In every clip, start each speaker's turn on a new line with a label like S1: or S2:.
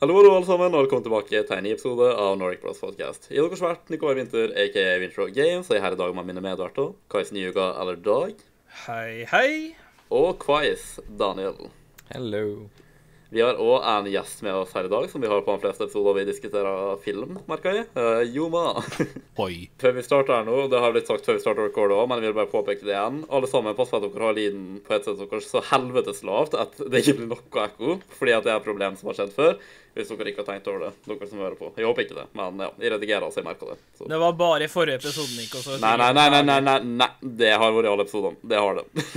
S1: Hallo, hallo, alle sammen, og velkommen tilbake til en ny episode av Nordic Bros Podcast. Jeg er deres vert, Nikolai Winther, aka Wintro Games, og jeg er her i dag med mine medverter, Kais Nyuga eller Dag,
S2: Hei, hei.
S1: og Quais Daniel.
S3: Hello.
S1: Vi har òg en gjest med oss her i dag, som vi har på de fleste episoder vi diskuterer film, merker jeg. Eh, Joma.
S4: Oi.
S1: før vi starter her nå, det har blitt sagt før vi starter record òg, men jeg vil bare påpeke det igjen. Alle sammen, pass på at dere har lyden på headsetet deres så helvetes lavt at det ikke blir noe ekko, fordi at det er et problem som har skjedd før. Hvis dere ikke har tenkt over det, dere som hører på. Jeg håper ikke det, men ja, jeg redigerer så jeg merker det. Så.
S2: Det var bare i forrige episode, Nico. Så
S1: Nei, nei, nei, nei, nei, nei, nei, det har vært i alle episodene. Det har det.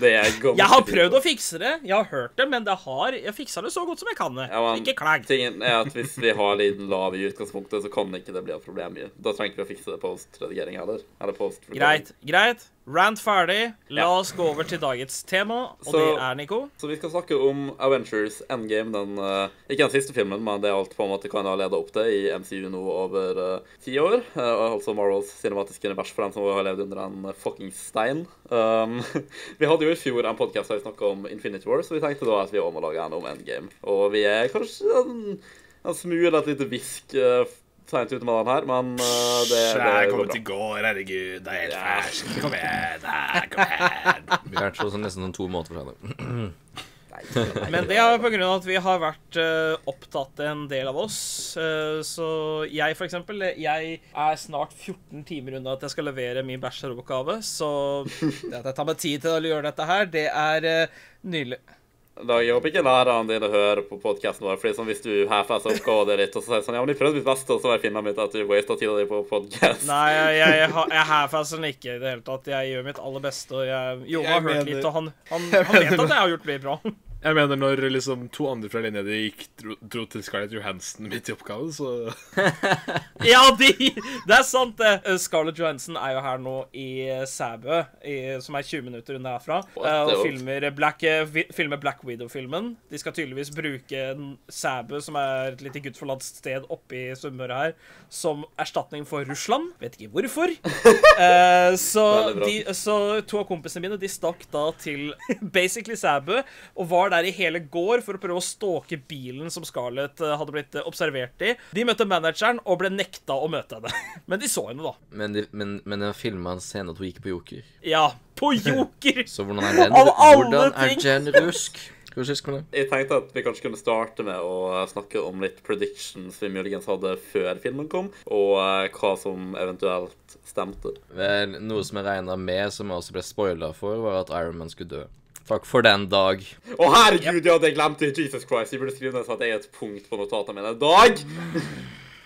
S1: det er ganske
S2: Jeg har prøvd å fikse det. Jeg har hørt det, men det har, jeg fiksa det så godt som jeg kan det.
S1: Ja, men
S2: Ikke klag.
S1: Tingen er at hvis vi har lyden lav i utgangspunktet, så kan ikke det bli et problem. i- Da trenger ikke vi å fikse det post-redigering heller. Eller post
S2: Greit, greit. Rant ferdig. La
S1: Ja.
S2: oss gå over til dagens tema, og
S1: Så-
S2: det er Nico.
S1: Så vi skal snakke om Avengers Endgame, den eh, ikke den siste filmen, men det er alt på en måte kan ha leda opp til i MCU nå over ti år. eh, og altså Marvels cinematiske univers for dem som har levd under en fucking stein. Um, vi hadde jo i fjor en podkast der vi snakka om Infinity War, så vi tenkte da at vi òg må lage en om Endgame. Og vi er kanskje en, en smule et lite hvisk uh, seint ute med den her, men eh, det, det
S4: Jeg kom
S1: går
S4: ut i
S1: bra.
S4: går, herregud. Det er helt ferskt. Kom igjen. her, Kom igjen.
S3: Vi lærte oss nesten om to måneder fra det.
S2: Men det er pga. at vi har vært eh, opptatt, en del av oss. Eh, så jeg, for eksempel, jeg er snart 14 timer unna at jeg skal levere min bacheloroppgave. Så det at jeg tar meg tid til å gjøre dette her, det er uh, nydelig.
S1: Da, jeg håper ikke læreren din hører på podkasten vår. fordi sånn, Hvis du half-asser oppgaven din, og så sier sånn, ja, men jeg prøvde mitt beste, og så bare finner jeg ut at du wasta tida di på podkast
S2: Nei, jeg, jeg, har- jeg half-asser den ikke i det hele tatt. Jeg gjør mitt aller beste, og jeg Jo, jeg har
S4: Jeg
S2: hørt
S4: mener-
S2: litt, og han, han, han vet at jeg har gjort mye bra.
S4: Jeg mener, når liksom to andre fra linja di gikk dro, dro til Scarlett Johansen midt i oppgaven, så
S2: Ja, de, det er sant, det. Eh, Scarlett Johansen er jo her nå i eh, Sæbø, i, som er 20 minutter unna herfra,
S1: What
S2: eh,
S1: the-
S2: og filmer Black, eh, vi- filmer Black Widow-filmen. De skal tydeligvis bruke en Sæbø, som er et lite gudforlatt sted oppe i Sunnmøre her, som erstatning for Russland. Vet ikke hvorfor. Eh, så,
S1: Veldig bra.
S2: de, så to av kompisene mine de stakk da til basically Sæbø og var der i hele går for å prøve å stalke bilen som Scarlett eh, hadde blitt eh, observert i. De møtte manageren og ble nekta å møte henne. Men de så henne, da.
S3: Men, de, men, men jeg filma en scene at hun gikk på Joker.
S2: Ja, på Joker!
S3: Så hvordan er den
S2: Av alle
S3: Hvordan er
S2: ting!
S3: den rusk? Hva synes du om det?
S1: Jeg tenkte at vi kanskje kunne starte med å snakke om litt predictions vi muligens hadde før filmen kom, og eh, hva som eventuelt stemte.
S3: Vel, noe som jeg regna med, som jeg også ble spoila for, var at Iron Man skulle dø. Takk for den, Dag.
S1: Å, herregud, ja, det glemte jeg! Jesus Christ, jeg burde skrive ned sånn at jeg er et punkt på notatene mine. Dag!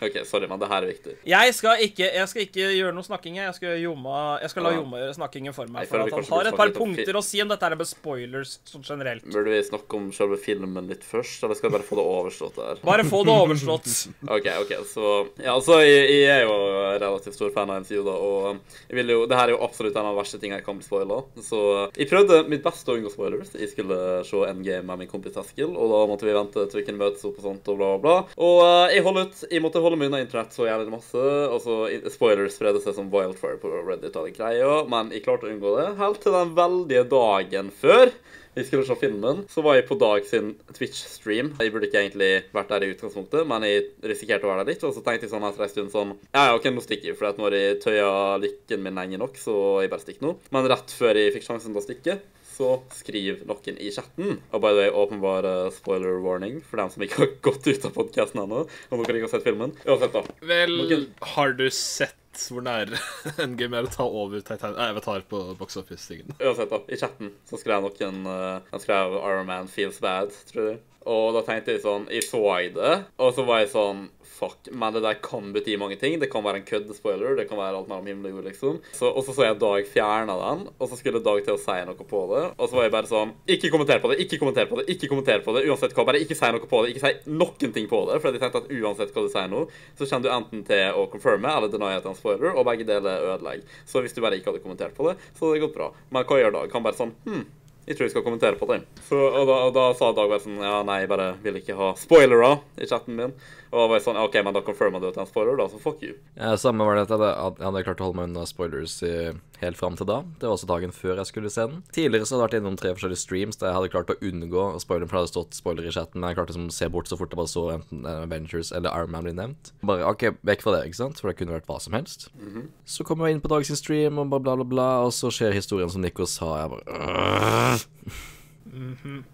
S1: OK, sorry, men det her er viktig.
S2: Jeg skal ikke, jeg skal ikke gjøre noe snakking. jeg. Jeg skal, gjøre Joma, jeg skal la
S1: Ja.
S2: Joma gjøre snakkingen for
S1: Nei,
S2: meg.
S1: for
S2: For
S1: vi
S2: at han
S1: kanskje
S2: har
S1: burde
S2: et
S1: snakke
S2: par
S1: litt om fi-
S2: punkter å si om dette her med spoilers sånn generelt.
S1: Burde vi snakke om selve filmen litt først, eller skal jeg bare få det overstått der?
S2: Bare få det overslått.
S1: OK, ok, så Ja, altså, jeg, jeg er jo relativt stor fan av MCU, da, og um, jeg vil jo Det her er jo absolutt en av de verste tingene jeg kan bli spoila. Så uh, jeg prøvde mitt beste å unngå spoilers. Jeg skulle se Endgame med min kompis Eskil, og da måtte vi vente til vi kunne møtes opp og sånt, og bla, bla, bla. Og eh, jeg holdt ut. Jeg måtte holde meg unna internett så jævlig masse. Altså, i- spoilers spredde seg som wildfire på Reddit og den greia, men jeg klarte å unngå det helt til den veldige dagen før. Vi skulle se filmen, så var jeg på Dag sin Twitch-stream. Jeg burde ikke egentlig vært der i utgangspunktet, men jeg risikerte å være der litt. Og så tenkte jeg sånn etter en stund sånn Ja, ja, ok, nå stikker jeg, for at når jeg tøyer lykken min lenge nok, så jeg bare stikker nå. Men rett før jeg fikk sjansen til å stikke, så skriv noen i chatten. Og by the way, åpenbar eh, spoiler warning for dem som ikke har gått ut av podkasten ennå. Om dere ikke har sett filmen. Uansett, da.
S4: Vel, har du sett hvor nære NGM er å ta over Titan Nei, Avatar på Box Office-tingen?
S1: Uansett, da. I chatten så skrev noen uh, Han skrev 'Iron Man feels bad', tror jeg. Og da tenkte jeg sånn Jeg så jeg det, og så var jeg sånn Fuck, men det der kan bety mange ting. Det kan være en kødd-spoiler, det kan være alt mellom himmel og jord, liksom. Så, og så så jeg Dag fjerna den, og så skulle Dag til å si noe på det. Og så var jeg bare sånn Ikke kommenter på det, ikke kommenter på det, ikke kommenter på det. Uansett hva, bare ikke si noe på det. Ikke si noen ting på det. For jeg tenkte at uansett hva du sier nå, så kommer du enten til å confirme eller deny at det er en spoiler, og begge deler ødelegger. Så hvis du bare ikke hadde kommentert på det, så hadde det gått bra. Men hva gjør Dag? Han bare sånn Hm, Jeg tror jeg skal kommentere på det. Så, og, da, og da sa Dag bare sånn Ja, nei, jeg bare vil ikke ha spoilere i chatten min. Og da var jeg sånn OK, men da confirma du at det er en spoiler, da, så fuck you.
S3: Ja, Eh, samme var det at jeg hadde, jeg hadde klart å holde meg unna spoilers i, helt fram til da. Det var også dagen før jeg skulle se den. Tidligere så hadde jeg vært innom tre forskjellige streams der jeg hadde klart å unngå spoileren, for det hadde stått spoiler i chatten, men jeg klarte liksom å se bort så fort jeg bare så enten eh, Avengers eller Iron Man bli nevnt. Bare OK, vekk fra det, ikke sant, for det kunne vært hva som helst.
S2: Mhm.
S3: Så kom jeg inn på dagens stream, og bla, bla, bla, bla, og så skjer historien som Nico sa, og jeg bare øh.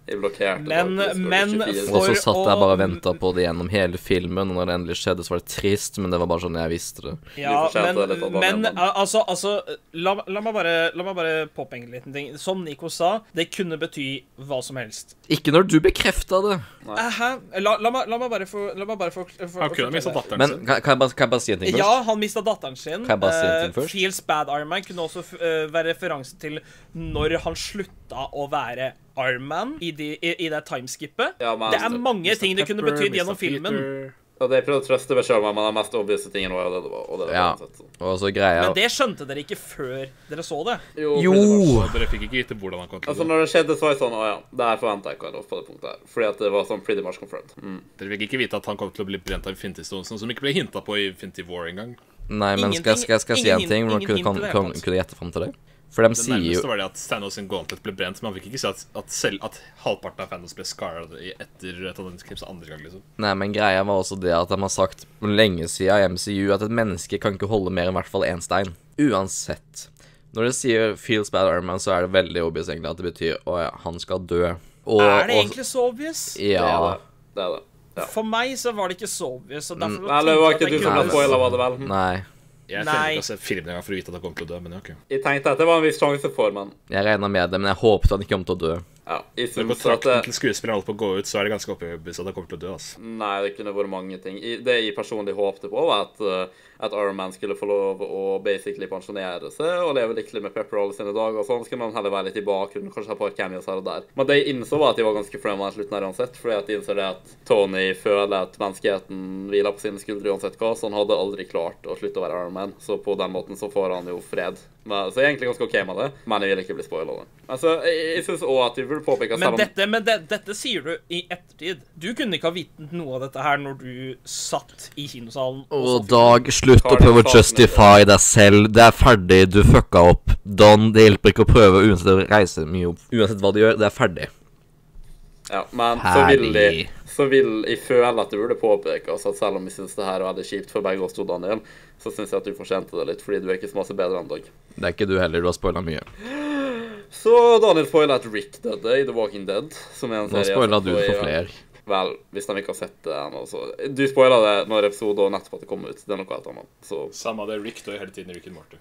S1: Jeg blokkerte
S2: Men-
S1: Dark Discord
S2: men
S1: 24.
S2: for-
S3: Og så satt jeg
S2: å-
S3: bare og venta på det gjennom hele filmen, og når det endelig skjedde, så var det trist, men det var bare sånn jeg visste det.
S2: Ja,
S1: Du får skjerpe deg litt,
S2: men,
S1: Adam,
S2: men
S1: Adam.
S2: al- altså, altså la, la meg bare, la meg bare påpenge en liten ting. Som Nico sa, det kunne bety hva som helst.
S3: Ikke når du bekrefta det.
S2: Eh, Hæ? La, la, meg, la meg bare få La meg bare få for,
S4: Han kunne ha mista datteren
S3: Men
S4: sin.
S3: kan, kan, jeg bare, kan jeg bare si en ting først?
S2: Ja, han mista datteren sin.
S3: Kan jeg bare si en ting
S2: Eh,
S3: først?
S2: Feels Bad Iron Man kunne også f- eh, være referanse til når han slutta å være Iron Man i, de, i, i det timeskipet.
S1: Ja, men-
S2: det er mange ting det kunne betydd gjennom filmen.
S1: Og det jeg prøvde å trøste meg sjøl med, men den mest obvise tingen var jo det det var. Og det det
S3: Ja.
S1: var uansett, så.
S3: Og så greier
S2: Men det skjønte dere ikke før dere så det.
S1: pretty
S3: Jo!
S1: much.
S4: Og dere fikk ikke vite hvordan han kom til
S1: Altså,
S4: det.
S1: når det skjedde, så var jeg sånn Å ja, det her forventa jeg ikke av på det punktet her. Fordi at det var sånn pretty much confirmed. Mm.
S4: Dere fikk ikke vite at han kom til å bli brent av Infinity Stones, noe som ikke ble hinta på i Infinity War engang.
S3: Nei, men skal,
S2: Ingenting-
S3: skal, skal jeg si en
S2: ingen-
S3: ting? Hvordan
S2: ingen
S3: kunne,
S2: hint
S3: kan,
S2: i det hele
S3: kan,
S2: tatt.
S3: kunne jeg gjette fram til det? For de
S4: Det
S3: sier
S4: nærmeste
S3: jo
S4: var det at Thanos sin gauntlet ble brent, men han fikk ikke si at, at, selv, at halvparten av Thanos ble scarred i- etter Thanos Clips andre gang, liksom.
S3: Nei, men greia var også det at de har sagt lenge siden i MCU at et menneske kan ikke holde mer enn i hvert fall én stein. Uansett. Når det sier 'feels bad Iron Man', så er det veldig obvious egentlig at det betyr 'å ja, han skal dø'. Og,
S2: Er det
S3: og-
S2: egentlig så obvious?
S1: Det er
S3: Ja.
S1: det. Det er det. Ja.
S2: For meg så var det ikke så obvious. Og
S3: Mm.
S2: derfor
S1: Nei, det var ikke du som ble
S3: kunne være-
S1: spoila, var det vel? Hm.
S3: Nei.
S4: Jeg
S2: Nei.
S4: trenger ikke å se filmen engang for å vite at han kommer til å dø, men ja, ok.
S1: Jeg tenkte at det var en viss sjanse for, men
S3: Jeg regna med det, men jeg håpet han ikke kom til å dø.
S1: ja. Jeg
S4: Når
S1: syns at det,
S4: kontrakten til skuespilleren holder på å gå ut, så er det ganske overbevist at han kommer til å dø, altså.
S1: Nei, det kunne vært mange ting. I- Det jeg personlig håpte på, var at, uh, at Iron Man skulle få lov å basically pensjonere seg og leve lykkelig med Pepper alle sine dager og sånn. Så kunne han heller være litt i bakgrunnen, kanskje ha et par cameos her og der. Men det jeg innså, var at de var ganske fremmed til slutten her uansett. Fordi at de innså det at Tony føler at menneskeheten hviler på sine skuldre uansett hva, så han hadde aldri klart å slutte å være Iron Man. Så på den måten så får han jo fred. Men, så jeg er egentlig ganske OK med det, men jeg vil ikke bli spoila. Altså, jeg, jeg syns òg at vi burde påpeke
S2: Men, dette, men det, dette sier du i ettertid. Du kunne ikke ha vitnet noe av dette her når du satt i kinosalen.
S3: Og
S2: så-
S3: Dag, slutt
S1: Carl
S3: å prøve å
S1: Fasen,
S3: justify deg selv. Det er ferdig, du fucka opp. Don, det hjelper ikke å prøve uansett å reise mye opp. Uansett hva du gjør, det er ferdig.
S1: Ja, men så vil, jeg,
S3: Herlig.
S1: så vil jeg føle at det burde påpekes at selv om jeg syns det her var veldig kjipt for begge oss to, Daniel, så syns jeg at du fortjente det litt, fordi du er ikke så masse bedre enn Dag.
S3: Det er ikke du heller, du har spoila mye.
S1: Så Daniel spoiler at Rick døde i The Walking Dead, som er en
S3: Nå
S1: serie
S3: spoila
S1: som
S3: du
S1: får i-
S3: for flere.
S1: Vel, hvis de ikke har sett det ennå, så Du spoila det når episoden nettopp hadde kommet ut. Det er noe helt annet. Så
S4: Samme det, Rick dør hele tiden i Rick and Morty.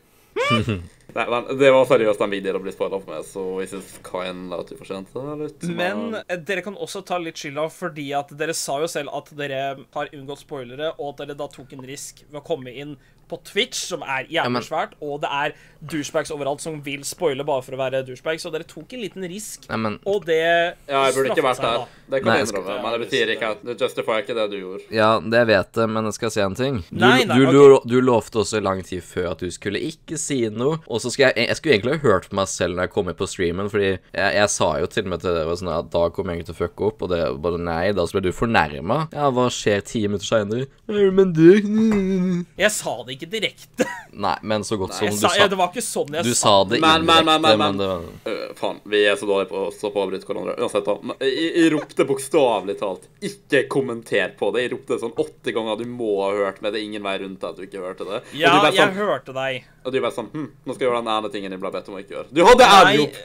S1: Nei, men det var seriøst en big deal å bli spoila for meg, så jeg syns kinda at du fortjente det litt.
S2: Men eh, dere kan også ta litt skylda, fordi at dere sa jo selv at dere har unngått spoilere, og at dere da tok en risk ved å komme inn på Twitch, som er
S3: men-
S2: jævlig svært, og det er douchebags overalt som vil spoile bare for å være douchebags, så dere tok en liten risk,
S3: Nei, men
S2: og det
S1: Ja, jeg burde ikke
S2: straffet
S1: vært
S2: seg
S1: der.
S2: da.
S1: Det kan
S3: Nei,
S1: jeg
S3: jeg skal-
S1: innrømme, men det betyr ikke at Det justifier ikke det du gjorde.
S3: Ja, det vet jeg, men jeg skal si en ting. Du,
S2: Nei, nei,
S3: du,
S2: ok.
S3: lo- du lovte også i lang tid før at du skulle ikke si noe. Og så skulle jeg Jeg skulle egentlig ha hørt på meg selv når jeg kom inn på streamen, fordi jeg, jeg sa jo til og med til dere sånn at da kommer jeg ikke til å fucke opp, og det bare nei, da så ble du fornærma. Ja, hva skjer ti minutter seinere? Men du
S2: Jeg sa det ikke direkte.
S3: Nei, men så godt som
S2: Jeg
S3: du
S2: sa, ja,
S3: sa
S2: det var ikke sånn jeg
S3: Du
S2: sa
S3: sa det
S1: Men, men, men, men,
S3: indirekte, men
S1: men.
S3: det var
S1: Øh, faen, vi er så dårlige på å stå på og avbryte hverandre. Uansett, da. Men Jeg, jeg ropte bokstavelig talt 'ikke kommenter på det'. Jeg ropte sånn åtte ganger. Du må ha hørt med det. er Ingen vei rundt at du ikke hørte det.
S2: Ja,
S1: og du bare
S2: jeg
S1: sånn,
S2: hørte deg.
S1: og du bare sånn hm, 'Nå skal jeg gjøre den ene tingen jeg ble bedt om å ikke gjøre'. Du hadde
S2: Nei.
S1: ærlig opp!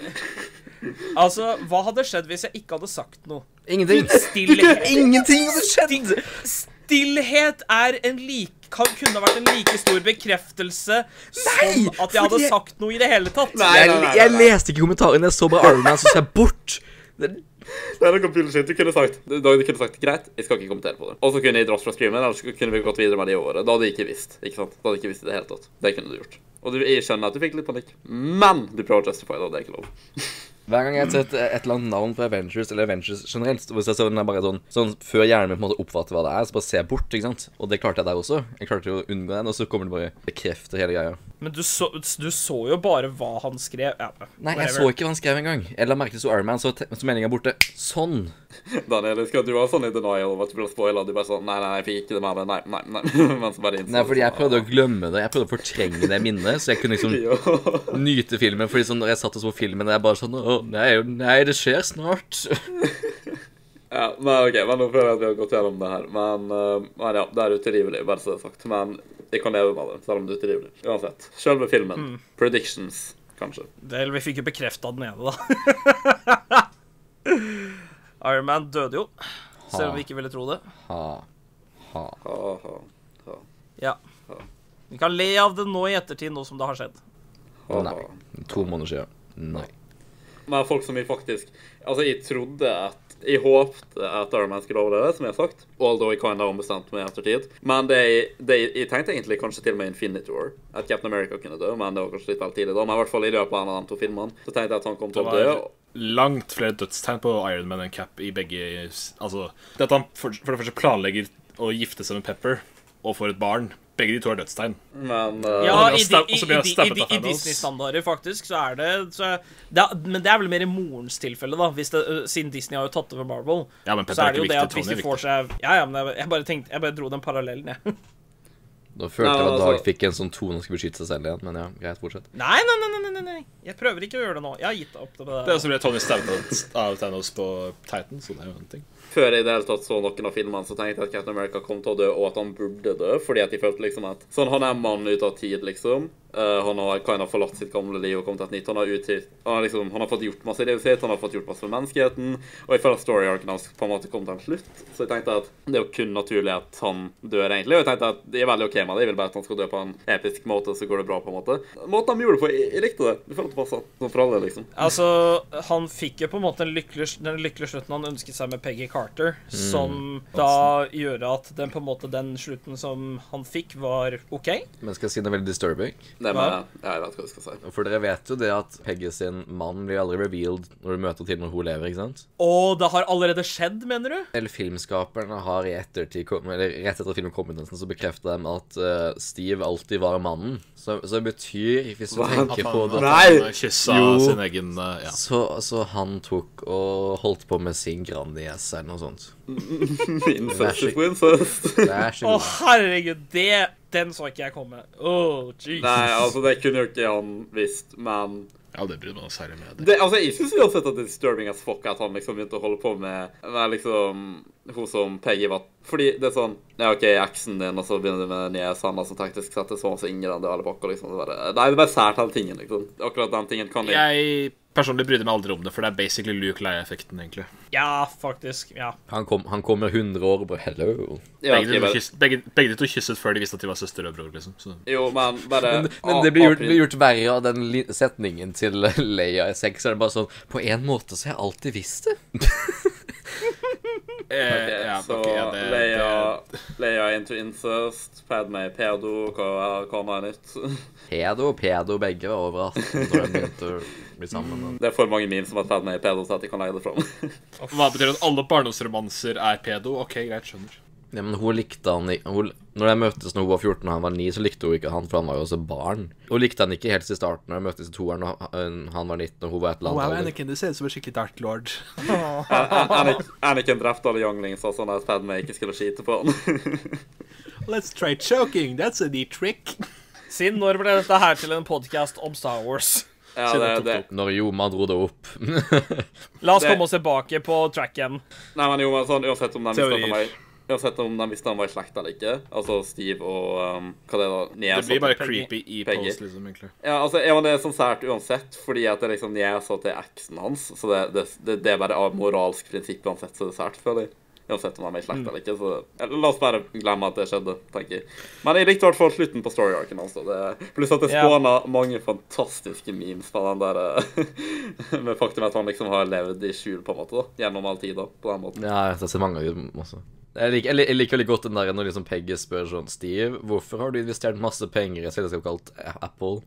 S2: Altså, hva hadde skjedd hvis jeg ikke hadde sagt noe?
S3: Ingenting.
S2: Stillhet,
S3: Ingenting som skjedde!
S2: stillhet er en like kan, kunne vært en like stor bekreftelse
S3: Nei,
S2: som at jeg hadde
S3: fordi-
S2: sagt noe i det hele tatt.
S1: Nei.
S3: Jeg, jeg leste ikke kommentarene, jeg så bare Iron Man, så så jeg bort.
S1: Det er noe bullshit. Du kunne sagt du, Dag, du kunne sagt 'greit, jeg skal ikke kommentere på det'. Og så kunne jeg dratt fra streamen, eller så kunne vi gått videre med det i året. Da hadde jeg ikke visst. ikke sant? Da hadde jeg ikke visst i det hele tatt. Det kunne du gjort. Og du, jeg skjønner at du fikk litt panikk, men du prøver å justify det, og det er ikke lov.
S3: Hver gang jeg setter et eller annet navn på Avengers eller Avengers generelt, hvis jeg ser den er bare sånn, sånn før hjernen min på en måte oppfatter hva det er, så bare ser jeg bort, ikke sant? Og det klarte jeg der også. Jeg klarte jo å unngå den, og så kommer det bare bekrefter hele greia.
S2: Men du så, du så jo bare hva han skrev. Ja,
S3: Nei, jeg så
S2: whatever.
S3: ikke hva han skrev engang. Eller merket det sto Iron Man, så, te- så meldinga borte. Sånn.
S1: Daniel, husker at du var sånn i denial over at du ble spoila. Du bare sånn Nei, nei, jeg fikk ikke det med meg. Nei, nei, nei. Men så bare innså
S3: Nei, fordi jeg
S1: du
S3: prøvde å glemme det. Jeg prøvde å fortrenge det minnet, så jeg kunne liksom
S1: sånn, ja.
S3: nyte filmen. Fordi sånn, når jeg satt og så filmen, jeg bare sånn Å, nei, nei, det skjer snart.
S1: Ja, men ok, men nå føler jeg at vi har gått gjennom det her. Men, eh, men ja, det er utilgivelig, bare så det er sagt. Men jeg kan leve med det, selv om det er utilgivelig. Uansett. Selve filmen. Predictions, kanskje.
S2: Det, eller vi fikk jo bekrefta den ene, da. Iron Man døde jo, selv om vi ikke ville tro det.
S3: Ha, ha.
S1: Ha, ha, ha,
S2: Ja. Vi kan le av det nå i ettertid, nå som det har skjedd.
S1: ha,
S3: Nei.
S1: ha.
S3: To måneder siden. Nei.
S1: Men folk som vi faktisk Altså, jeg trodde at jeg håpte at Iron Man skulle overleve, som jeg har sagt. Although jeg kind of ombestemte meg i ettertid. Men det, det, jeg tenkte egentlig kanskje til og med Infinity War. At Captain America kunne dø, men det var kanskje litt vel tidlig da. Men i hvert fall i løpet av de to filmene så tenkte jeg at han kom
S4: Det
S1: til å dø.
S4: var langt flere dødstegn på Iron Man enn Cap i begge Altså, det at han for, for det første planlegger å gifte seg med Pepper og får et barn Begge de to er dødstegn.
S1: Men eh,
S2: Ja,
S4: Og så blir han
S2: i,
S4: stab-
S2: di-
S4: og så
S2: i,
S4: blir han
S2: i,
S4: stabbet
S2: i, i,
S4: av
S2: i
S4: Thanos.
S2: Disney-standarder, faktisk, så er det, så er, det er, Men det er vel mer i morens tilfelle, da, hvis det, øh, siden Disney har jo tatt over Marvel.
S4: Ja, men Pepper
S2: så
S4: er
S2: er det jo
S4: ikke
S2: det
S4: viktig,
S2: at hvis
S4: Tony er
S2: de får seg Ja, ja, men jeg, jeg bare tenkte Jeg bare dro den parallellen, jeg.
S3: Da følte
S1: Nei,
S3: jeg at
S1: altså-
S3: Dag fikk en sånn tone han skulle beskytte seg selv igjen, men ja, greit, fortsett.
S2: Nei, nei, nei, nei, nei, nei. Jeg prøver ikke å gjøre det nå. Jeg har gitt opp det med
S4: Det er også ble Tony stabbet av Thanos på Titan, så det er jo en ting.
S1: Før jeg i det hele tatt så noen av filmene, så tenkte jeg at Captain America kom til å dø, og at han burde dø, fordi at jeg følte liksom at sånn, han er en mann ut av tid, liksom. Eh, han har kind of forlatt sitt gamle liv og kommet til et nytt. Han har, utgitt, han, har liksom, han har fått gjort masse i livet sitt, han har fått gjort masse for menneskeheten, og jeg føler at story arcen hans på en måte kom til en slutt. Så jeg tenkte at det er jo kun naturlig at han dør, egentlig. Og jeg tenkte at jeg er veldig OK med det, jeg vil bare at han skal dø på en episk måte, så går det bra, på en måte. Måten de gjorde det på, jeg, jeg likte det. Jeg føler at det passet. Sånn for alle, liksom.
S2: Altså, han fikk jo på en måte den lykkelige, den lykkelige slutten han ønsket seg med Peggy Carter,
S4: Mm.
S2: som da gjør at den på en måte den slutten som han fikk, var OK.
S3: Men skal jeg si noe veldig disturbing?
S1: Det med Ja, jeg vet hva jeg skal si.
S3: For dere vet jo det at Peggy sin mann blir aldri revealed når du møter til når hun lever, ikke sant?
S2: Og det har allerede skjedd, mener du?
S3: Eller filmskaperne har i ettertid, kom- eller rett etter at filmen kom ut, nesten, så bekrefter de at eh, Steve alltid var mannen. Så, så det betyr, hvis du
S1: Hva?
S3: tenker på det
S1: Nei!
S4: Kyssa
S3: Jo.
S4: sin egen eh, Ja.
S3: så, så han tok og holdt på med sin Grandis eller noe sånt.
S1: Incest is incest.
S3: Det er så
S2: Å,
S3: god.
S2: herregud, det Den så ikke jeg komme. Oh, jeez.
S1: Nei, altså, det kunne jo ikke han visst, men
S4: ja, det bryr meg særlig med. Det.
S1: det, altså, Jeg syns uansett at det er disturbing as fuck at han liksom begynte å holde på med med liksom hun som Peggy var Fordi det er sånn Ja, OK, eksen din, og så begynner du med den nye Sanna som teknisk sett er sånn som Ingrid og alle bakker, liksom. Det er bare, nei, det er bare sært, den tingen, liksom. Akkurat den tingen kan jeg
S4: Jeg personlig brydde meg aldri om det, for det er basically Luke Leia-effekten, egentlig.
S2: Ja, faktisk. Ja.
S3: Han, kom, han kommer 100 år og bare Hello.
S1: jeg vet
S4: Begge,
S1: ikke,
S4: de,
S1: bare,
S4: kyss- begge, begge de to kysset før de visste at de var søster og bror, liksom. Så.
S1: Jo, men bare
S3: Men, men det blir gjort, blir gjort verre av den li- setningen til Leia i sex. Er det bare sånn På en måte så har jeg alltid visst det.
S4: Eh, ja,
S1: så
S4: ok, ja, det,
S1: Leia,
S4: det,
S1: Leia into incest, Padme pedo, hva, hva er nytt?
S3: Pedo og pedo begge var overraskende da de begynte å bli sammen. men-
S1: Det er for mange memes om at Padme er pedo til at jeg kan leie det fram.
S4: Hva betyr at alle barndomsromanser er pedo? OK, greit, skjønner.
S3: Ja, men hun likte han i- hun, Når de møttes når hun var 14 og han var 9, så likte hun ikke han, for han var jo også barn. Hun likte han ikke helt i starten, når de møttes i toeren og han- han var 19 og hun var et eller annet alder.
S4: du ser ut som en skikkelig dark lord.
S1: An- Anakin- Anakin drepte alle younglings og sånn at Padme ikke skulle skyte på han.
S4: Let's try choking, that's a neat trick.
S2: Siden når ble dette her til en podkast om Star Wars?
S1: ja, det, det.
S3: Når Joma dro det opp.
S2: La oss
S1: Det-
S2: komme oss tilbake på track igjen.
S1: Nei, men jo, men sånn, uansett om de visste at han var
S4: Teorier.
S1: Uansett om de visste han var i slekt eller ikke, altså Steve og um, hva det er da,
S4: Det
S1: niesa
S4: blir bare
S1: til-
S4: creepy i
S1: Peggy.
S4: pose, liksom, egentlig.
S1: Ja, altså, ja, men det er sånn sært uansett, fordi at det er liksom niesa til eksen hans, så det, det, det, det er bare av moralsk prinsipp uansett, så det er sært, føler jeg. Uansett om de er i slekt eller ikke, så eller, la oss bare glemme at det skjedde, tenker jeg. Men jeg likte i hvert fall slutten på story arcen hans, da. Det- pluss at det
S2: Ja.
S1: spåna mange fantastiske memes fra den der eh, Med faktum at han liksom har levd i skjul, på en måte, da, gjennom all tid, da, på den måten.
S3: ja, jeg har sett mange av dem også. Jeg liker, jeg lik- jeg liker veldig godt den der når liksom Peggy spør sånn Steve, hvorfor har du investert masse penger i et selskap kalt A- Apple?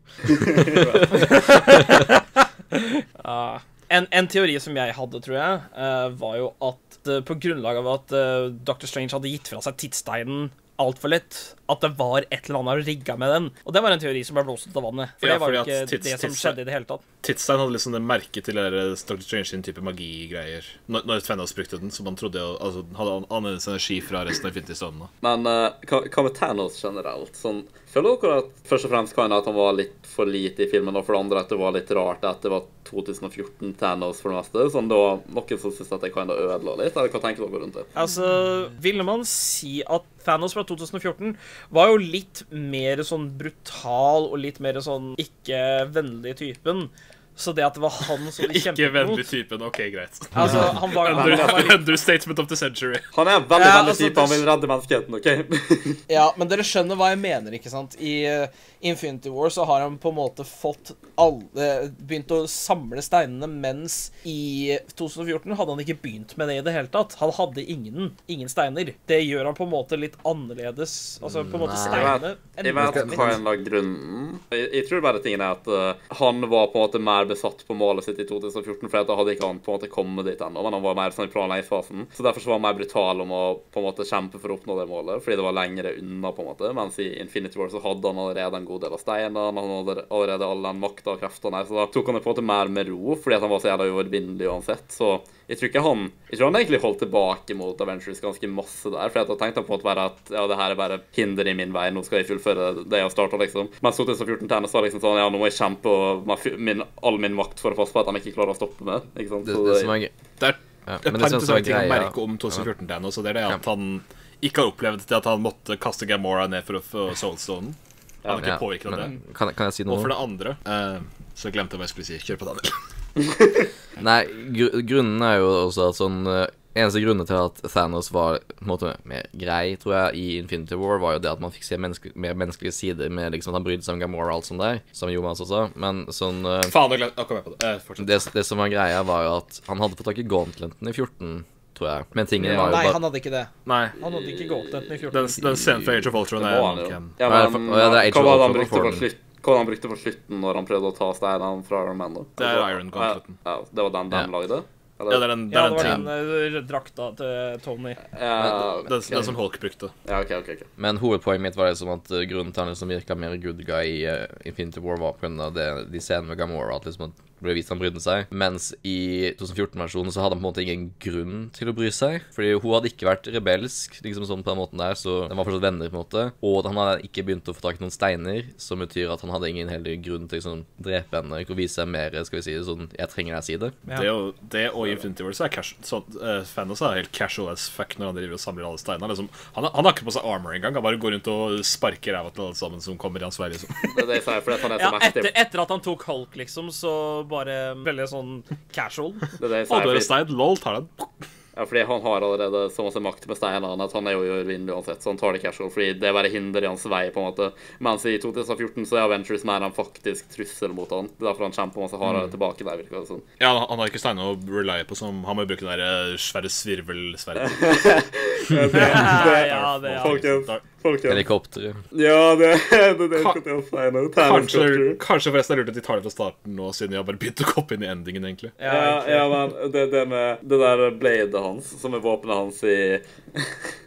S2: En, en teori som jeg hadde, tror jeg, eh, var jo at eh, på grunnlag av at eh, Dr. Strange hadde gitt fra seg tidssteinen altfor lett at det var et eller annet rigga med den. Og det var en teori som ble blåst ut av vannet. For
S4: Ja,
S2: det var jo
S4: fordi at
S2: ikke
S4: tids-
S2: det som
S4: tids-
S2: skjedde i det hele tatt.
S4: Tidsstein hadde liksom det merket til det der Dr. Strange sin type magigreier når, når Tvennas brukte den, som han trodde jo- altså, den hadde an- annerledes energi fra resten av Infinity Stone.
S1: Men eh, hva hva med Thanos generelt? Sånn, føler dere at først og fremst kan det at han var litt for lite i filmen, og for det andre at det var litt rart at det var 2014 Thanos for det meste? Sånn, det var noen som syntes at det kan ødela litt, eller hva tenker dere rundt det?
S2: Altså, ville man si at Thanos fra 2014 var jo litt mer sånn brutal og litt mer sånn ikke-vennlig typen. Så det at det var han som de
S4: Ikke
S2: kjempet
S4: vennlig
S2: mot
S4: typen. OK, greit.
S2: Altså, han var, han var litt
S4: Understatement of the century.
S1: Han er en veldig
S2: Ja,
S1: vennlig
S2: altså,
S1: type, han
S2: det-
S1: vil redde menneskeheten, OK?
S5: Ja, men dere skjønner hva jeg mener, ikke sant? I eh, Infinity War så har han på en måte fått alle eh, Begynt å samle steinene, mens i 2014 hadde han ikke begynt med det i det hele tatt. Han hadde ingen, ingen steiner. Det gjør han på en måte litt annerledes. Altså på en måte
S3: Nei.
S2: steinene
S1: Jeg vet hva en av grunnen jeg, jeg tror bare tingen er at eh, han var på en måte mer besatt på målet sitt i 2014, for da hadde ikke han på en måte kommet dit ennå, men han var mer sånn i planleggingsfasen. Så derfor så var han mer brutal om å på en måte kjempe for å oppnå det målet, fordi det var lengre unna, på en måte. Mens i Infinity War så hadde han allerede en god del av steinene, han hadde allerede all den makta og kreftene, så da tok han det på en måte mer med ro, fordi at han var så jævla uovervinnelig uansett. Så jeg tror ikke han Jeg tror han egentlig holdt tilbake mot Avengers ganske masse der. For jeg tenkte han på en måte bare at ja, det her er bare hinder i min vei, nå skal jeg fullføre det jeg har starta, liksom. Mens 2014 Tennis var liksom sånn ja, nå må jeg kjempe og ma- fu- min, all min makt for å passe på at han ikke klarer å stoppe meg. Ikke sant?
S3: Det,
S1: Så
S3: det
S1: det-
S3: som er gøy
S4: Det er
S3: ja,
S4: et par
S3: men det som er
S4: interessante ting å
S3: greia-
S4: merke om 2014 Thanos, og det er det at han ikke har opplevd det at han måtte kaste Gamora ned for å få Soulstone. Han er
S3: Ja,
S4: ikke påvirket av det.
S3: men Kan, kan jeg si
S4: Og
S3: noe?
S4: for det andre eh, Så glemte jeg hva jeg skulle si. Kjør på, Daniel.
S3: Nei, gr grunnen er jo også at sånn eh, Eneste grunnen til at Thanos var på en måte mer grei, tror jeg, i Infinity War, var jo det at man fikk se menneske mer menneskelige sider med liksom at han brydde seg om Gamora og alt sånt der, som Jonas også sa, men sånn eh,
S4: Faen, jeg glemte Nå kom jeg på det. Eh, fortsett.
S3: det, det som var greia, var jo at han hadde fått tak i Gauntleten i 14, tror jeg, men tingen var jo
S5: Nei,
S3: bare
S5: han hadde ikke det.
S4: Nei.
S2: Han hadde ikke gått enten i 14.
S4: Den, den scenen fra Age of Ultron
S1: det
S4: er
S1: må han jo.
S4: nok en
S1: Ja,
S3: Nei, for-
S1: men
S3: å, ja, det er ikke
S1: hva var det han
S3: for-
S1: brukte
S3: for
S1: på
S3: den.
S1: slutten? Hva var det han brukte på slutten når han prøvde å ta steinene fra Iron Man? da?
S4: Det er Iron Gauntleten.
S1: Ja, det var den de
S3: Ja.
S1: lagde?
S4: Ja, det er den, det
S2: Ja,
S4: er
S2: det
S4: den,
S2: var
S4: tingen-
S2: den eh, drakta til Tony.
S1: Ja,
S4: den, den som sånn Hulk brukte.
S1: ja, OK, OK. ok.
S3: Men hovedpoenget mitt var liksom at eh, grunnen til han liksom virka mer good guy i eh, Infinity War, var pga. de scenene med Gamora. At liksom at det ble vist han brydde seg. Mens i 2014-versjonen så hadde han på en måte ingen grunn til å bry seg. Fordi hun hadde ikke vært rebelsk, liksom sånn på den måten der, så de var fortsatt venner, på en måte. Og han hadde ikke begynt å få tak i noen steiner, som betyr at han hadde ingen heller grunn til å liksom, drepe henne. Ikke å vise seg mer, skal vi si det sånn Jeg trenger deg, si det.
S2: Ja.
S4: Det, og, det og i Infinity War så er casual, sånn, eh, Thanos er helt casual as fuck når han driver og samler alle steinene. Liksom, han, han har ikke på seg armor engang. Han bare går rundt og sparker ræva til alle sammen som kommer i hans vei. Liksom.
S1: Det er det jeg sier, fordi at han er
S2: Ja,
S1: så mektig.
S2: etter, etter at han tok Hulk, liksom, så bare veldig sånn casual.
S1: Det er det jeg
S4: Og
S1: sier,
S4: dør
S1: fordi-
S4: en stein. Lol, tar den.
S1: Ja, fordi han har allerede så masse makt med steinene at han er jo uovervinnelig uansett, så han tar det casual, fordi det er bare hinder i hans vei, på en måte. Mens i 2014 så er Avengers mer en faktisk trussel mot han. Det er derfor han kjemper masse hardere tilbake der, virker det som.
S4: Ja, han, han har ikke steiner å rely på, som han må bruke det der eh, svære svirvelsverdet.
S2: ja, det er
S1: Folkens, folkens.
S3: Helikopteret.
S1: Ja, det er det
S4: Ka-
S1: jeg skal tegne.
S4: Kanskje, kanskje forresten er det lurt at de tar det fra starten nå, siden jeg har bare begynt å koppe inn i endingen, egentlig.
S2: Ja,
S1: Ja,
S2: egentlig.
S1: ja, men det, det med det der bladet hans, som er våpenet hans i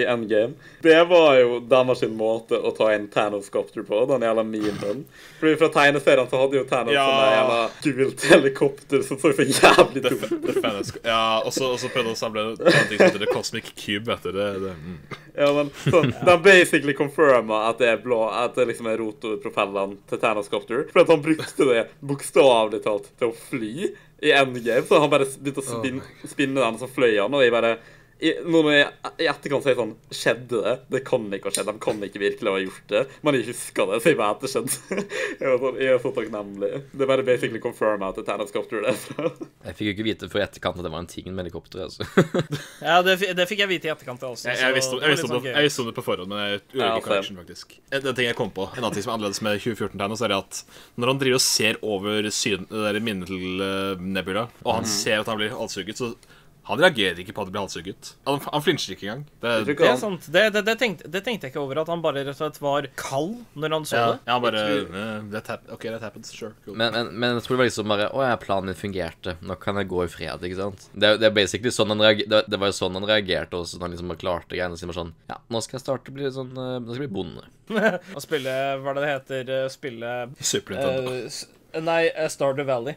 S1: I Endgame. Det var jo deres sin måte å ta inn Thanos-copter på, den jævla memen. Fordi fra tegneserien så hadde jo Thanos
S4: Ja.
S1: sånn jævla gult helikopter som så så jævlig
S4: Det,
S1: dumt ut.
S4: det fanes, ja, og så og så prøvde han å samle en ting som heter The Cosmic Cube. Vet du, det, det, mm.
S1: Ja, men sånn, De basically confirma at det er blå, at det liksom er rotorpropellene til Thanoscopter. For at han brukte det bokstavelig talt til å fly i endgame. Så han bare begynte å spin, spinne den, og så fløy han. Og jeg bare i, nå når jeg i etterkant sier sånn Skjedde det? Det kan ikke ha skjedd. De kan ikke virkelig ha gjort det. Men jeg huska det, så jeg vet det skjedde. Jeg, var sånn, jeg er så takknemlig. Det er bare basically confirma at det er Thanoscopter det er fra.
S3: Jeg fikk jo ikke vite før i etterkant at det var en ting med helikopteret, altså.
S2: ja det, fi- det fikk jeg vite i etterkant. Altså,
S4: jeg,
S2: så
S4: jeg, visste om,
S2: det
S4: jeg,
S2: var litt
S4: visste om det,
S2: sånn gøy.
S4: jeg visste om det på forhånd, men jeg gjorde
S1: Ja,
S4: ikke connection, faktisk. En, en ting jeg kom på, en annen ting som er annerledes med 2014-tegnet, så er det at når han driver og ser over syn, det der minnet til eh, Nebula, og han ser at han blir halshugget, så Han reagerer ikke på at det blir halshugget. Han, han flinsjer ikke engang. Det,
S1: Jeg tror
S2: Det
S1: ikke
S2: er sånn
S1: han
S2: sant. Det, det, det, tenkte, det tenkte jeg ikke over, at han bare rett og slett var kald når han så
S4: ja,
S2: det.
S4: ja, han bare
S1: Jeg
S4: eh, that hap OK, that happens. Sure. Cool.
S3: Men, men, men jeg tror det var liksom bare Å ja, planen min fungerte. Nå kan jeg gå i fred, ikke sant? Det, er- det er basically sånn han reager, det, det var jo sånn han reagerte også, når han liksom bare klarte greiene sine. bare Sånn Ja, nå skal jeg starte å bli sånn eh, Nå skal jeg bli bonde.
S2: Å spille Hva er det det heter? eh, Spille
S4: Super Nintendo.
S2: eh, s- Nei, eh, Stardew Valley.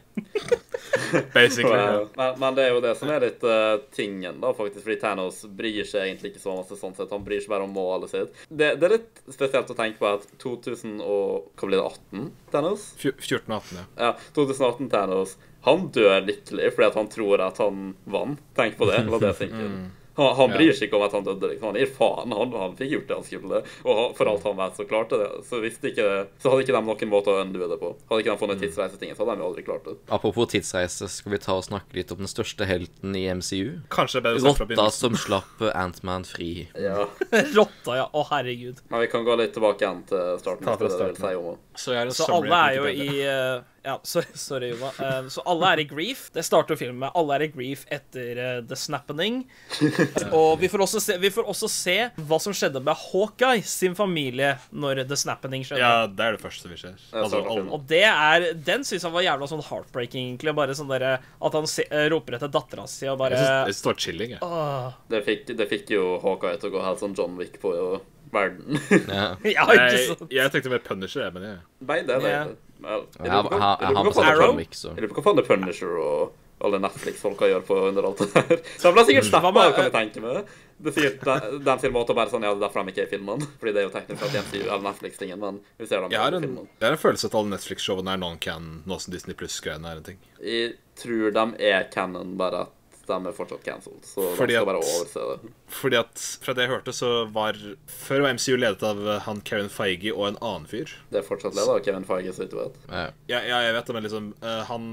S4: Basically.
S1: Wow. Men, men det er jo det som er litt eh, tingen, da, faktisk. Fordi Thanos bryr seg egentlig ikke så masse sånn sett. Han bryr seg bare om målet sitt. Det, det er litt spesielt å tenke på at 2000 og Hva blir det? 18? Thanos?
S4: Fj- 14 og 18, ja.
S1: Ja, 2018 Thanos. Han dør lykkelig fordi at han tror at han vant. Tenk på det. La det synke inn. Han, han
S4: Ja.
S1: bryr seg ikke om at han døde. liksom. Han gir faen. Han, han fikk gjort det han skulle. Og han- for alt han vet, så klarte det. Så hvis det ikke, så hadde ikke de noen måte å undue det på. Hadde ikke de funnet tidsreisetinget, så hadde de jo aldri klart det.
S3: Apropos tidsreise, skal vi ta og snakke litt om den største helten i MCU?
S4: Kanskje det er bedre å starte fra
S3: Rotta
S4: begynnelsen.
S3: som slapp eh, Ant-Man fri.
S1: Ja.
S2: Rotta, ja. Å, herregud.
S1: Men vi kan gå litt tilbake igjen til starten.
S4: Ta fra
S1: hvis det er det du
S4: starten.
S1: vil si om det.
S4: Så jeg har en
S2: Så
S4: summary
S2: alle
S4: på
S2: er jo
S4: Wikipedia.
S2: i eh, Ja, sorry, sorry Jona. Eh, Så alle er i grief. Det starter filmen med. Alle er i grief etter eh, The Snappening. Og vi får, også se, vi får også se hva som skjedde med Hawkeye sin familie når The Snappening skjedde.
S4: Ja, det er det første vi ser. Altså,
S1: starter
S4: alle,
S1: filmen.
S2: Og det er, den syns han var jævla sånn heartbreaking, egentlig. Bare sånn derre At han se, eh, roper etter dattera si og
S4: jeg
S2: bare
S4: synes- jeg synes det var chilling, jeg.
S2: «Åh».
S1: Det fikk, det fikk jo Hawkeye til å gå helt sånn John Wick på jo, verden.
S3: Ja.
S2: Ja, ikke
S4: Jeg,
S2: sant?
S4: jeg tenkte mer Punisher, jeg, men jeg
S1: Nei, det er det.
S2: Ja.
S1: Vel, jeg
S3: Ja,
S1: lurer på-
S3: han-
S1: jeg lurer
S3: han
S1: på
S3: var
S1: hva-
S2: Arrow?
S3: John Wick, så
S1: Jeg lurer på hva faen The Punisher og alle Netflix-folka gjør på under alt det her. Så han ble
S4: Mm.
S1: sikkert stappa,
S2: med,
S1: kan jeg tenke meg. Det er sikkert de, de sin måte å bare sånn, ja, det er derfor de ikke er i filmene. Fordi det er jo teknisk sett MCU eller Netflix-tingen, men vi ser dem
S4: Jeg har
S1: ikke i
S4: en,
S1: filmene.
S4: jeg har en følelse at alle Netflix-showene er non-can, nå som Disney Pluss-greiene er en ting.
S1: Jeg tror de er canon, bare at de er fortsatt cancelled. Så
S4: Fordi
S1: de skal bare
S4: at-
S1: overse det.
S4: Fordi at, fra det jeg hørte, så var Før var MCU ledet av eh, han Karen Feige og en annen fyr.
S1: Det er fortsatt leder av Kevin Feige, så vidt du vet.
S3: Ja.
S4: Ja, ja jeg vet det, men liksom eh, Han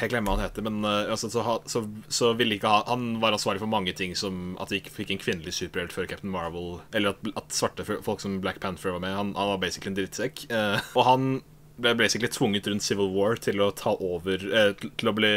S4: Jeg glemmer hva han heter, men eh, altså, så, ha- så, så ville ikke ha Han var ansvarlig for mange ting, som at vi ikke fikk en kvinnelig superhelt før Captain Marvel, eller at, at svarte f- folk som Black Panther var med. Han, han var basically en drittsekk. eh, og han ble basically tvunget rundt Civil War til å ta over eh, til- Til å bli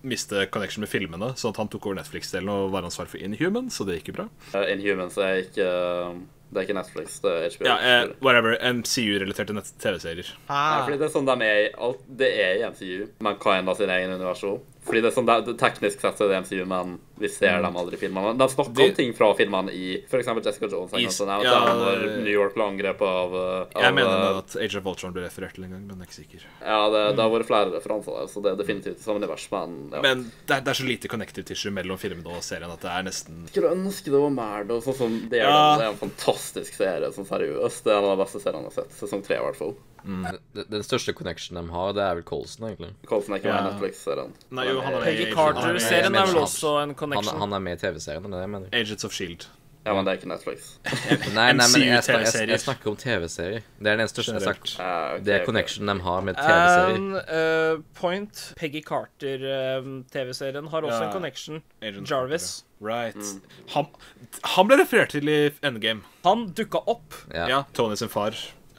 S4: miste connection med filmene, sånn at han tok over Netflix-delen og var ansvarlig for Inhuman, så det gikk jo bra.
S1: Uh, Inhumans er ikke uh, Det er ikke Netflix, det er HBO.
S4: Ja, eh, whatever. MCU-relaterte nett- TV-serier.
S2: Ah.
S1: Nei, fordi det er sånn de er i alt Det er i MCU, men hva enn da sin egen universjon. Fordi det er sånn, det, det, Teknisk sett så er det MCU, men vi ser
S4: Mm.
S1: dem aldri i filmene. De snakker
S4: De-
S1: om ting fra filmene i for eksempel Jessica Jones.
S4: I-
S1: I, sånn, at
S4: ja,
S1: det er når
S4: det-
S1: New York ble angrepet av, uh, av
S4: Jeg
S1: uh,
S4: mener at Age of Ultron ble referert til en gang, men jeg er ikke sikker.
S1: Ja, det, det har vært flere referanser der, så det er definitivt som univers, men ja.
S4: Mm. Men det er, det er så lite connective tissue mellom filmene og serien at det er nesten
S1: skulle ønske det var mer, da. Sånn som det,
S4: Ja.
S1: det er en fantastisk serie, sånn seriøst. Det er en av de beste seriene jeg har sett. Sesong tre, i hvert fall.
S3: Den, den største connection de har, det er vel Colson, egentlig.
S1: Colson er ikke med i
S4: Ja.
S1: Netflix-serien.
S4: Nei, jo, han er med i
S2: Peggy
S4: Agents- han er med i
S2: Carter-serien er
S4: Agents-
S2: vel også en
S3: Han,
S2: connection.
S3: han er med i TV-serien, det er det jeg mener.
S4: Agents of Shield.
S1: Ja, men det er ikke Netflix.
S3: Nei, nei, men jeg, snak- jeg,
S4: MCU-TV-serier.
S3: jeg snakker om TV-serier. Det er den største jeg har sagt.
S1: Eh, ok,
S3: Det er
S1: ok.
S3: connection de har med TV-serier.
S2: And, eh, point Peggy Carter-TV-serien har også
S4: Ja.
S2: en connection.
S4: Agents-
S2: Jarvis.
S4: Right. Han, han ble referert til i Endgame.
S2: Han dukka opp.
S3: Ja.
S4: Ja, Tony sin far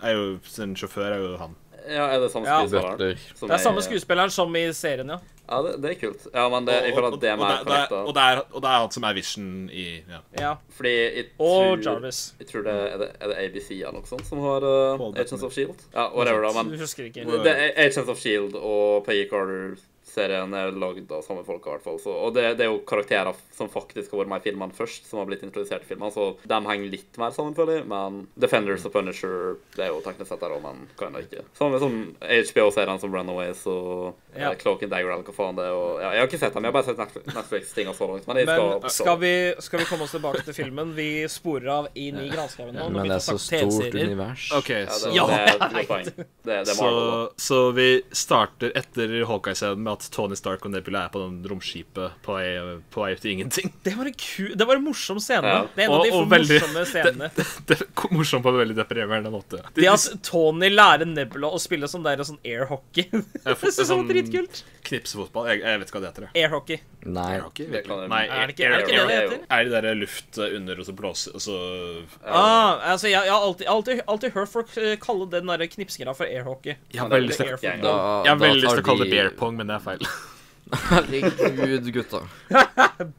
S4: er jo sin sjåfør, er jo han.
S1: Ja, er det samme
S2: Ja.
S1: skuespilleren?
S3: Butler.
S1: Som
S2: Det er samme skuespilleren som i serien, ja.
S1: Ja, det, det er kult. Ja, men det, jeg
S4: Og-
S1: føler
S4: og-
S1: at det er
S4: og
S1: mer
S4: det er-
S1: korrekt.
S4: Og
S1: da.
S4: det er og det er han som er Vision i ja.
S2: ja.
S1: Fordi jeg tror,
S2: Og Jarvis.
S1: Jeg tror det er, det er det ABC eller noe sånt som har uh,
S4: Paul Bettany.
S1: Agents of Shield. Ja, whatever, da,
S2: Du
S1: men
S2: husker ikke.
S1: det, det er Agents of Shield E og Peggy Carter-serien er lagd av samme folk, i hvert fall. Så, og det, det er jo karakterer som faktisk har vært med i filmene først, som har blitt introdusert i filmene, så de henger litt mer sammen, føler jeg. Men Defenders og Punisher det er jo teknisk sett der òg, men kan det ikke. Samme som HBO-serien som Runaways og
S2: Ja.
S1: ja. Cloak and Dagger eller hva faen det er. Og, ja, jeg har ikke sett dem, jeg har bare sett Netflix- Netflix-tinga så langt. Men jeg skal,
S2: Men eh, skal vi, skal vi komme oss tilbake til filmen? Vi sporer av inn i granskauen nå.
S3: Men det er så stort univers.
S4: OK,
S1: Ja,
S4: så
S1: det, det, er et godt poeng. Det, det er Marvel, da.
S4: Så, så vi starter etter Hawkeye-scenen med at Tony Stark og Nebula er på den romskipet på vei, på vei ut i ingenting.
S2: Det var en ku... Det var en morsom scene.
S1: Ja.
S2: Det er en av
S4: Og-
S2: de
S4: og veldig-
S2: morsomme scenene.
S4: Det, det er morsomt på en veldig deprimerende måte.
S2: Det at Tony lærer Nebula å spille sånn der sånn air hockey. Det synes
S4: får-
S2: jeg var
S4: sånn-
S2: dritkult.
S4: Knipsefotball. Jeg, jeg vet ikke hva det heter. jeg.
S2: Air hockey.
S3: Nei.
S4: Er det ikke?
S1: Det kan jeg-
S4: Nei,
S2: Er det ikke er det ikke det det
S1: Air-
S2: heter?
S4: Er det der luft under, og så blåser og så
S2: Ah, altså, jeg, jeg har alltid, alltid, alltid hørt folk eh, kalle den der knipsgreia for air hockey.
S4: Jeg har veldig lyst
S2: Eller
S4: til
S2: air
S1: jeg- jeg-
S2: football.
S3: Da,
S4: jeg har
S3: da
S4: veldig lyst
S3: tar
S4: til å kalle
S3: de-
S4: det beer pong, men det er feil.
S3: Herregud, gutta.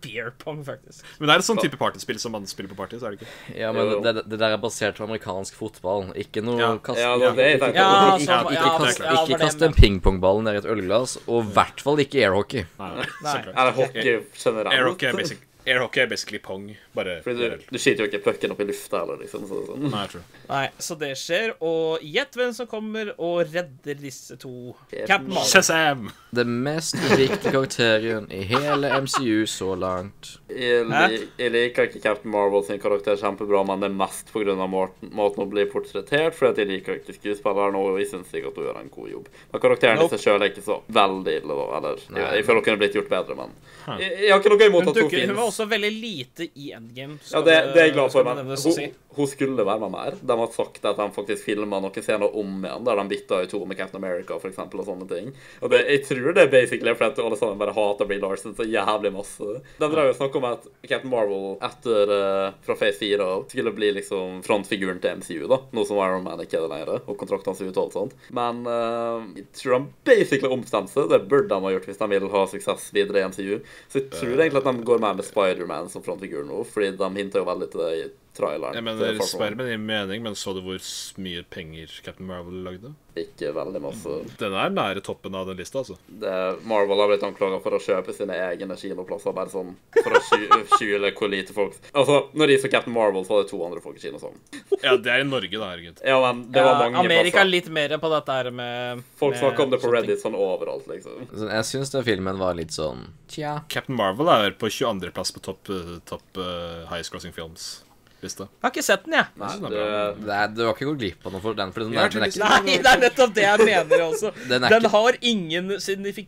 S2: Beer pong, faktisk.
S4: Men det er et sånn type partyspill som man spiller på party, så er det ikke?
S3: Ja, men det, det der er basert på amerikansk fotball. Ikke noe
S4: Ja.
S3: kast...
S1: Ja, det var det jeg tenkte.
S2: Ja,
S3: ikke,
S2: sånn-
S3: ikke,
S2: ja,
S3: kast,
S2: ja, det var
S3: ikke
S2: det
S3: kast
S2: jeg
S3: en pingpongball ned i et ølglass, og i hvert fall ikke airhockey.
S4: Nei,
S2: Nei.
S4: nei, så klart.
S1: Er det hockey generelt?
S4: Air hockey er basic- air hockey er basically pong, bare
S1: Fordi du, du skyter jo ikke pucken opp i lufta heller, liksom. Så, sånn.
S4: Nei, jeg tror det.
S2: Nei, så det skjer. Og gjett hvem som kommer og redder disse to.
S1: Captain
S2: Captain Marvel.
S4: Shazam!
S3: Den mest uviktige karakteren i hele MCU så langt.
S1: Jeg,
S2: Hæ?
S1: lik, jeg liker ikke Captain Marvel sin karakter kjempebra, men det er mest pga. måten måten hun blir portrettert fordi at jeg liker ikke skuespilleren, og jeg syns ikke at hun gjør en god jobb. Men karakteren i
S2: Nope.
S1: seg sjøl er ikke så veldig ille, da. Eller jeg, jeg føler hun kunne blitt gjort bedre, men
S4: Hæ.
S1: jeg, jeg har ikke noe
S2: Hun,
S1: imot at hun
S2: dukker, hun var
S1: fins.
S2: også veldig lite i endgame.
S1: Ja,
S2: skal
S1: det,
S2: det-
S1: det er jeg glad for,
S2: skal det
S1: men
S2: nevnes å si.
S1: hun, hun skulle være med mer. De har sagt at de faktisk filma noen scener om igjen, der de bytta i to med Captain America for eksempel, og sånne ting. Og det, jeg tror det er basically fordi at alle sammen bare hater Brie Larson så jævlig masse. De drev jo og snakka om at Captain Marvel etter eh, fra Phase 4 av skulle bli liksom frontfiguren til MCU, da. Nå som Iron Man ikke er det lenger, og kontrakten hans er ute og alt sånt. Men eh, jeg tror de basically omstemte seg. Det burde de ha gjort hvis de vil ha suksess videre i MCU. Så jeg tror egentlig at de går mer med Spider-Man som frontfigur nå, fordi de hinter jo veldig til det i traileren.
S4: Jeg
S1: til
S4: mener,
S1: Far From Home.
S4: Spiderman gir mening, men så du hvor s- mye penger Captain Marvel lagde?
S1: Ikke veldig masse.
S4: Den er nære toppen av den lista, altså.
S1: Det, Marvel har blitt anklaga for å kjøpe sine egne kinoplasser bare sånn for å sky- skjule hvor lite folk Altså, når de så Captain Marvel, så var det 200 folk i kinosalen.
S4: Ja, det er i Norge, da, herregud.
S1: Ja, men det var
S2: Ja,
S1: mange
S2: Amerika er
S1: plasser.
S2: litt mer på dette her med
S1: Folk
S2: med
S1: snakker om det på
S2: sånne ting.
S1: Reddit sånn overalt, liksom.
S3: Så Jeg syns den filmen var litt sånn Tja.
S4: Captain Marvel er på 22.-plass på topp eh, topp eh, highest crossing films-lista.
S2: Jeg har ikke sett den, jeg.
S1: Nei,
S4: det er
S1: det,
S3: Det er, du har ikke gått glipp av noe for den, for den,
S4: Jeg har
S3: er- den er
S4: tydeligvis-
S3: ikke
S2: Nei, det er nettopp det jeg mener også.
S3: Den
S2: Den,
S3: er ikke-
S2: har ingen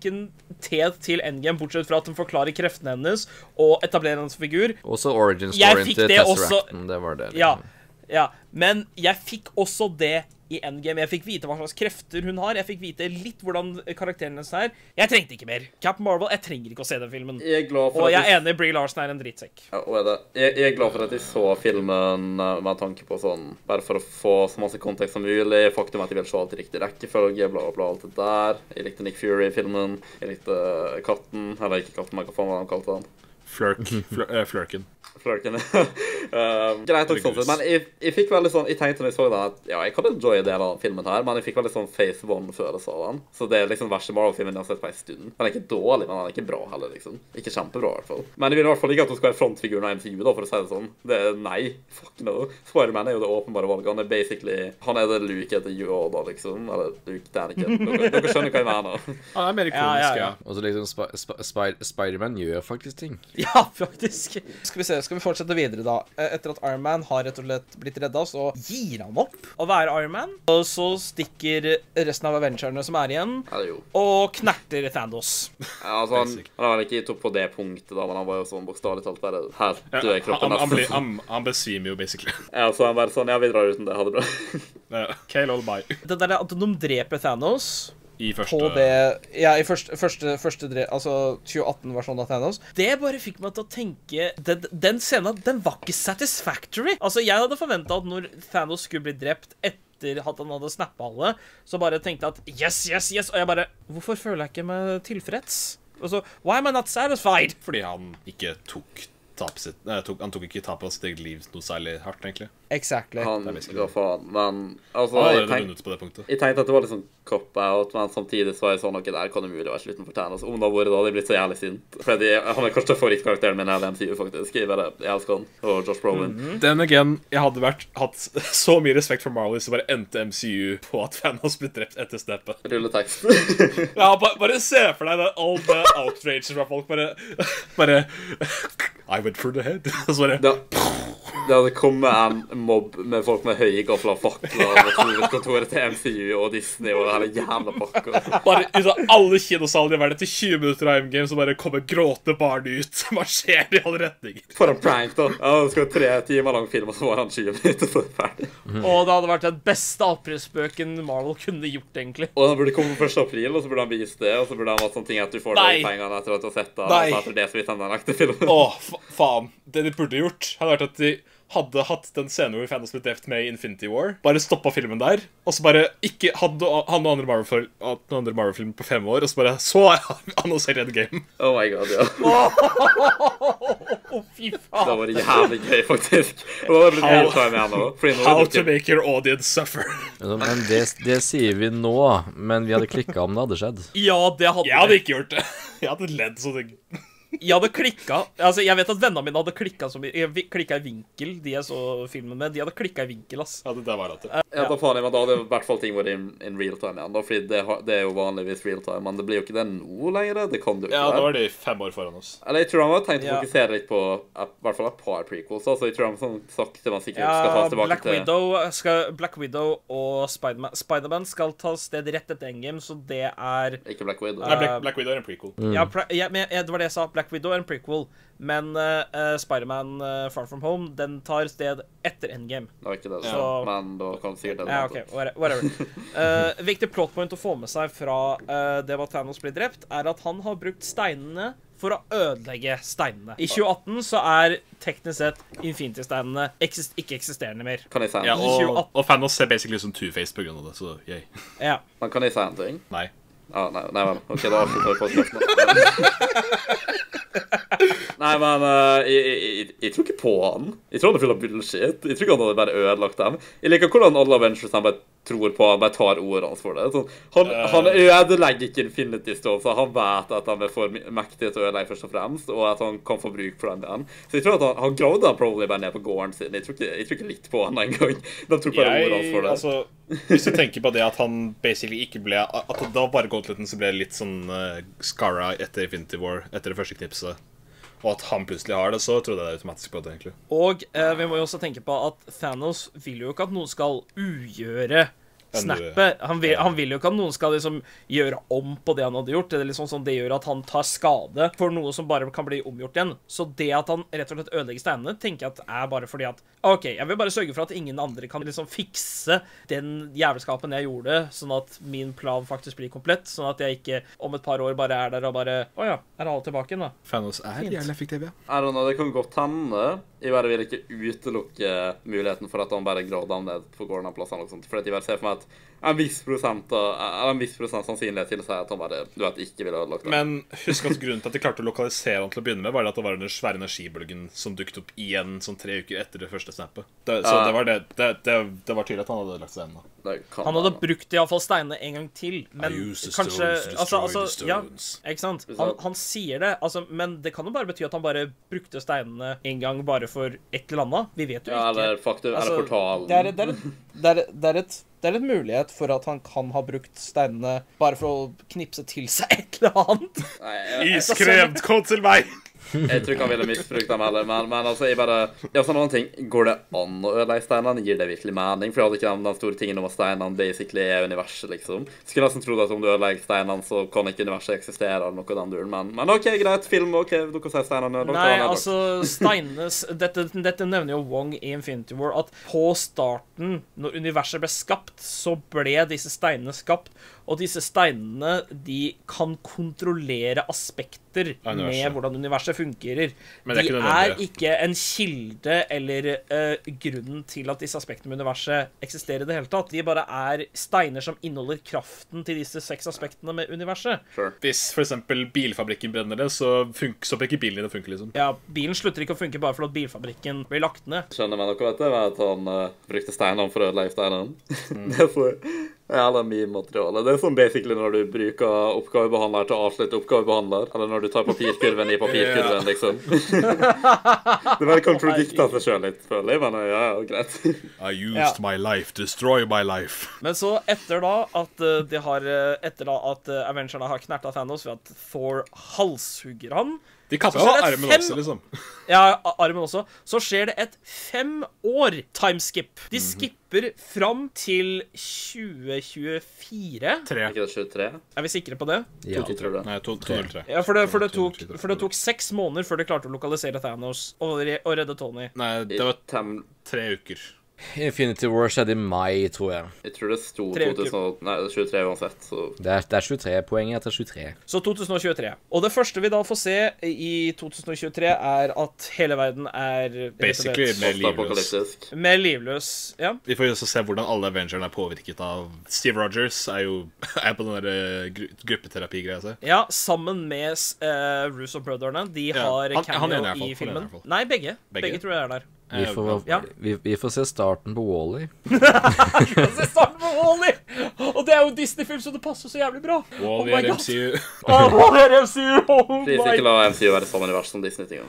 S2: signifikantet til Endgame, bortsett fra at den forklarer kreftene hennes og etablerer hennes figur.
S3: Også origin
S2: Jeg
S3: storyen
S2: fikk
S3: til
S2: det også-
S3: Tesseracten, det var det.
S2: Ja,
S3: liksom.
S2: ja. Men jeg fikk også det i Endgame. Jeg fikk vite hva slags krefter hun har. Jeg fikk vite litt hvordan karakteren hennes er. Jeg trengte ikke mer. Cap Marvel, jeg trenger ikke å se den filmen.
S1: jeg er glad for
S2: Og
S1: at
S2: jeg
S1: de-
S2: er enig, Bree Larsen er en drittsekk.
S1: Ja, og er det. Jeg, jeg er glad for at jeg så filmen eh, med tanke på sånn Bare for å få så masse kontekst som mulig. Faktum at jeg vil se alt i riktig rekkefølge, bla, bla, bla. Alt det der. Jeg likte Nick Fury i filmen. Jeg likte katten. Eller ikke katten, men hva faen var det de kalte han?
S4: Flirk. Flir, eh, flirken.
S1: Flørken. um, greit nok sånn sett, men jeg, jeg fikk veldig sånn Jeg tenkte når jeg så den, at ja, jeg kan enjoye deler av den filmen her, men jeg fikk veldig sånn Phase One-følelse av den. Så det er liksom den verste Marvel-filmen jeg har sett på en stund. Den er ikke dårlig, men den er ikke bra heller, liksom. Ikke kjempebra, i hvert fall. Men jeg vil i hvert fall ikke at hun skal være frontfiguren av MCU, da, for å si det sånn. Det er nei. Fuck no. Spiderman er jo det åpenbare valget. Han er basically Han er det Luke etter Yoda, liksom. Eller Luke Daniken. Dere, dere skjønner hva jeg mener.
S4: Ja, det er mer ikonisk,
S2: Ja,
S4: ja.
S2: ja, ja.
S3: Og så liksom Sp Sp Sp Spiderman gjør faktisk ting.
S2: Ja, faktisk.
S5: Skal vi se, skal vi fortsette videre, da? Eh, Etter at Iron Man har rett og slett blitt redda, så gir han opp.
S2: Å være Iron Man.
S5: Og så stikker resten av Avengerne som er igjen,
S1: Eller jo.
S2: Og knerter Thandos.
S1: Ja, altså, han,
S4: Basic.
S1: han var ikke topp på det punktet, da, men han var jo sånn bokstavelig talt bare Her
S4: Han,
S1: dør kroppen.
S4: han, han,
S1: nesten.
S4: blir- han, han besvimer jo, basically.
S1: Ja, så han bare sånn, ja, vi drar uten det, ha det bra.
S4: Eh, Kale all bye.
S2: Det der at de dreper Thanos
S4: I første
S5: på det Ja, i første, første, første dre, Altså 2018-versjonen av Thanos.
S2: Det bare fikk meg til å tenke Den, den scenen den var ikke satisfactory. Altså, Jeg hadde forventa at når Thanos skulle bli drept etter at han hadde snappa alle, så bare tenkte jeg at yes, yes, yes. Og jeg bare Hvorfor føler jeg ikke meg tilfreds? Og så, Why am I not satisfied?
S4: Fordi han ikke tok tapet sitt nei, tok, Han tok ikke tapet av sitt eget liv noe særlig hardt, egentlig.
S5: Exactly.
S1: Han
S4: er basically
S1: ga faen, men altså,
S4: Han har
S1: jeg,
S4: allerede
S1: tenk,
S4: vunnet på det punktet.
S1: jeg tenkte at det var litt sånn cop-out, men samtidig så var jeg sånn, ok, der kan det mulig være slutten for Thanos. Om det hadde vært da, hadde jeg blitt så jævlig sint. Fordi han er kanskje favorittkarakteren min i hele MCU, faktisk. Jeg bare, jeg elsker han, og Josh Brolin.
S4: Den again, jeg hadde vært, hatt så mye respekt for Marvel hvis det bare endte MCU på at Thanos ble drept etter snappet.
S1: Rulletekst.
S4: Ja, bare, bare se for deg det, all the outrage fra folk. Bare, bare I went for the head. Og så bare
S1: det, det hadde kommet en mobb med folk med høye gafler og fakler mot hovedkontoret til MCU og Disney og hele jævla pakka.
S4: Bare ut av alle kinosalene i verden til 20 minutter av MGM, så bare kommer gråtende barn ut som marsjerer i alle retninger.
S1: For en prank, da. Ja, det skal være tre timer lang film, og så var han 20 minutter før ferdig.
S2: Og det hadde vært den beste avpressspøken Marvel kunne gjort, egentlig.
S1: Og den burde komme på 1. april, og så burde han vise det, og så burde han hatt sånne ting at du får
S4: Nei.
S1: de pengene etter at du har sett det, og
S4: Nei.
S1: så etter det så viser han den ekte filmen.
S4: Å, fa faen. Det de burde gjort, hadde vært at de hadde hatt den scenen hvor Thanos ble drept med i Infinity War, bare stoppa filmen der, og så bare ikke hadde han og andre Marvel- hatt noen andre Marvel-filmer på fem år, og så bare Så annonserer Red Game.
S1: Oh my god, ja.
S5: Fy faen.
S1: Det var jævlig gøy, faktisk. Det var litt
S4: How-
S1: gøy å ta med nå. Fordi nå
S4: How
S1: er det
S4: to
S1: ikke-
S4: make your audience suffer.
S3: Men det, det sier vi nå, men vi hadde klikka om det hadde skjedd.
S2: Ja, det hadde
S4: Jeg hadde ikke gjort det. Jeg hadde ledd så det
S2: Jeg hadde klikka altså, Jeg vet at vennene mine hadde klikka så mye. Jeg vi- klikket i vinkel, de jeg så filmen med. De hadde klikka i vinkel, ass.
S4: Ja, det der var latter.
S1: Ja, da faen, jeg, men da hadde i hvert fall ting vært in, in real time igjen. da, Fordi det, har- det er jo vanligvis real time, men det blir jo ikke det nå lenger. Det kan du ikke
S4: Ja, da
S1: være.
S4: var de fem år foran oss.
S1: Eller jeg tror han har tenkt å
S2: Ja.
S1: fokusere litt på eh, i hvert fall et par prequels. Altså, jeg tror han sånn sakte, men sikkert skal
S2: Ja,
S1: tas tilbake
S2: Black
S1: til
S2: Widow, skal, Black Widow og Spiderman Spiderman skal ta sted rett etter Endgame, så det er
S1: Ikke Black Widow.
S4: Nei, Black, Black Widow er en prequel.
S2: ja, pra- ja, men, ja, Det var det jeg sa. Black Widow er en prequel. Men eh, eh, Spiderman uh, Far From Home den tar sted etter Endgame.
S1: Det var ikke det,
S2: Så-
S1: men da kan du sikkert det.
S2: Ja, ok, whate- whatever. Eh, viktig plot point å få med seg fra eh, det var Thanos blir drept, er at han har brukt steinene for å ødelegge steinene. I 2018 så er teknisk sett Infinity-steinene eksist ikke-eksisterende mer.
S1: Kan jeg si en
S4: Ja,
S1: ting?
S4: og, og Fanos ser basically ut som Two-Face pga. det, så yay.
S2: Ja.
S1: Men Kan jeg si en ting?
S4: Nei.
S1: Ja, nei, nei vel. Ok, da avslutter vi podkasten. Nei, men eh, jeg, jeg, jeg, jeg tror ikke på han. Jeg tror han er full av bullshit. Jeg tror ikke han hadde bare ødelagt dem. Jeg liker hvordan alle Avengers han bare tror på, han bare tar ordene hans for det. Sånn, han,
S4: Eh.
S1: han ødelegger ikke Infinity Stone, så han vet at han er for my- mektig til å ødelegge først og fremst, og at han kan få bruk for den igjen. Så jeg tror at han, han gravde han probably bare ned på gården sin. Jeg tror ikke, jeg tror ikke litt på han engang. De tok bare ordene hans for det.
S4: altså, hvis du tenker på det at han basically ikke ble At det var bare Gauntletten som ble litt sånn uh, scara etter Infinity War, etter det første knipset, og at han plutselig har det, så trodde jeg det automatisk på det, egentlig.
S2: Og eh, vi må jo også tenke på at Thanos vil jo ikke at noen skal ugjøre snappet. Han vil, han vil jo ikke at noen skal liksom gjøre om på det han hadde gjort. Det, er liksom sånn, det gjør at han tar skade for noe som bare kan bli omgjort igjen. Så det at han rett og slett ødelegger steinene, tenker jeg at er bare fordi at OK, jeg vil bare sørge for at ingen andre kan liksom fikse den jævelskapen jeg gjorde, sånn at min plan faktisk blir komplett. Sånn at jeg ikke om et par år bare er der og bare Å ja, er alle tilbake igjen, da?
S4: Fanos er jævlig effektiv, ja.
S1: I don't know, det kan godt hende. Jeg bare vil ikke utelukke muligheten for at han bare gråter ham ned på gården av plassene. og sånt. For at jeg bare ser for meg at en viss prosent, av- eller en viss prosent sannsynlighet til å si at han bare du vet, ikke ville ødelagt det.
S4: Men husk at grunnen til at de klarte å lokalisere han til å begynne med, var det at det var den svære energibølgen som dukket opp igjen sånn tre uker etter det første snappet. Det, så
S1: Ja.
S4: det var det, det, det, det var tydelig at han hadde lagt seg igjen. da.
S1: Det kan
S2: Han hadde
S1: være.
S2: brukt iallfall steinene en gang til, men kanskje altså, altså, ja, Ikke sant? Han, han sier det, altså, men det kan jo bare bety at han bare brukte steinene en gang bare for et eller annet. Vi vet jo
S1: ja,
S2: ikke.
S1: eller faktum,
S2: Altså,
S1: eller portalen.
S5: Det er, det, er, det, er, det, er et, det er et mulighet for at han kan ha brukt steinene bare for å knipse til seg et eller annet.
S1: Nei, jeg, jeg,
S4: Iskremt, kom til meg!
S1: jeg tror ikke han ville misbrukt dem heller, men, men altså, jeg bare Ja, sånn annen ting. Går det an å ødelegge steinene? Gir det virkelig mening? For jeg hadde ikke den- den store tingen om at steinene basically er universet, liksom. Skulle nesten trodd at om du ødelegger steinene, så kan ikke universet eksistere, eller noe av den duren, men, men OK, greit, film, OK, dere sier steinene er ødelagt, og han
S2: Nei,
S1: er ødelagt.
S2: altså, steinenes dette, dette nevner jo Wong i Infinity War, at på starten, når universet ble skapt, så ble disse steinene skapt. Og disse steinene, de kan kontrollere aspekter
S4: universet.
S2: med hvordan universet fungerer.
S4: Men det er
S2: de
S4: ikke
S2: er
S4: nødvendig.
S2: ikke en kilde eller eh, grunnen til at disse aspektene med universet eksisterer i det hele tatt. De bare er steiner som inneholder kraften til disse seks aspektene med universet.
S4: Hvis for eksempel bilfabrikken brenner det, så, funk, så blir ikke bilen din å funke, liksom.
S2: Ja, bilen slutter ikke å funke bare fordi at bilfabrikken blir lagt ned.
S1: skjønner meg noe, vet du, var at han eh, brukte steinene for å ødelegge steinene.
S2: Mm.
S1: det er så jævla mye materiale. Det er sånn basically når du bruker oppgavebehandler til å avslutte oppgavebehandler, eller når du tar papirkurven i papirkurven, liksom. det bare kontradikter seg sjøl litt, føler jeg, men eh, ja, ja, greit.
S4: I used
S2: Ja.
S4: my life, destroy my life.
S2: Men så, etter da at eh, de har eh, Etter da at eh, Avengerne har knerta Thanos ved at Thor halshugger han
S4: De kapper
S2: Så
S4: av
S2: er det
S4: armen
S2: fem-
S4: også, liksom.
S2: Ja, a- armen også. Så skjer det et fem år timeskip. De skipper fram til 2024.
S4: Tre.
S1: Er ikke det 23?
S2: Er vi sikre på det?
S3: Ja.
S1: 23, tror jeg.
S4: Nei, to, to, null, tre.
S2: Ja, for det, for, det tok, for det tok seks måneder før de klarte å lokalisere Thanos og, re og redde Tony.
S4: Nei, det var
S1: Tem
S4: tre uker.
S3: Infinity War skjedde i mai, tror jeg.
S1: Jeg tror det sto
S2: Tre uker.
S1: 2000, nei, 23 uansett, så
S3: Det er, det er 23 poeng etter 23.
S2: Så 2023. Og det første vi da får se i 2023, er at hele verden er rett og
S4: Basically
S2: slett
S4: mer livløs.
S1: postapokalyptisk.
S2: mer livløs. Ja.
S4: Vi får jo også se hvordan alle Avengerne er påvirket av Steve Rogers er jo er på den der eh, gru gruppeterapigreia altså. si.
S2: ja, sammen med eh, Russo-brødrene. De
S4: Ja,
S2: har
S4: han-
S2: cameo
S4: han ene er i hvert
S2: i
S4: fall, han ene er i
S2: filmen.
S4: hvert fall.
S2: Nei, begge.
S4: Begge?
S2: begge. tror jeg er der.
S4: Eh,
S3: Vi får,
S2: Ja.
S3: vi, vi får se starten på Wally.
S2: Altså, start med Wally! Og det er jo en Disney-film, så det passer så jævlig bra. Oh
S4: Wall,
S2: my
S4: er
S2: God.
S4: MCU.
S2: Åh, Wall-E er MCU! Oh
S1: Please, ikke
S2: my.
S1: la MCU være samme univers som Disney-tinga.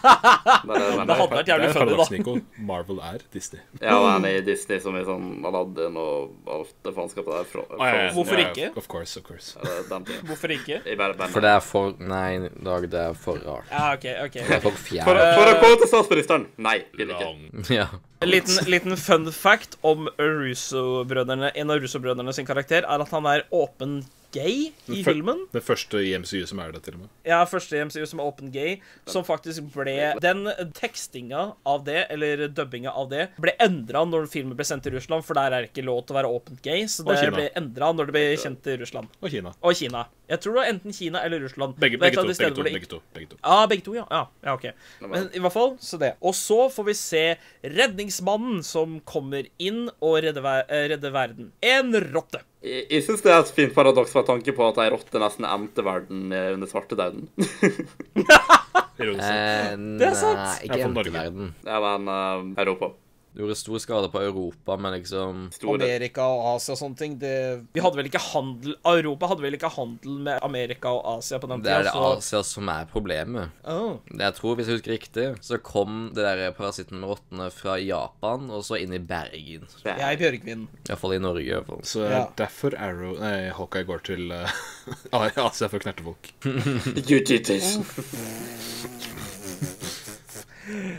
S2: Det hadde
S1: Ja,
S2: vært
S4: Det er
S2: jævlig funny,
S4: et
S2: da.
S4: paradoks, Nico. Marvel er Disney.
S1: og han er i Disney som i sånn Aladdin og alt det faenskapet der. Fra, fra,
S2: Hvorfor
S4: Ja,
S2: ikke?
S4: Of course, of course.
S1: eh, den tiden.
S2: Hvorfor ikke?
S1: Jeg bare, bare,
S3: For det er for Nei, Dag, det er for rart.
S2: Ja, OK. ok.
S3: Det er for
S1: for,
S3: fjern.
S1: for å gå til statsministeren! Nei, vil ikke.
S4: Lang.
S3: Ja.
S2: En liten, liten fun fact om Russo-brødrene En av Russo-brødrene sin karakter er at han er åpen gay i
S4: Fø-
S2: filmen.
S4: Det første i MCU som er det, til og med.
S2: Jeg er første i MCU som er åpen gay, som faktisk ble Den tekstinga av det, eller dubbinga av det, ble endra når filmen ble sendt til Russland, for der er det ikke lov til å være åpent gay, så
S4: Og
S2: det
S4: Kina.
S2: ble endra når det ble kjent til Russland.
S4: Og Kina.
S2: Og Kina. Jeg tror det var enten Kina eller Russland.
S4: Begge,
S2: Det er et
S4: begge,
S2: av
S4: to,
S2: de
S4: begge,
S2: stedene
S4: to,
S2: hvor det
S4: begge to. begge to.
S2: Ja, begge to, ja. ja. Ja, OK. Men i hvert fall, så det. Og så får vi se redningsmannen som kommer inn og redder, ver eh, redder verden. En rotte.
S1: Jeg, jeg syns det er et fint paradoks med tanke på at ei rotte nesten endte verden eh, under svartedauden.
S4: Ironisk.
S3: Eh,
S2: er sant.
S3: Nei,
S4: Ja, for
S3: ikke
S4: Norge.
S3: enteverden.
S1: Ja, men eh, Europa.
S3: Det gjorde stor skade på Europa, men liksom
S1: Store
S5: Amerika og Asia og sånne ting, det
S2: Vi hadde vel ikke handel Europa hadde vel ikke handel med Amerika og Asia på den
S3: Det er
S2: tida,
S3: det Asia som er problemet.
S2: Åh.
S3: Det jeg tror, hvis jeg husker riktig, så kom det der parasitten med rottene fra Japan og så inn i Bergen.
S5: Jeg er Bjørgvin.
S3: Iallfall i Norge. i hvert fall.
S4: Så
S5: Ja.
S4: derfor Arrow Nei, Hawkeye går til eh, Asia for å knerte folk.
S1: Ujitation.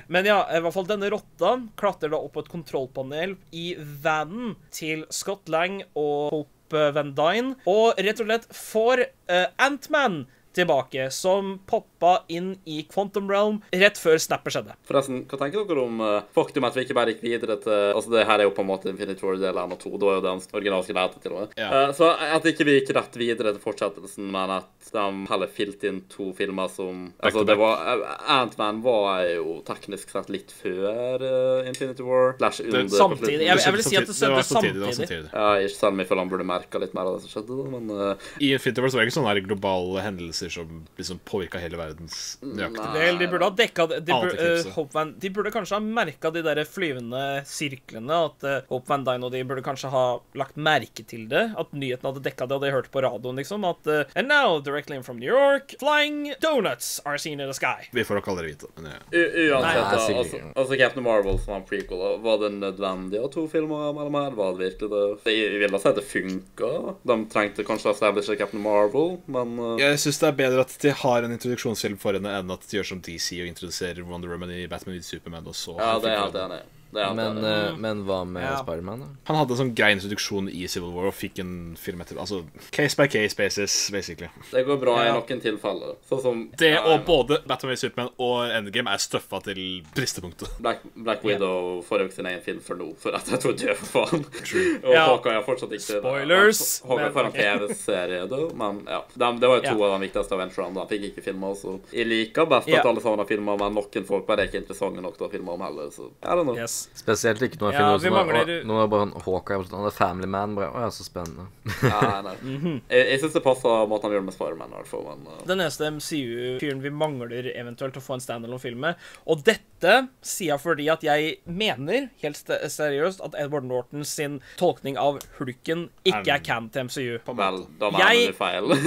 S2: Men ja, i hvert fall denne rotta klatrer da opp på et kontrollpanel i vanen til Scott Lang og Hope Van Dyne, og rett og slett får eh, Ant-Man tilbake, som poppa inn i Quantum Realm rett før snappet skjedde.
S1: Forresten, hva tenker dere om eh, faktum at vi ikke bare gikk videre til Altså, det her er jo på en måte Infinity War del 1 og 2. Det var jo det han originalt skulle hete, til og med.
S4: Ja.
S1: Eh, så at ikke vi gikk rett videre til fortsettelsen, men at de heller filte inn to filmer som
S4: Back
S1: Altså,
S4: to
S1: det var eh, Ant-Man var jo teknisk sett litt før eh, Infinity War. Slash under. på slutten.
S2: Samtidig. Jeg, jeg vil si at det skjedde
S4: Det var
S2: samtidig.
S4: samtidig.
S1: Ja, ikke selv om jeg føler han burde merka litt mer av det som skjedde, da, men eh,
S4: I Infinity War så var det ikke sånne her globale hendelser som liksom påvirka hele verdens nøyaktig.
S2: Vel, de burde ha dekka det. De,
S4: Annet
S2: burde,
S4: eklipse.
S2: eh, Hope Van, de burde kanskje ha merka de der flyvende sirklene. At eh, Hope Van Dyne og de burde kanskje ha lagt merke til det. At nyheten hadde dekka det, hadde jeg hørt på radioen, liksom. At eh, And now, directly in from New York, flying donuts are seen in the sky.
S4: Vi får nok aldri vite. Men ja.
S1: u uansett,
S3: Nei,
S1: da,
S3: sikkert
S1: altså,
S3: ikke.
S1: altså Captain Marvel som var en prequel, da, var det nødvendig å ha to filmer mellom her? Var det virkelig det? Jeg vil da si at det funka. De trengte kanskje å establishe Captain Marvel, men eh,
S4: Jeg syns det er bedre at de har en introduksjonsfilm for henne, enn at de gjør som DC og introduserer Wonder Woman i Batman vs Superman. Og så
S1: Ja, det er jeg helt enig i. Det er jeg helt
S3: Men,
S1: enig i.
S3: eh, men hva med
S2: Ja.
S3: Spiderman, da?
S4: Han hadde en sånn grei introduksjon i Civil War og fikk en film etter Altså case by case basis, basically.
S1: Det går bra i
S2: ja.
S1: noen tilfeller. Sånn som
S4: Det
S1: ja,
S4: og både Batman vs Superman og Endgame er støffa til bristepunktet.
S1: Black, Black Widow får jo ikke sin egen film for nå, for at jeg tror død for faen. Og
S2: Ja.
S1: Hawkeye har fortsatt ikke
S2: Spoilers!
S1: Hawkeye
S2: Men-
S1: får en TV-serie, da, men ja. De, det var jo to
S2: Ja.
S1: av de viktigste adventurene. De fikk ikke filma, så jeg liker best
S2: Ja.
S1: at alle sammen har filma, men noen folk bare er ikke interessante nok til å filme om heller, så I don't know.
S2: Yes.
S3: Spesielt ikke når jeg
S2: Ja,
S3: finner
S2: vi
S3: ut som
S2: mangler-
S3: å- Nå er det bare en Hawkeye Han er Family Man. Bare, å, ja, så spennende.
S1: Ja, nei.
S2: Mhm.
S1: Jeg, jeg syns det passer måten de gjør det med Spiderman, i hvert fall, men uh,
S2: Den eneste MCU-fyren vi mangler eventuelt å få en standalone-film med. Og dette sier jeg fordi at jeg mener helt ste- seriøst at Edward Norton sin tolkning av hulken ikke er can til MCU.
S1: Vel, da mener
S2: Jeg-
S1: du feil.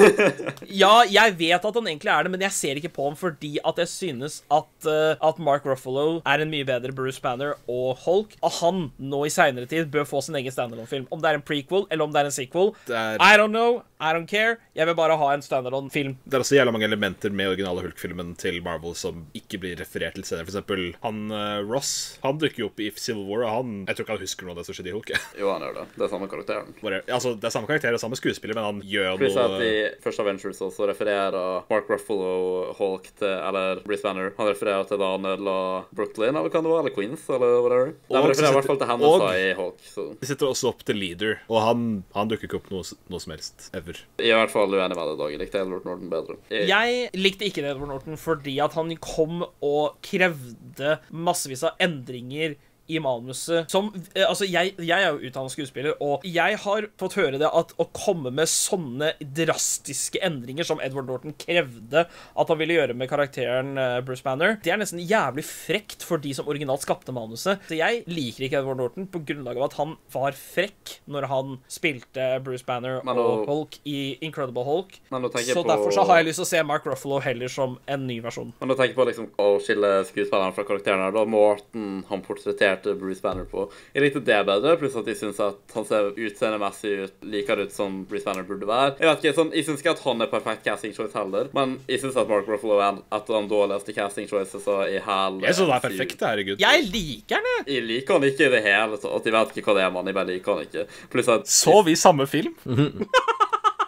S2: Ja, jeg vet at han egentlig er det, men jeg ser ikke på ham fordi at jeg synes at, eh, at Mark Ruffalo er en mye bedre Bruce Banner og Hulk. Og han nå i seinere tid bør få sin egen standalone-film. Om det er en prequel eller om det er en sequel,
S4: Det er-
S2: I don't know, I don't care. Jeg vil bare ha en standalone-film.
S4: Det er også jævla mange elementer med originale Hulk-filmen til Marvel som ikke blir referert til senere. For eksempel eksempel han eh, Ross. Han dukker jo opp i Civil War, og han Jeg tror ikke han husker noe av det som skjedde i Hulk.
S1: Jo, han gjør det. Det er samme karakteren.
S4: Bare, altså, det er samme karakter og samme skuespiller, men han gjør
S1: Pluss at
S4: noe
S1: i første Avengers også refererer Mark Ruffalo Hulk til Eller Bruce Banner. Han refererer til da han ødela Brooklyn, eller hva det var, eller Queens, eller whatever. De
S4: Og-
S1: refererer i hvert fall til
S4: og-
S1: hendelser i Hulk. Så
S4: De setter også opp til leader, og han, han dukker ikke opp noe, s- noe som helst. Ever.
S1: jeg er i hvert fall uenig med deg, Dag. Jeg likte Edward Norton bedre. Jeg,
S2: Jeg likte ikke Edward Norton fordi at han kom og krevde massevis av endringer i manuset som eh, Altså, jeg, jeg er jo utdannet skuespiller, og jeg har fått høre det at å komme med sånne drastiske endringer som Edward Norton krevde at han ville gjøre med karakteren eh, Bruce Banner, det er nesten jævlig frekt for de som originalt skapte manuset. Så jeg liker ikke Edward Norton på grunnlag av at han var frekk når han spilte Bruce Banner
S1: Men
S2: og
S1: nå-
S2: Hulk i Incredible Hulk.
S1: men å tenke
S2: Så
S1: på
S2: derfor så har jeg lyst til å se Mark Ruffalo heller som en ny versjon.
S1: Men å tenke på liksom, å skille skuespilleren fra karakteren her, da Morten han portretterte Bruce Banner på. Jeg likte det bedre, pluss at jeg syns at han ser utseendemessig ut likere ut som Bruce Banner burde være. Jeg vet ikke, sånn, jeg syns ikke at han er perfekt casting choice heller, men jeg syns at Mark Ruffalo er en- et av de dårligste casting choices i hele
S4: Jeg synes det
S1: MCU.
S4: er perfekt, herregud.
S2: Jeg liker den, jeg!
S1: Jeg liker han ikke i det hele tatt. Jeg vet ikke hva det er, mann. Jeg bare liker han ikke. Pluss at
S4: Så vi samme film?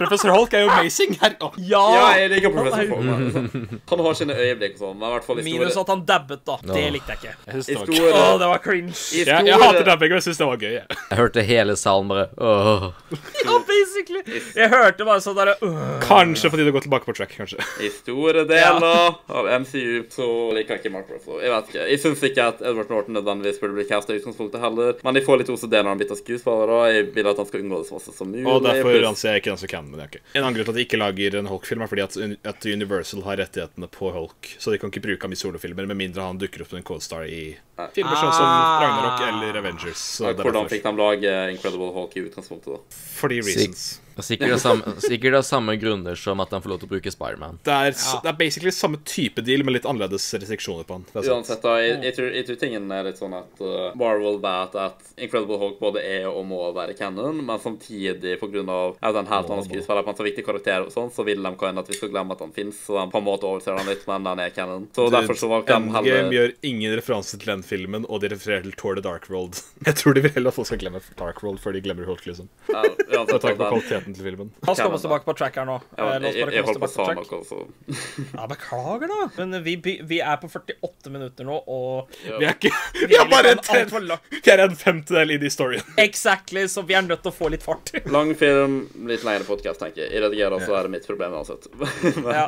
S4: Professor Holk er jo amazing. Her. Å,
S1: Ja,
S2: Ja!
S1: jeg liker
S2: Han
S1: professor
S2: er jo-
S1: Fogman. liksom. Han har sine øyeblikk og sånn, men i hvert fall i store,
S2: Minus at han dabbet, da. Det likte jeg ikke.
S4: jeg synes
S1: i
S4: det var gøy.
S1: store,
S2: Å, det var cringe.
S1: i
S4: Jeg, jeg
S1: store-
S4: hater dabbing, men jeg syns det var gøy. jeg.
S3: Jeg hørte hele salen bare åh.
S2: Ja, basically. Jeg hørte bare sånn derre øh.
S4: Kanskje fordi det går tilbake på track. kanskje.
S1: I store deler av MCU så liker jeg ikke Mark Ruffalo. Jeg vet ikke. Jeg syns ikke at Edward Norton nødvendigvis burde bli casta i utgangspunktet heller, men jeg får litt OCD når han bytter skuespiller, og jeg vil at han skal unngå det så masse som mulig.
S4: Og derfor
S1: pluss-
S4: anser jeg ikke den som canon. men det er ok. En annen grunn til at de ikke lager en Hulk-film, er fordi at, at Universal har rettighetene på Hulk. Så de kan ikke bruke ham i solofilmer, med mindre han dukker opp som en co-star i filmer sånn som Ragnarok eller Avengers. Så det er
S1: Hvordan fikk
S4: derfor.
S1: de lage Incredible Hulk i utgangspunktet, da?
S4: Fordi reasons.
S3: Sikkert av samme, sikkert av samme grunner som at han får lov til å bruke Spiderman.
S4: Det er, s- det er basically samme type deal, med litt annerledes restriksjoner på han. Det er sant.
S1: Uansett, da, jeg, jeg, tror, jeg tror tingen er litt sånn at uh, Marvel vet at Incredible Hulk både er og må være canon, men samtidig på grunn av at en helt annen skuespiller på en så viktig karakter og sånn, så vil de kan at vi skal glemme at han fins, så de på en måte overser han litt, men han er canon. Så derfor så valgte de
S4: Endgame
S1: heller
S4: gjør ingen referanse til den filmen, og de refererer til Tour the Dark World. Jeg tror de vil heller at folk skal glemme Dark World før de glemmer Hulk, liksom.
S1: Ja,
S4: Med
S1: uansett,
S4: tanke på
S1: den-
S4: kvaliteten til filmen.
S2: La oss komme oss tilbake på track her nå.
S1: Ja,
S2: Eh,
S1: men
S2: La oss
S1: jeg, jeg,
S2: bare komme oss
S1: holdt på å
S2: tilbake på
S1: sa
S2: track.
S1: noe, så
S2: Ja, beklager, da. Men vi, by- vi er på 48 minutter nå, og
S4: Vi er ikke Vi er bare en,
S2: liksom alt for langt.
S4: vi er en femtedel inn i storyen.
S2: Exactly, så vi er nødt til å få litt fart.
S1: Lang film, litt lengre podkast, tenker jeg. Jeg redigerer, så er det mitt problem uansett. men,
S2: Ja.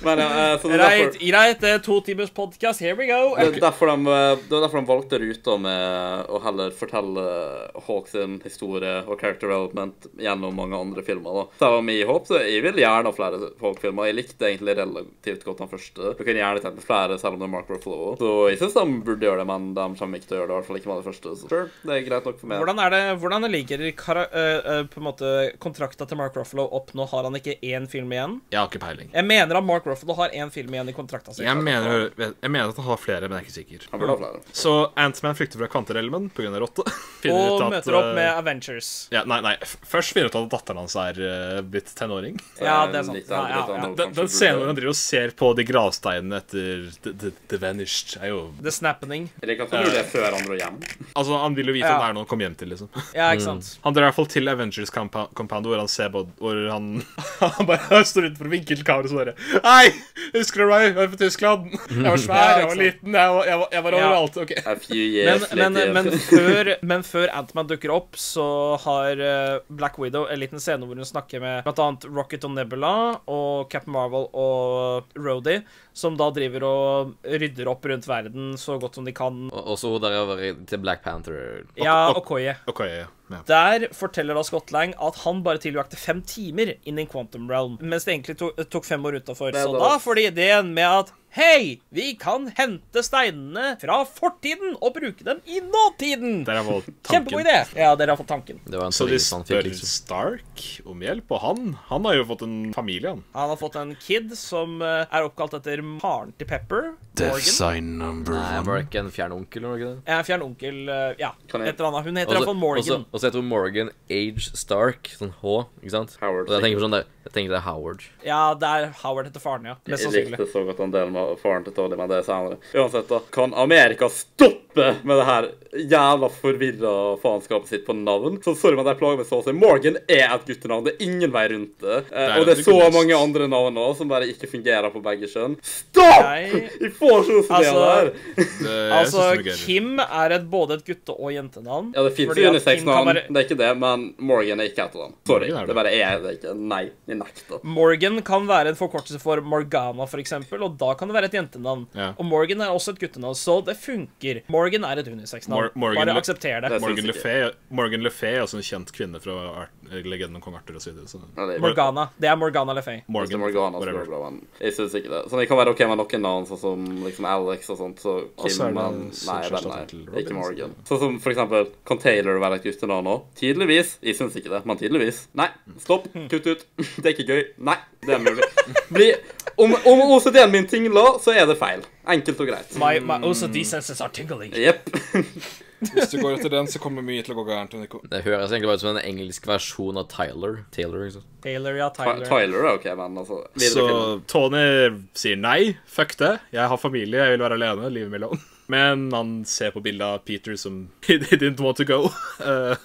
S1: men ja, eh, så det er
S2: Greit,
S1: derfor,
S2: greit. Det er to timers podcast. Here we go.
S1: det er derfor, de, eh, det er derfor de valgte ruta med å heller fortelle Hawk sin historie og character development gjennom mange andre filmer. da. Selv om jeg håper, jeg vil gjerne ha flere Hawk-filmer. Jeg likte egentlig relativt godt den første. Du kunne gjerne tenkt meg flere, selv om det er Mark Ruffalo. Så jeg syns de burde gjøre det, men de kommer ikke til å gjøre det, i hvert fall ikke med det første. Så sure, det er greit nok for meg.
S2: Hvordan, er det, hvordan ligger kara, eh, eh, på en måte kontrakta til Mark Ruffalo opp nå? Har han ikke én film igjen?
S4: Jeg har ikke peiling.
S2: Jeg mener at Mark Ruffalo har én film igjen i kontrakta si.
S4: Jeg mener, jeg mener at han har flere, men jeg er ikke sikker.
S1: Han burde ha flere.
S4: Så Antman flykter fra kvanterelmen pga. rotte. Finner
S2: Og
S4: ut at,
S2: møter opp
S4: eh,
S2: med Avengers.
S4: ja, Nei, nei. f- Først finner ut at datteren hans er eh, blitt tenåring.
S2: Ja, det er sant.
S1: Litt
S2: Ja,
S1: av-
S2: ja,
S1: litt av
S2: ja.
S1: noe
S4: Den,
S1: kanskje
S4: den scenen hvor
S1: burde-
S4: han driver og ser på de gravsteinene etter The, the, the Vanished, er jo
S2: The Snappening.
S1: Eller ikke at han gjorde det før han dro hjem.
S4: Altså, Han vil jo vite
S2: Ja.
S4: om det er noe han kom hjem til, liksom.
S2: Ja, ikke sant?
S4: Han drar i hvert fall til Avengers compa- Compound, hvor han ser på Hvor han, han bare står utenfor vinkelkameraet og så bare Hei! Husker du meg? Jeg var fra Tyskland. Jeg var svær, jeg var liten, jeg var, jeg var, jeg var
S2: Ja.
S4: overalt. Ok.
S1: A few years
S2: Men,
S1: later.
S2: men, men før, men før Antman dukker opp, så har eh, Black Widow en liten scene hvor hun snakker med bl.a. Rocket og Nebula og Captain Marvel og Rhodey, som da driver og rydder opp rundt verden så godt som de kan.
S3: Og også hun der over i- til Black Panther.
S2: Ja, og Koye.
S4: Ok, ja, ja.
S2: Der forteller da Scott Lang at han bare tilbrakte fem timer inn i Quantum Realm, mens det egentlig to eh, tok fem år utafor.
S1: Det er
S2: Så
S1: da-
S2: da får de ideen med at Hei, vi kan hente steinene fra fortiden og bruke dem i nåtiden!
S4: Der er vel
S2: Kjempegod
S4: tanken.
S2: idé! Ja, dere har fått tanken.
S3: Det var en
S4: Så de
S3: teori han fikk,
S4: spør
S3: liksom.
S4: Stark om hjelp, og han Han har jo fått en familie, han.
S2: Han har fått en kid som eh, er oppkalt etter faren til Pepper. Morgan.
S4: sign number
S3: Nei, var det ikke en fjern onkel, var det ikke det?
S2: Eh, Fjern onkel eh, Ja, et
S1: Kan jeg- Altså-
S2: eller annet. Hun heter
S3: Også-
S2: iallfall Morgan.
S3: også- Og så heter hun Morgan Age Stark, sånn H, ikke sant?
S1: Howard
S3: og jeg tenker på sånn der Jeg tenker det er Howard.
S2: Ja, det er Howard etter faren, ja. Mest
S1: Jeg
S2: sannsynlig.
S1: likte så godt han delte med faren til Tolly, men det er senere. Uansett, da. Kan Amerika stoppe med det her jævla forvirra faenskapet sitt på navn? Så sorry, men de plager meg så å si. Morgan er et guttenavn. Det er ingen vei rundt det. Eh,
S4: er
S1: og det er
S4: det
S1: så
S4: kulest.
S1: mange andre navn òg som bare ikke fungerer på begge kjønn. Stopp!
S2: Jeg-
S1: Vi får så mye altså...
S2: Altså-
S1: her.
S2: Altså,
S4: Det, eh, jeg synes det er gøy.
S2: Kim er et, både et gutte- og jentenavn.
S1: Ja, det fins
S2: fordi at Kim kan
S1: unisex-navn,
S2: være-
S1: det er ikke det, men Morgan er ikke et av dem. Sorry.
S4: Morgan er det.
S1: Det bare er det ikke. Nei, jeg nekter.
S2: Morgan kan være en forkortelse for Morgana, for eksempel, og da kan det være et jentenavn.
S4: Ja.
S2: Og Morgan er også et guttenavn, så det funker. Morgan er et unisex-navn.
S4: Mor- Morgan-
S2: Bare aksepter det.
S1: Det-
S4: Morgan
S1: synes
S4: Le
S1: ikke.
S4: Fay- Morgan Le Fay er også en kjent kvinne fra Art- legenden om kong Arthur osv. Så
S1: Ja, det er-
S2: Morgana. Det er Morgana Le Fay.
S1: Hvis det er
S4: Morgan,
S1: Morgana som
S4: whatever.
S1: gjør det, men jeg synes ikke det. Så det kan være ok med noen navn, sånn som liksom Alex og sånt, så
S4: Og
S1: Kim,
S4: så er
S1: men
S4: det
S1: nei,
S4: Sunshine
S1: den
S4: til
S1: er
S4: Robin,
S1: ikke Morgan. Sånn som for eksempel, kan Taylor være et guttenavn òg? Tydeligvis. Jeg synes ikke det, men tydeligvis. Nei, stopp, kutt ut. Det er ikke gøy. Nei, det er mulig. Bli, om om OCD-en min tingler, så er det feil. Enkelt og greit.
S2: My, my
S4: Mm.
S2: OCD senses are tingling.
S1: Jepp.
S6: Hvis du går etter den, så kommer mye til å gå gærent. Nico.
S3: Det høres egentlig bare ut som en engelsk versjon av Tyler. Taylor, ikke sant.
S2: Taylor, ja, Tyler.
S1: Tyler er ok, men altså videre
S4: Så
S1: filmen.
S4: Tony sier nei, fuck det. Jeg har familie, jeg vil være alene. Livet mellom. Men han ser på bildet av Peter som He didn't want to go. Eh,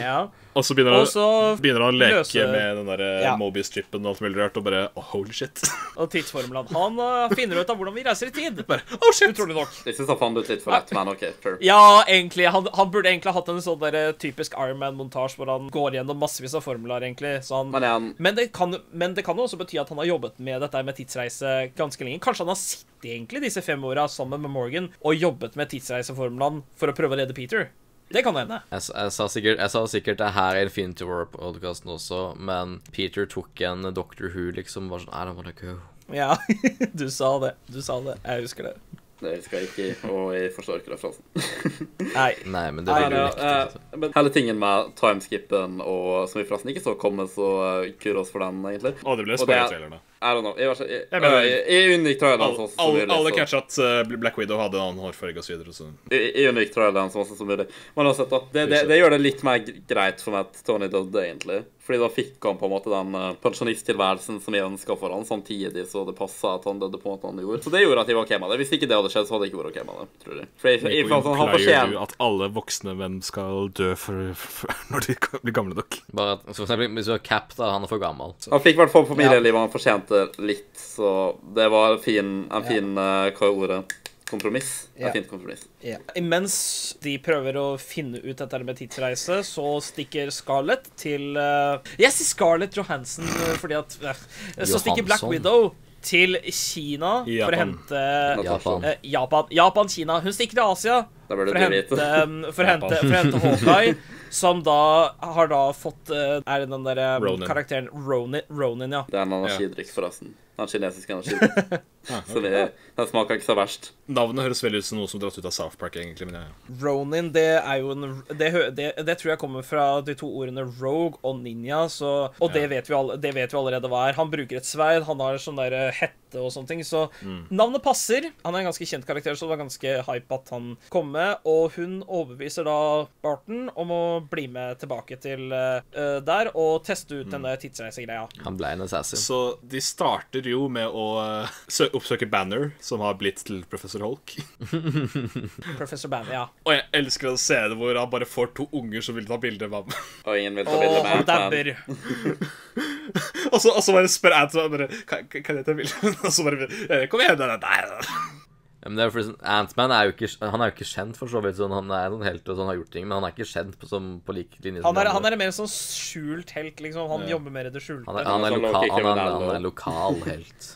S2: Ja.
S4: og så begynner,
S2: Og
S4: han-
S2: så
S4: begynner han å leke
S2: løse-
S4: med den der
S5: Ja.
S4: Mobius-trippen og alt mulig rart, og bare oh, holy shit.
S2: og tidsformelen. Han eh, finner ut av hvordan vi reiser i tid.
S4: oh shit!
S2: Utrolig nok.
S1: Jeg synes han fant ut litt for lett, men OK, sure.
S2: Ja, egentlig. Han, han burde egentlig hatt en sånn der typisk Ironman-montasje hvor han går gjennom massevis av formler, egentlig. Så han
S1: Men er han
S2: Men det, kan, men det kan jo også bety at han har jobbet med dette med tidsreise ganske lenge. Kanskje han har sittet egentlig disse fem åra sammen med Morgan og jobbet med tidsreiseformelen for å prøve å redde Peter. Det kan hende.
S3: Jeg, s- jeg, sa sikkert, jeg sa sikkert det her i Infinity War-podkasten også, men Peter tok en Doctor Who, liksom. Bare sånn I don't wanna go.
S2: Ja, du sa det. Du sa det. Jeg husker det.
S1: Det skal jeg ikke, og jeg forstår ikke referansen.
S2: Nei.
S3: Nei, men det
S1: Nei,
S3: ville
S1: ja,
S3: jo riktig. liksom.
S1: eh, men hele tingen med timeskippen og som vi forresten ikke så komme, så eh, kudos for den, egentlig.
S4: Og det
S1: Og det
S4: ble
S1: er-
S4: spoiler-traileren, da.
S1: I don't know. Jeg, var så, jeg, eh,
S4: Jeg mener-
S1: jeg, jeg unngikk traileren
S4: Alle,
S1: sånn som
S4: alle,
S1: mulig.
S4: alle
S1: så-
S4: catcha at eh, Black Widow hadde en annen hårfarge osv.
S1: Jeg, jeg unngikk traileren sånn som mulig. Men uansett, da. Det, det, det gjør det litt mer greit for meg at Tony døde, egentlig. Fordi da fikk han på en måte den eh, pensjonisttilværelsen som jeg ønska for han, samtidig så det passa at han døde på måten han gjorde. Så det gjorde at jeg var OK med det. Hvis ikke det hadde skjedd, så hadde jeg ikke vært OK med det, tror jeg. For jeg, jeg, jeg, fant sånn, han fortjener
S4: at alle voksne menn skal dø for, når de blir gamle nok?
S3: Bare at, for eksempel, hvis du har Cap, da, han er for gammel. Så.
S1: Han fikk i hvert fall familielivet han fortjente litt, så det var en fin, en fin eh, hva er ordet? Kompromiss.
S5: Ja.
S1: En fint kompromiss.
S5: Ja.
S2: Mens de prøver å finne ut dette med tidsreise, så stikker Scarlett til eh, Jeg sier Scarlett Johansen eh, fordi at eh, Så stikker Black
S3: Johansson.
S2: Widow til Kina for å
S4: Japan.
S2: hente
S3: Japan.
S2: eh, Japan, Japan, Kina. Hun stikker til Asia
S1: Da burde du
S2: for å hente,
S1: vite.
S2: um, for å hente, for å hente Hawkeye, som da har da fått uh, Er det den der um,
S4: Ronin.
S2: karakteren Ronin, Ronin, ja.
S1: Det er en energidrikk, forresten. Den kinesiske energidrikken. Så det, den smaker ikke så verst.
S4: Navnet høres veldig ut som noe som dratt ut av South Park, egentlig. men jeg...
S2: Ronin, det er jo en det, hø- det, det tror jeg kommer fra de to ordene rogue og ninja, så Og det, vet vi all, det vet vi allerede hva er. Han bruker et sverd, han har sånn der uh, hette og sånne ting, så navnet passer. Han er en ganske kjent karakter, så det var ganske hype at han kom med. Og hun overbeviser da Barton om å bli med tilbake til uh, uh, der og teste ut denne tidsreisegreia.
S3: Han ble en assassin.
S4: Så de starter jo med å eh, sø- oppsøke Banner, som har blitt til Professor Holk.
S2: Professor Banner, ja.
S4: Og jeg elsker den scenen hvor han bare får to unger som vil ta bilde av ham.
S1: Og ingen vil ta bilde
S2: Og
S1: med
S2: han
S1: men-
S2: dabber.
S4: Og så, og så bare spør Anton bare, kan, kan- kan jeg ta bilde? Og så bare eh, Kom igjen! Nei, nei, nei.
S3: Ja, Men det er for eksempel- Ant-Man er jo ikke Han er jo ikke kjent, for så vidt. Sånn, han er en helt og sånn, har gjort ting, men han er ikke kjent på, som, på lik linje som
S2: Han er,
S3: de andre.
S2: han er en mer sånn skjult helt, liksom. Han jobber mer i det skjulte.
S3: han er, han
S1: Han
S3: er,
S1: er
S3: loka,
S1: ikke
S3: han er,
S1: kriminell,
S3: han
S1: da.
S3: er lokal helt.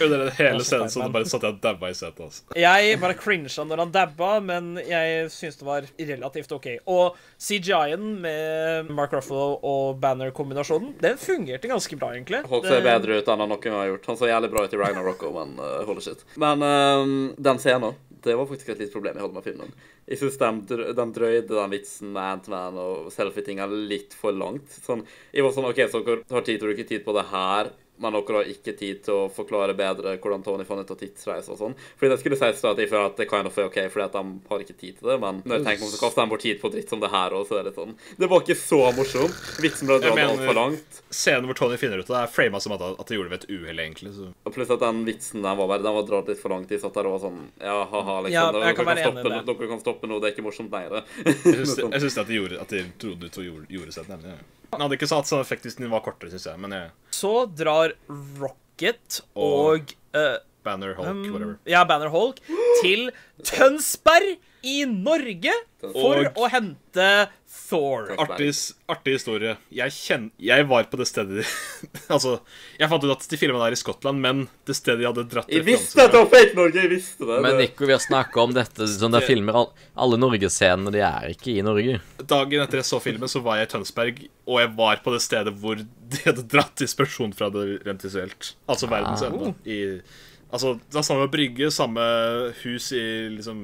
S4: Under den hele scenen så bare satt jeg og daua i setet. Altså.
S2: Jeg bare crincha når han dabba, men jeg syns det var relativt OK. Og CGI-en med Mark Ruffalo og Banner-kombinasjonen, den fungerte ganske bra, egentlig.
S1: Folk ser bedre ut enn han noen gang har gjort. Han så jævlig bra ut i Ragnarok òg, men uh, holy shit. Men ehm, den scenen, det var faktisk et lite problem jeg hadde med filmen. Jeg syns de, dr- de drøyde den vitsen med Ant-Man og selfie-tinga litt for langt. Sånn, jeg var sånn OK, så dere har tid til å bruke tid på det her. men dere har ikke tid til å forklare bedre hvordan Tony fant ut av tidsreise og sånn. Fordi det skulle sies da at jeg føler at det kind of er OK, fordi at de har ikke tid til det, men når jeg tenker meg om, så kaster de bort tid på dritt som det her òg, så er det sånn Det var ikke så morsomt. Vitsen ble dratt
S4: mener-
S1: altfor langt.
S4: Scenen hvor Tony finner ut av det, er frama som at, at de gjorde det ved et uhell, egentlig. Så.
S1: Og pluss at den vitsen der var bare Den var dratt litt for langt. De satt der og var sånn Ja, ha-ha, liksom.
S2: Ja,
S1: dere,
S2: jeg kan
S1: kan
S2: være enig i
S1: stoppe,
S2: det.
S1: nå- dere kan stoppe nå, det er ikke morsomt lenger.
S4: Jeg syns- Jeg syns at de gjorde at de trodde de to gjorde, gjorde seg nemlig. ja. Den hadde ikke hatt sånn effekt hvis den var kortere, syns jeg. Men jeg,
S2: Eh, Så drar Rocket og eh,
S4: Banner, Hulk, whatever.
S2: ja, Banner Hulk til Tønsberg i Norge for
S4: Og-
S2: å hente Thor.
S4: Artig, artig historie. Jeg, kjenn, jeg var på det stedet Altså, jeg fant ut at de filma der i Skottland, men det stedet de hadde dratt
S1: Jeg visste at det var fake Norge! Jeg visste det.
S3: Men
S1: det.
S3: Nico, vi har snakka om dette. Sånn, de filmer all, alle norgesscenene, de er ikke i Norge.
S4: Dagen etter jeg så filmen, så var jeg i Tønsberg, og jeg var på det stedet hvor de hadde dratt inspirasjon fra det rent visuelt. Altså
S1: Ah.
S4: verdens ende. I, altså, det var samme brygge, samme hus i liksom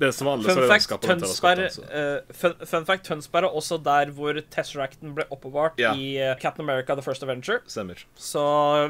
S4: Det som var annerledes,
S2: Fun fact,
S4: var landskapet, dette altså. var
S2: Tønsberg,
S4: Skottland, så.
S2: eh, fun, fun fact, Tønsberg er også der hvor Tesseracten ble oppbevart
S4: Ja.
S2: i eh, Captain America The First Adventure.
S4: Stemmer.
S2: Så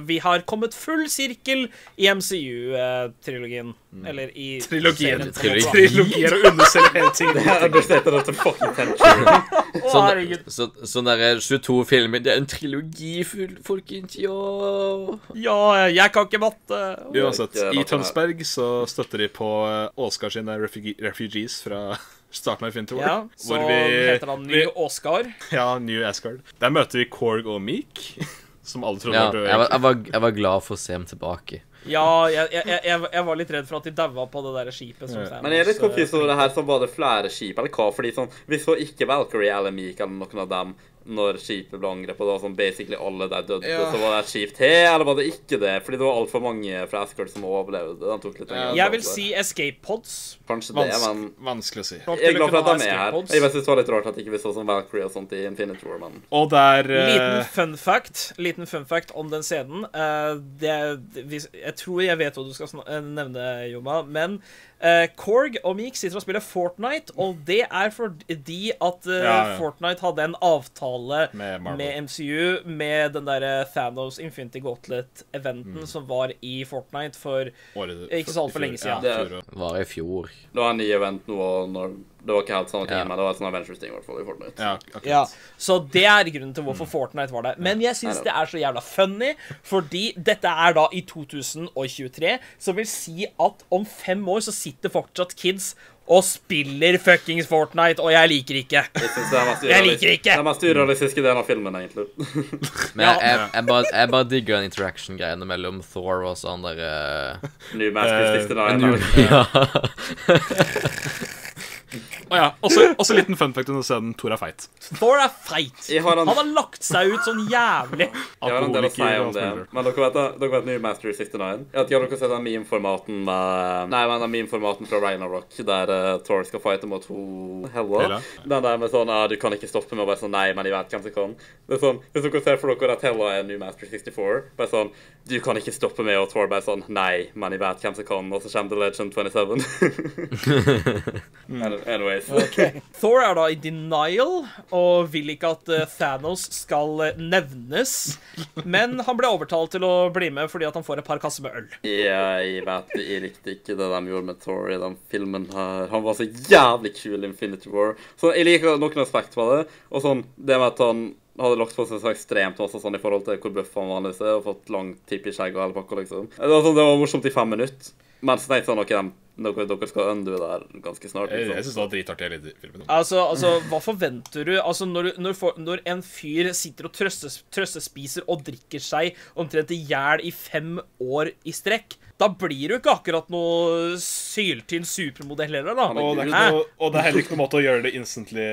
S2: vi har kommet full sirkel i MCU-trilogien. eh, Eller i
S4: Mm. Trilogien.
S2: serien på en måte, da.
S4: Trilogier og underselger hele ting.
S1: Det er understated at det er fucking tension.
S2: Å,
S3: Sånn,
S2: herregud.
S3: så, sånn derre 22 filmer Det er en trilogi, full- folkens. Ja.
S2: Ja, jeg kan ikke matte.
S4: Uansett,
S1: Ikke
S4: i
S1: noe
S4: Tønsberg så støtter de på eh, Åsgar sine refugi- refugees fra starten av Infinity War.
S2: Ja, så
S4: hvor vi,
S2: heter han Ny
S4: vi,
S2: Åsgard.
S4: Ja, New Asgard. Der møter vi Korg og Meek, som alle trodde
S3: ja
S4: var døde.
S3: jeg, var, jeg, var, jeg var glad for å se ham tilbake.
S2: Ja, jeg, jeg, jeg, jeg var litt redd for at de daua på det der skipet. Som Thanos,
S1: Men jeg er litt
S2: eh,
S1: confused over det her som var det flere skip, eller hva? Fordi sånn, vi så ikke Valkyrie eller Meek eller noen av dem når skipet ble angrepet, og da sånn basically alle der døde.
S6: Ja.
S1: Så var det et skip til, eller var det ikke det? Fordi det var altfor mange fra Asgard som overlevde. Den tok litt lenger.
S2: Jeg vil si escape pods.
S1: Kanskje det, men
S4: Vanskelig, vanskelig å si.
S2: Nok
S1: jeg er
S2: til å
S1: glad for
S2: kunne
S1: at de
S2: ha
S1: er her.
S2: escape pods.
S1: Jeg bare synes det var litt rart at ikke vi så sånn Valkyrie og sånt i Infinity War, men
S4: Og der
S2: Liten
S4: eh,
S2: fun fact Liten fun fact om den scenen. Eh, det, det- hvis- jeg tror jeg vet hva du skal sna- eh, nevne, Joma, men eh, Korg og Meek sitter og spiller Fortnite, og det er fordi at eh,
S4: Ja, ja.
S2: Fortnite hadde en avtale
S4: Med Marvel.
S2: MCU med den derre Thanos Infinity
S4: Mm.
S2: Gauntlet-eventen som var i Fortnite for
S4: året,
S2: Ikke så alt for
S4: i fjor.
S2: lenge siden.
S4: Ja, i
S1: Det-
S4: fjor, og-
S3: Var i fjor.
S1: det var en ny event nå, og når, det var ikke helt samme ting,
S3: Ja.
S1: men det var et sånn Avengers-ting i hvert fall i Fortnite.
S4: ja, akkurat.
S5: Ja.
S2: Så det er grunnen til hvorfor Fortnite var der. Men jeg syns det er så jævla funny, fordi dette er da i 2023, som vil si at om fem år så sitter fortsatt kids og spiller fuckings Fortnite, og jeg liker ikke.
S1: Jeg, synes det er mest
S2: Jeg liker
S1: urealis-
S2: ikke!
S1: Det er mest urealistiske delen av filmen, egentlig.
S3: Men jeg, jeg, jeg, bare, jeg bare digger den interaction-greiene mellom Thor og sånn derre
S1: New Master
S4: Eh,
S1: 69.
S3: New-
S1: eller-
S3: Ja.
S4: Å ja. Også, også liten fun fact under scenen. Thor er feit.
S2: Thor er feit.
S1: Jeg har en-
S2: Han har lagt seg ut sånn jævlig.
S1: Jeg har en del å si
S4: Alkoholiker
S1: om
S4: og
S1: det,
S4: alt mulig rart.
S1: men dere vet, det- dere vet nye Master of 69? Jeg vet ikke om dere har sett den meme-formaten med Nei, men den meme-formaten fra Ragnarok, der eh, Thor skal fighte mot ho... Hella?
S4: Hela?
S1: Den der med sånn ja, 'du kan ikke stoppe meg', og bare sånn 'nei, men jeg vet hvem som kan'. Det er sånn, Hvis dere ser for dere at Hella er en ny Master 64, bare sånn 'du kan ikke stoppe meg', og Thor bare sånn 'nei, men jeg vet hvem som kan', og så kommer The Legend 27. Any- Anyways.
S2: Thor er da i denial og vil ikke at eh, Thanos skal eh, nevnes. Men han ble overtalt til å bli med fordi at han får et par kasser med øl.
S1: Ja, jeg vet det. Jeg likte ikke det de gjorde med Thor i den filmen her. Han var så jævlig kul i Infinity War. Så jeg liker noen aspekt ved det. Og sånn, det med at han hadde lagt på seg så ekstremt masse sånn i forhold til hvor bøff han vanligvis er, og fått lang tipp i skjegget og hele pakka, liksom. Det var, sånn, det var morsomt i fem minutter. Men så tenkte jeg sånn, ok, dere, dere skal undo det her ganske snart.
S4: Jeg, jeg
S1: Liksom.
S4: syns det var dritartig. hele filmen.
S2: Altså, altså, hva forventer du? Altså, når, du- når, for, når en fyr sitter og trøstes, trøstespiser og drikker seg omtrent i hjel i fem år i strekk, da blir du ikke akkurat noe syltynn supermodell heller, da.
S4: Og det, er ikke
S2: Hæ?
S4: noe, og det er heller ikke noen måte å gjøre det instantly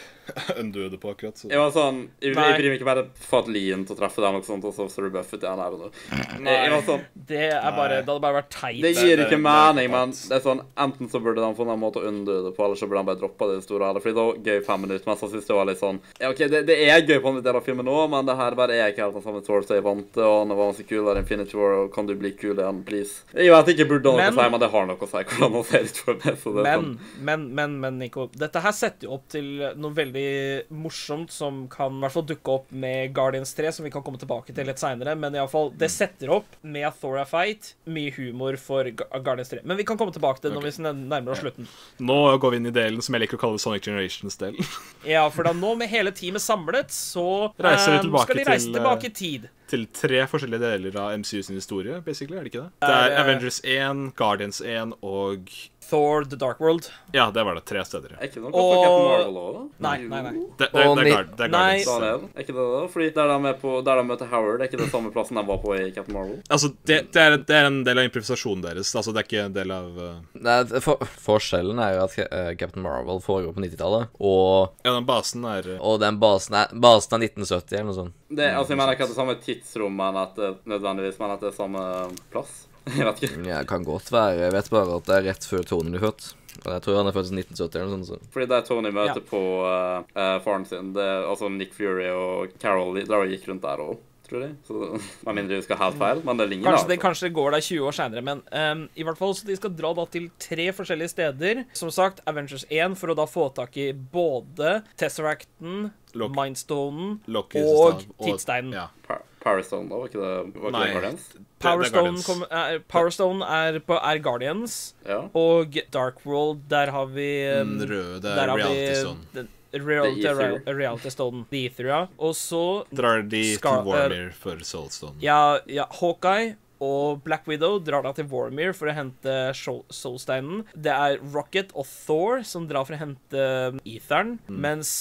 S4: undøde på, akkurat. Så.
S1: Jeg var sånn, jeg, jeg
S2: Nei.
S1: bryr meg ikke bare for at Lien til å treffe deg, eller noe sånt, og så står du buffet til han her og nå. Jeg, jeg var sånn,
S2: Det, er bare, det hadde bare vært
S1: Det
S2: teit.
S1: gir
S4: det-
S1: ikke
S4: det-
S1: mening,
S4: det-
S1: men det er sånn, enten så burde de få en måte å unndø det på, eller så burde de bare droppe det i det store hele. Fordi det var gøy i fem minutter, men så synes det var litt sånn Ja, OK, det, det er gøy på en del av filmen nå, men det her bare er ikke helt den samme Thor som jeg vant til, og han var så kul der i Infinity War, og kan du bli kul igjen, please? Jeg vet ikke, burde han
S2: Men-
S1: noe å si, men det har noe å si hvordan han ser ut for meg, så det er sånn,
S2: Men, men, men, men, Nico, dette her setter jo opp til noe veldig veldig morsomt som kan i hvert fall dukke opp med Guardians 3, som vi kan komme tilbake til litt seinere. Men iallfall,
S4: Mm.
S2: det setter opp med at Thor er feit. Mye humor for Gu- Guardians 3. Men vi kan komme tilbake til det når vi sn- nærmer oss slutten.
S4: Nå går vi inn i delen som jeg liker å kalle Sonic Generations-delen.
S2: Ja, for da nå med hele teamet samlet, så
S4: Reiser vi
S2: eh,
S4: tilbake
S2: skal de
S4: til,
S2: reise
S4: eh,
S2: tilbake i tid.
S4: Til tre forskjellige deler av MCU sin historie, basically. Er det ikke det? Det
S2: er,
S4: er
S2: eh,
S4: Avengers 1, Guardians 1 og
S2: Thor The Dark World.
S4: Ja, det var det. Tre steder. ja.
S1: Er ikke det noe
S2: Og-
S1: for Captain Marvel òg?
S2: Nei, nei, nei.
S4: Det, det, det, er
S3: Og ni-
S4: Guard- det er
S2: Nei.
S4: Guardians.
S1: Daniel, er ikke det da? Fordi der de, er på, der de møter Howard, er ikke det samme plassen de var på i Captain Marvel?
S4: Altså, det, det, er, det er en del av improvisasjonen deres. Altså, det er ikke en del av eh,
S3: Nei, for, forskjellen er jo at eh, Captain Marvel foregår på 90-tallet, og,
S4: Ja, den basen er eh,
S3: og den basen er, basen er 1970 eller noe sånt.
S1: Det, altså, jeg mener ikke at det er samme tidsrom, men at det, eh, nødvendigvis, men at det er samme eh, plass. Jeg vet ikke.
S3: Ja, det Mm, kan godt være. Jeg vet bare at det er rett før Tony ble født. Og jeg tror han er født i 1970 eller noe sånt.
S1: Fordi der Tony møter
S2: Ja.
S1: på eh, eh, faren sin, det, altså Nick Fury og Carol de drev og gikk rundt der òg, tror jeg. Så Med mindre du skal helt feil, men det ligner.
S2: Kanskje det,
S1: altså.
S2: kanskje det går der 20 år seinere, men ehm, i hvert fall så de skal dra da til tre forskjellige steder. Som sagt, Avengers 1 for å da få tak i både Tesseracten,
S4: Loki.
S2: Mindstonen
S4: Loki,
S2: og
S4: stav-
S2: Tidssteinen.
S4: Ja.
S1: Pa Parastone, da? Var ikke det var ikke
S4: Nei.
S1: det Guardians?
S2: Powerstone
S4: Guardians.
S2: er, Powerstone eh, er, på, er Guardians,
S1: Ja.
S2: og Dark World, der har vi ehm,
S4: Den røde, det
S2: der
S4: er
S2: har vi
S4: Reality Stone.
S2: den- Reality,
S1: The Ether.
S2: reality Stone. The Ether, ja. Og så
S4: Drar de
S2: Scar-
S4: til Warmere for Soulstone.
S2: Ja, ja, Hawkeye og Black Widow drar da til Warmere for å hente Soul- Soulsteinen. Det er Rocket og Thor som drar for å hente um, Etheren.
S4: Mm.
S2: Mens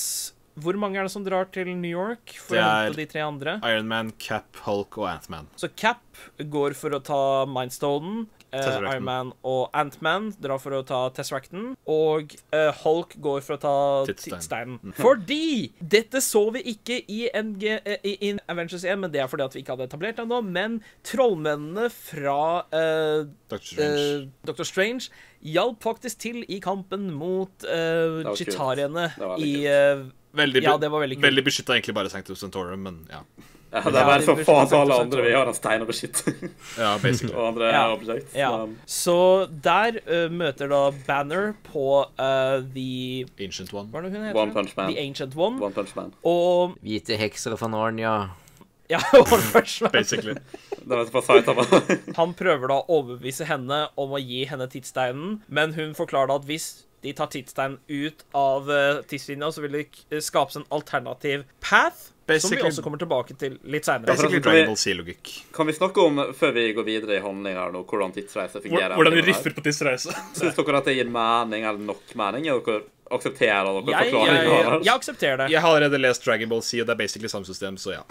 S2: hvor mange er det som drar til New York for å
S4: Det er-
S2: hente de tre andre?
S4: Iron Man, Cap, Hulk og Antman.
S2: Så Cap går for å ta Mindstonen. Uh,
S4: Tesseracten.
S2: Ironman og Antman drar for å ta Tesseracten. Og eh, Hulk går for å ta
S4: Tidssteinen.
S2: Tidssteinen.
S1: Mhm.
S2: Fordi dette så vi ikke i, NG, eh, i, i Avengers 1, men det er fordi at vi ikke hadde etablert det ennå. Men trollmennene fra eh,
S4: Dr. Strange.
S2: eh, Dr. Strange hjalp faktisk til i kampen mot uh,
S1: var kult.
S2: chitariene
S1: Det var veldig
S2: i eh,
S4: veldig
S2: ja, det var veldig kult.
S4: veldig beskytta egentlig bare Sanctus Santorum, men ja.
S1: ja, det er
S2: de
S1: bare så
S2: burde
S1: faen
S2: sagt
S1: til alle
S2: det
S1: andre vi har en stein å beskytte,
S4: Ja, basically.
S1: og andre
S2: Ja.
S1: objekt.
S2: Ja.
S1: Men,
S2: Så der eh, møter da Banner på eh, The
S4: Ancient One.
S2: Hva er det hun heter?
S1: One Punch Man.
S2: The Ancient One.
S1: One Punch Man.
S2: Og
S3: Hvite hekser fra Narnia.
S2: ja, One Punch Man.
S4: Basically.
S1: Det var på Saitama.
S2: Han prøver da å overbevise henne om å gi henne tidssteinen, men hun forklarer da at hvis de tar tidssteinen ut av eh, tidslinja, så vil det k- skapes en alternativ path, som vi
S4: Basically-
S2: også kommer tilbake til litt seinere.
S4: Basically
S1: Dragon Ball
S4: Dragon Ball Z-logikk.
S1: Kan vi snakke om, før vi går videre i handling her nå, hvordan tidsreiser fungerer?
S4: på tidsreise.
S1: Syns dere at det gir mening, eller nok mening? Er dere aksepterer dere
S2: Jeg, jeg,
S1: forklaringen
S2: jeg aksepterer det.
S4: Jeg har allerede lest Dragon Ball Z, og det er basically samme system, så ja.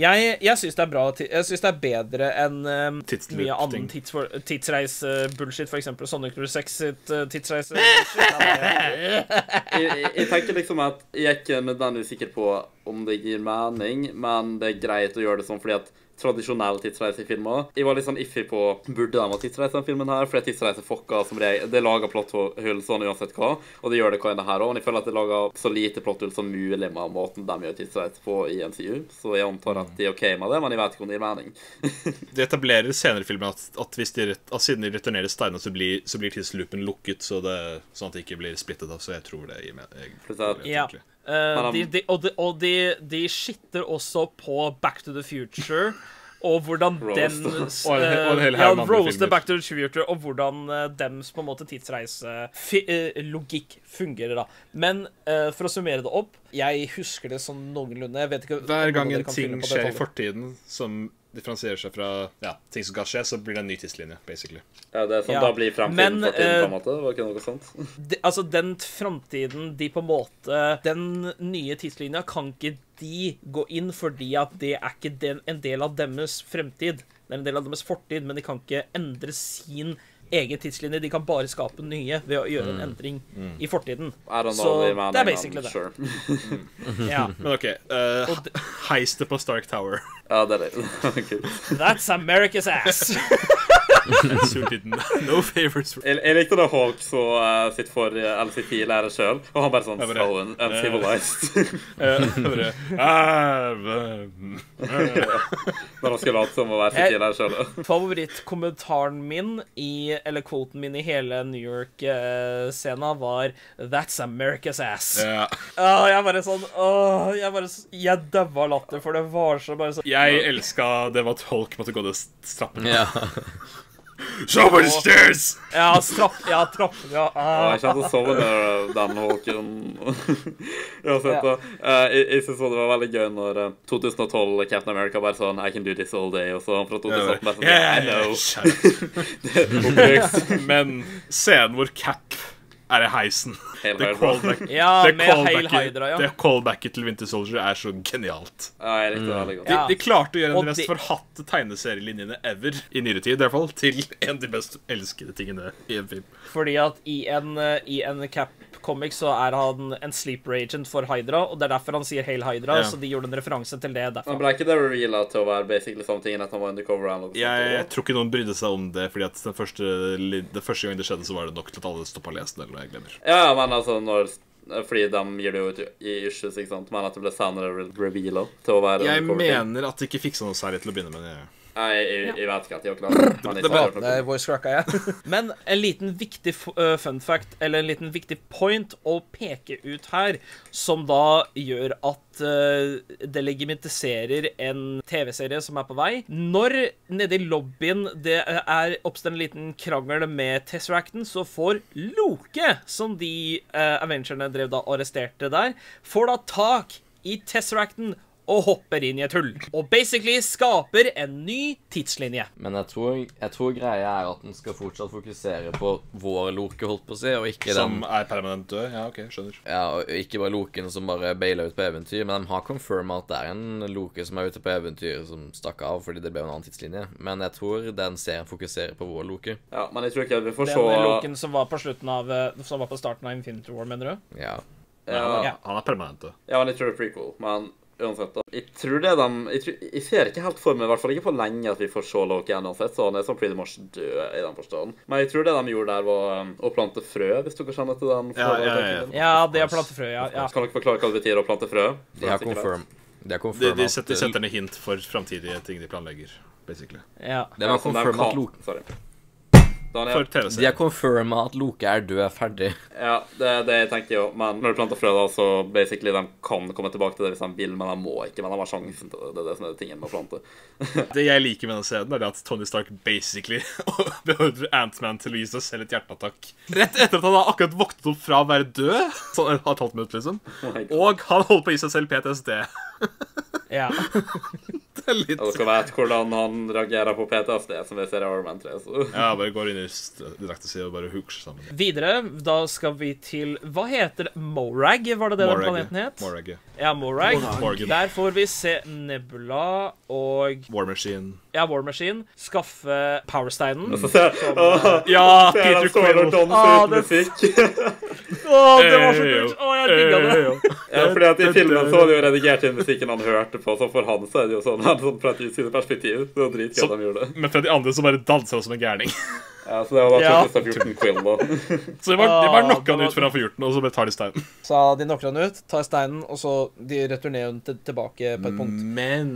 S2: Jeg, jeg syns det er bra ti- Jeg syns det er bedre enn um,
S4: Tidsloop-ting.
S2: mye annen tidsfor, tidsreise-bullshit, f.eks. Sonic 06 sitt uh, tidsreise. Nei,
S1: Jeg, jeg, jeg tenker liksom at jeg er ikke nødvendigvis sikker på om det gir mening, men det er greit å gjøre det sånn fordi at tradisjonelle tidsreisefilmer Jeg var litt sånn iffy på burde de ha tidsreise i denne filmen her, fordi tidsreise fucker som regel Det lager plotthull sånn uansett hva, og det gjør det hva enn det her òg. Men jeg føler at det lager så lite plotthull som mulig med måten de gjør tidsreise på i MCU, så jeg antar at de er OK med det, men jeg vet ikke om det gir mening.
S4: De etablerer senere i filmen at, at, hvis de, ret- at siden de returnerer steinene, så blir, så blir tidsloopen lukket, så det, sånn at de ikke blir splittet av. Så jeg tror det gir meg jeg,
S1: Plutselig.
S2: ja.
S4: egentlig.
S2: Uh,
S1: han-
S2: de, de, og de, og de, de skitter også på Back to the Future. Og hvordan
S1: Roast.
S2: den
S4: Og en hel- og en hel haug
S2: ja,
S4: med andre
S2: roaster
S4: filmer.
S2: Back to the Future, og hvordan eh, dems på en måte tidsreiselogikk fungerer, da. Men eh, for å summere det opp Jeg husker det sånn noenlunde. Jeg vet ikke
S4: Hver
S2: om
S4: gang
S2: dere
S4: en
S2: kan
S4: ting
S2: fylle på
S4: skjer i
S2: detaljer.
S4: fortiden som differensierer seg fra ja, ting som skal skje, så blir det en ny tidslinje, basically.
S1: Ja, det er sånn,
S2: Ja.
S1: Da blir fremtiden
S2: Men,
S1: fortiden, på
S2: eh,
S1: en måte. Var ikke noe sånt?
S2: de, altså den framtiden de på en måte Den nye tidslinja kan ikke de gå inn fordi at det er ikke den, en del av deres fremtid. Det er en del av deres fortid, men de kan ikke endre sin egen tidslinje. De kan bare skape nye ved å gjøre en endring i fortiden.
S1: I don't know,
S2: Så
S1: det, men,
S2: det er
S1: men,
S2: basically det.
S1: Sure.
S2: Ja,
S4: Men OK. eh, heistet på Stark Tower.
S1: Ja, det er det. Kult.
S2: That's America's ass!
S4: Who didn't? No favors for
S1: Jeg, jeg likte da Hawk så eh, sitt for eller sitt tidligere sjøl, og han bare sånn
S4: bare-
S1: so un- uncivilized.
S4: Eh, ah, v-
S1: Når han skulle late som å være sitt tidligere sjøl.
S2: Favorittkommentaren min i eller quoten min i hele New York-scena var That's America's ass.
S4: Ja.
S2: Åh, jeg bare sånn åh, Jeg bare s- Jeg daua av latter, for det var så bare sånn
S4: Jeg elska det med at folk måtte gå ned trappen.
S3: Ja.
S4: Someone stairs!
S2: Ja, strapp, ja, trapp, ja, ah.
S1: Jeg kjente å sove under den holken. Uansett, da. eh, Jeg, jeg synes også det var veldig gøy når eh, 2012 Captain America bare sånn I can do this all day. Og så fra 2018 bare sånn I know. Opprykt.
S4: Men scenen hvor Cap er i heisen
S1: Hail
S4: Det
S1: Hydra.
S4: callback-
S2: Ja,
S4: det
S2: med Hail
S4: callbacket-
S2: Hydra, ja.
S4: Det callbacket til Winter Soldier er så genialt.
S1: Ja, jeg likte det veldig godt.
S4: De,
S2: Ja.
S4: de klarte å gjøre en av
S2: Og
S4: de mest
S2: det-
S4: forhatte tegneserielinjene ever i nyere tid, i hvert fall, til en av de mest elskede tingene i en film.
S2: Fordi at i en, eh, i en cap comic så er han en sleeper agent for Hydra, og det er derfor han sier Hail Hydra,
S4: Ja.
S2: så de gjorde en referanse til det
S1: Men
S2: derfor.
S1: ble ikke det reveala til å være basically samme ting enn at han var undercover? eller noe
S4: Jeg,
S1: sånt,
S4: tror ikke noen brydde seg om det, fordi at den første, li- den første gang det skjedde, så var det nok til at alle stoppa å lese den. eller noe jeg glemmer.
S1: eller? Ja, men altså når fordi de gir det jo ut i issues, ikke sant? men at det ble senere reveala til å være
S4: Jeg
S1: undercover. ting.
S4: mener at de ikke fiksa noe særlig til å begynne med. det.
S1: Nei, jeg, jeg, jeg vet ikke at jeg har klart men jeg sa
S4: det var-
S1: det.
S5: Det er voice cracka jeg.
S2: Men en liten viktig f- eh, fun fact, eller en liten viktig point å peke ut her, som da gjør at eh, det legitimiserer en TV-serie som er på vei. Når nede i lobbyen det eh, er oppstår en liten krangel med Tesseracten, så får Loke, som de eh, Avengerne drev da og arresterte der, får da tak i Tesseracten og hopper inn i et hull. Og basically skaper en ny tidslinje.
S3: Men jeg tror, jeg tror greia er at den skal fortsatt fokusere på vår Loke, holdt på å si, og ikke den
S4: Som er permanent død? Ja, OK, skjønner.
S3: Ja, og ikke bare Loken som bare baila ut på eventyr, men de har confirma at det er en Loke som er ute på eventyr, som stakk av fordi det ble en annen tidslinje. Men jeg tror den serien fokuserer på vår Loke.
S1: Ja, men jeg tror ikke vi får
S2: Den
S1: se
S2: loken som var på slutten av eh, Som var på starten av Infinity War, mener du?
S3: Ja.
S4: Ja, han,
S2: Ja.
S4: er, han er permanent død.
S1: Ja, men jeg tror det er prequel, men uansett da. Jeg tror det de, jeg, tror, jeg ser ikke helt for meg, i hvert fall ikke på lenge, at vi får se Loki igjen uansett, så han er sånn pretty much død i den forstand. Men jeg tror det de gjorde der var um, å plante frø, hvis dere kjenner til den.
S4: Ja, ja, ja, ja.
S2: Ja, det er plantefrø, ja. ja.
S1: Kan dere forklare hva det betyr å plante frø?
S3: De har confirm. De har
S4: De,
S3: confirma
S4: de, setter, de setter ned hint for framtidige ting de planlegger. basically.
S2: ja.
S3: de har confirma at, Loke,
S1: Sorry.
S4: For
S1: Daniel,
S3: de
S4: TV-serien.
S3: har confirma at Loke er død, ferdig.
S1: ja, det, det tenkte jeg jo, men når du planter frø da, så basically de kan komme tilbake til det hvis de vil, men de må ikke, men de har sjansen til det, det er det som er tingen med å plante.
S4: Det jeg liker med den scenen, er det at Tony Stark basically beordrer Ant-Man til å gi seg selv et hjerteattakk. Rett etter at han har akkurat våknet opp fra å være død. Sånn et halvt minutt, liksom.
S1: my God.
S4: Og han holder på å gi seg selv PTSD.
S2: ja.
S4: Det er litt
S1: Og dere vet hvordan han reagerer på PTSD, som vi ser i Iron Man 3. Så.
S4: Ja, bare går inn i st- direktesida og bare hooker seg sammen.
S2: Videre, da skal vi til Hva heter det? Morag? Var det det den planeten het?
S4: Morag.
S2: Ja, Morag.
S4: Morgan.
S2: Der får vi se Nebula og
S4: War Machine.
S2: ja, War Machine skaffe Powersteinen.
S1: Så ser jeg Åh,
S4: Ja,
S1: ser jeg
S4: Peter
S1: han står og
S4: Quill.
S1: danser
S2: Ah,
S1: uten
S2: det-
S1: musikk.
S2: Å, det var så kult! Å, jeg digga det.
S1: Ja, fordi at I filmen så var det jo redigert inn musikken han hørte på, så for han så er det jo sånn, han, sånn fra et utsidende perspektiv. Det var dritgøy
S4: Så-
S1: at de gjorde det.
S4: Men fra de andre så bare danser han som en gærning.
S1: Ja, så det var
S2: Ja.
S1: 2014 Quill, da.
S4: Så det var, det
S2: Ah,
S4: var knocka han
S2: det var-
S4: ut før han får gjort den, og så bare tar de steinen.
S5: Så de knocker han ut, tar steinen, og så de returnerer den til, tilbake på et
S4: Mm.
S5: punkt.
S4: Men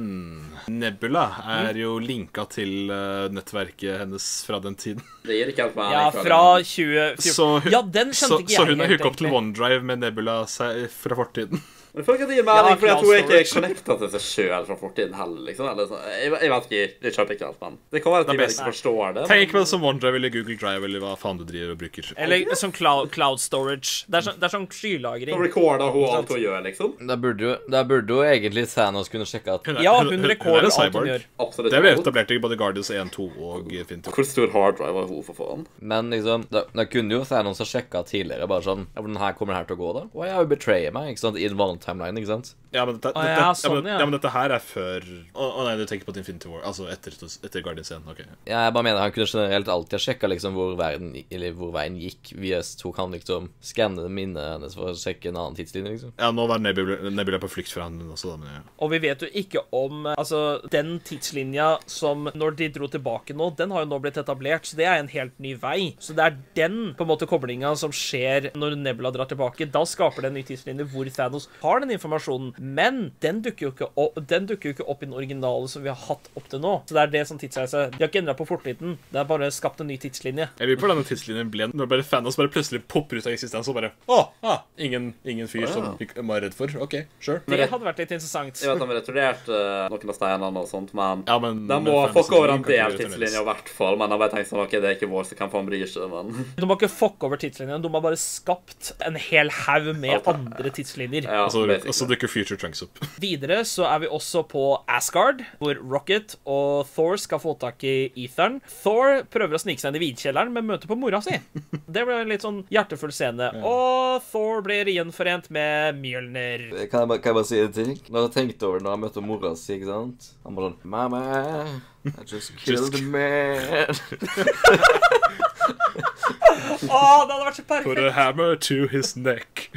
S4: Nebula er jo linka til eh, nettverket hennes fra den tiden.
S1: Det gir ikke helt meg.
S2: Ja,
S1: jeg
S2: fra
S1: klarer det.
S2: 2014.
S4: Så, hun-
S2: Ja, den
S4: så,
S2: skjønte ikke jeg
S4: så hun er
S2: helt,
S4: hooka opp til
S2: egentlig.
S4: OneDrive med Nebula seg fra fortiden.
S1: Men jeg føler ikke at det gir
S2: Ja,
S1: mening, fordi at hun er
S2: Cloud
S1: ikke connecta til seg sjøl fra fortiden heller, liksom. Eller, så, jeg, jeg vet ikke, jeg kjøper ikke helt, men det kan være at
S4: Det er
S1: de bare ikke
S4: best.
S1: forstår det.
S4: Tenk på det som OneDrive eller Google Drive eller hva faen du driver og bruker.
S2: Eller som cloud, cloud storage. Det er sånn, det er sånn skylagring.
S1: Så recorder hun alt hun gjør, liksom.
S3: Da burde jo, da burde jo egentlig Thanos kunne sjekke at
S4: Hun er-
S2: Ja,
S4: hun-
S2: hun
S4: hun- hun er
S2: rekorder
S4: en
S2: alt hun
S4: cyborg.
S2: gjør.
S1: Absolutt.
S4: Det ble
S1: alt.
S4: etablert i både Guardians 1, 2 og Infinity.
S1: Hvor stor harddrive har hun, for faen?
S3: Men liksom, da, da kunne jo Thanos ha sjekka tidligere, bare sånn Ja, hvordan her kommer det her til å gå, da? Å, jeg betrayer meg, ikke sant? I den vanlige timeline, ikke sant?
S4: Ja, men dette,
S2: Å,
S4: dette,
S2: ja,
S4: ja,
S2: sånn,
S4: men,
S2: ja.
S4: ja, men dette her er før Å å nei, du tenker på Infinity War. Altså etter, etter Guardians 1. ok.
S3: Ja, jeg bare mener han kunne generelt alltid ha sjekka liksom hvor, verden, eller hvor veien gikk. Vi tok han liksom skanne minnet hennes for å sjekke en annen tidslinje, liksom.
S4: Ja, nå var Nebula, Nebula på flukt fra han også, da. Men ja.
S2: Og vi vet jo ikke om eh, Altså, den tidslinja som Når de dro tilbake nå, den har jo nå blitt etablert, så det er en helt ny vei. Så det er den på en måte koblinga som skjer når Nebula drar tilbake. Da skaper det en ny tidslinje hvor Thanos har
S5: har den informasjonen. Men den dukker jo ikke opp, den dukker jo ikke opp i den originale som vi har hatt opp til nå. Så det er det som tidsreise. De har ikke endra på fortiden. Det er bare skapt en ny tidslinje.
S4: Jeg lurer på hvordan den tidslinjen ble når bare fanos bare plutselig popper ut av eksistens og bare Å, ah, ingen, ingen fyr som vi var redd for. OK, sure.
S5: Det hadde vært litt interessant.
S1: Jeg vet de har returnert eh, noen av steinene og sånt, men
S4: Ja, men
S1: de må
S4: men
S1: fucke over en
S4: fantasy kan
S1: del
S4: ikke
S1: tidslinjer,
S4: returneres.
S1: i hvert fall. Men de har bare tenkt sånn OK, det er ikke vår, så hvem faen bryr seg? Men
S5: De har ikke fucka over tidslinjen, de har bare skapt en hel haug med andre tidslinjer.
S1: ja,
S4: Og så-
S1: basically.
S4: Og så dukker Future Trunks opp.
S5: Videre så er vi også på Asgard, hvor Rocket og Thor skal få tak i Etheren. Thor prøver å snike seg inn i vinkjelleren, men møter på mora si. Det ble en litt sånn hjertefull scene. Og Thor blir gjenforent med Mjølner.
S3: Eh, Kan jeg, bare, kan jeg bare si en ting? Når jeg tenkte over det når jeg møtte mora si, ikke sant Han bare sånn Mamma, I just killed a man.
S5: Å, det hadde vært så
S4: Put
S5: perfekt!
S4: a hammer to his neck.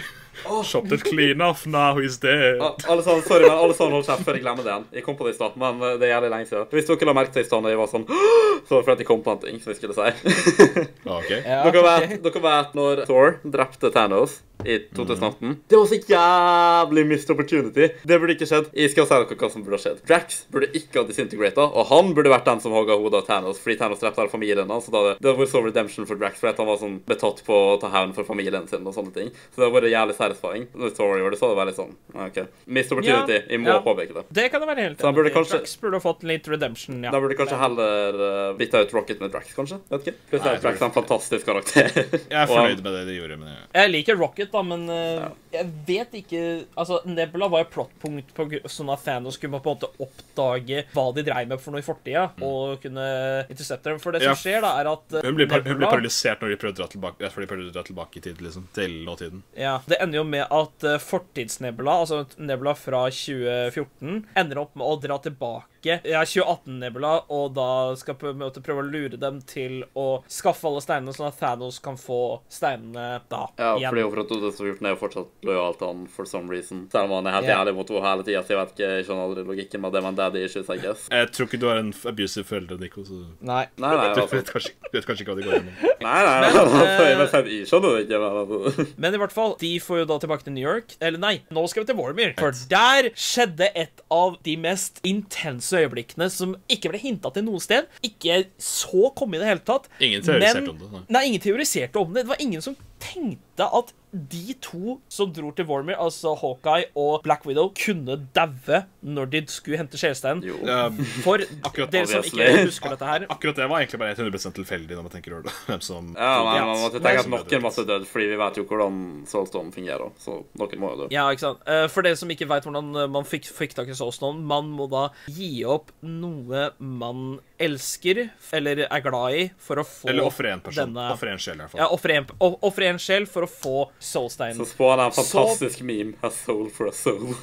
S4: Chopped it clean off, now he's dead.
S1: Ja, alle sammen, sorry, men alle sammen holdt kjeft før jeg glemmer det igjen. Jeg kom på det i stad, men eh, det er jævlig lenge siden. Hvis dere la merke til i stad når jeg var sånn Så var det fordi jeg kom på en ting som jeg skulle si.
S4: Ah, ok.
S2: Ja,
S1: dere,
S2: ok.
S1: vet, dere vet når Thor drepte Thanos i 2018? Det var så jævlig missed opportunity. Det burde ikke skjedd. Jeg skal si dere hva som burde ha skjedd. Drax burde ikke ha disintegrata, og han burde vært den som hogga hodet av Thanos, fordi Thanos drepte hele familien hans. så da hadde- Det hadde vært så redemption for Drax, fordi at han var sånn betatt på å ta hevn for familien sin og sånne ting. Så det hadde vært jævlig satisfying. Når Thor gjorde det, så hadde det vært litt sånn ja, OK. Missed opportunity. Jeg må
S5: ja.
S1: påpeke det.
S5: Det kan det være helt
S1: Så han burde
S5: enig i.
S1: kanskje-
S5: Drax burde fått litt redemption, ja.
S1: Da burde kanskje heller uh, bytta ut Rocket med Drax, kanskje? Vet ikke. Plutselig
S4: Nei, jeg
S1: er Drax
S4: tror
S1: en fantastisk karakter.
S4: Jeg er
S1: Og han-
S4: fornøyd med det de gjorde. men jeg-
S5: Jeg liker Rocket, da, men eh, jeg vet ikke Altså, Nebula var jo plottpunkt på gr- sånn at Thanos kunne på en måte oppdage hva de dreiv med for noe i fortida,
S1: Mm.
S5: og kunne intercepte dem. For det som
S4: Ja.
S5: skjer, da, er at eh,
S4: Hun blir, par hun blir
S5: Nebula-
S4: paralysert når de prøver å dra tilbake, rett før de prøver å dra tilbake i tid, liksom, til nåtiden.
S5: eh, Ja, Det ender jo med at eh, fortidsnebula, altså nebula fra 2014, ender opp med å dra tilbake ja, 2018-nebula, og da skal på en måte prøve å lure dem til å skaffe alle steinene, sånn at Thanos kan få steinene da
S1: Ja,
S5: igjen.
S1: fordi hun fra 2014 er jo fortsatt lojal til han for some reason. Selv om han er helt
S5: Ja.
S1: jævlig mot henne hele tida, så jeg vet ikke, jeg skjønner aldri logikken med det, men daddy issues, I guess.
S4: Jeg tror ikke du har en f- abusive forelder, Nico, så du
S2: Nei.
S1: Nei, nei, altså.
S4: vet kanskje, du vet kanskje ikke hva de går gjennom.
S1: Nei, nei,
S5: eh,
S1: altså, jeg, vet ikke, jeg skjønner det ikke, men altså.
S5: Men i hvert fall, de får jo da tilbake til New York. Eller nei, nå skal vi til Warmere. For der skjedde et av de mest intense øyeblikkene som ikke ble hinta til noe sted. Ikke så komme i det hele tatt.
S4: Ingen teoriserte om det, nei.
S5: Nei, ingen teoriserte om det. Det var ingen som tenkte at de to som dro til Warmere, altså Hawkeye og Black Widow, kunne daue når de skulle hente sjelsteinen.
S1: Jo.
S4: Eh,
S5: For
S4: Akkurat
S5: dere som ikke
S1: obviously.
S5: husker dette her
S4: akkurat det var egentlig bare 100 tilfeldig, når man tenker over det. Hvem som
S1: Ja, men man måtte tenke at
S4: Nei, så-
S1: noen masse død, fordi vi vet jo hvordan Soulstorm fungerer, så noen må jo dø.
S5: Ja, ikke sant. Eh, For dere som ikke veit hvordan eh, man fikk, fikk tak i Soulstone, man må da gi opp noe man elsker eller er glad i, for å få
S4: Eller ofre en person.
S5: denne-
S4: Ofre en sjel, i hvert fall.
S5: Ja, ofre en, o- ofre en sjel for å få soulsteinen.
S1: Så spån er en
S5: Så-
S1: fantastisk meme, a soul for a soul.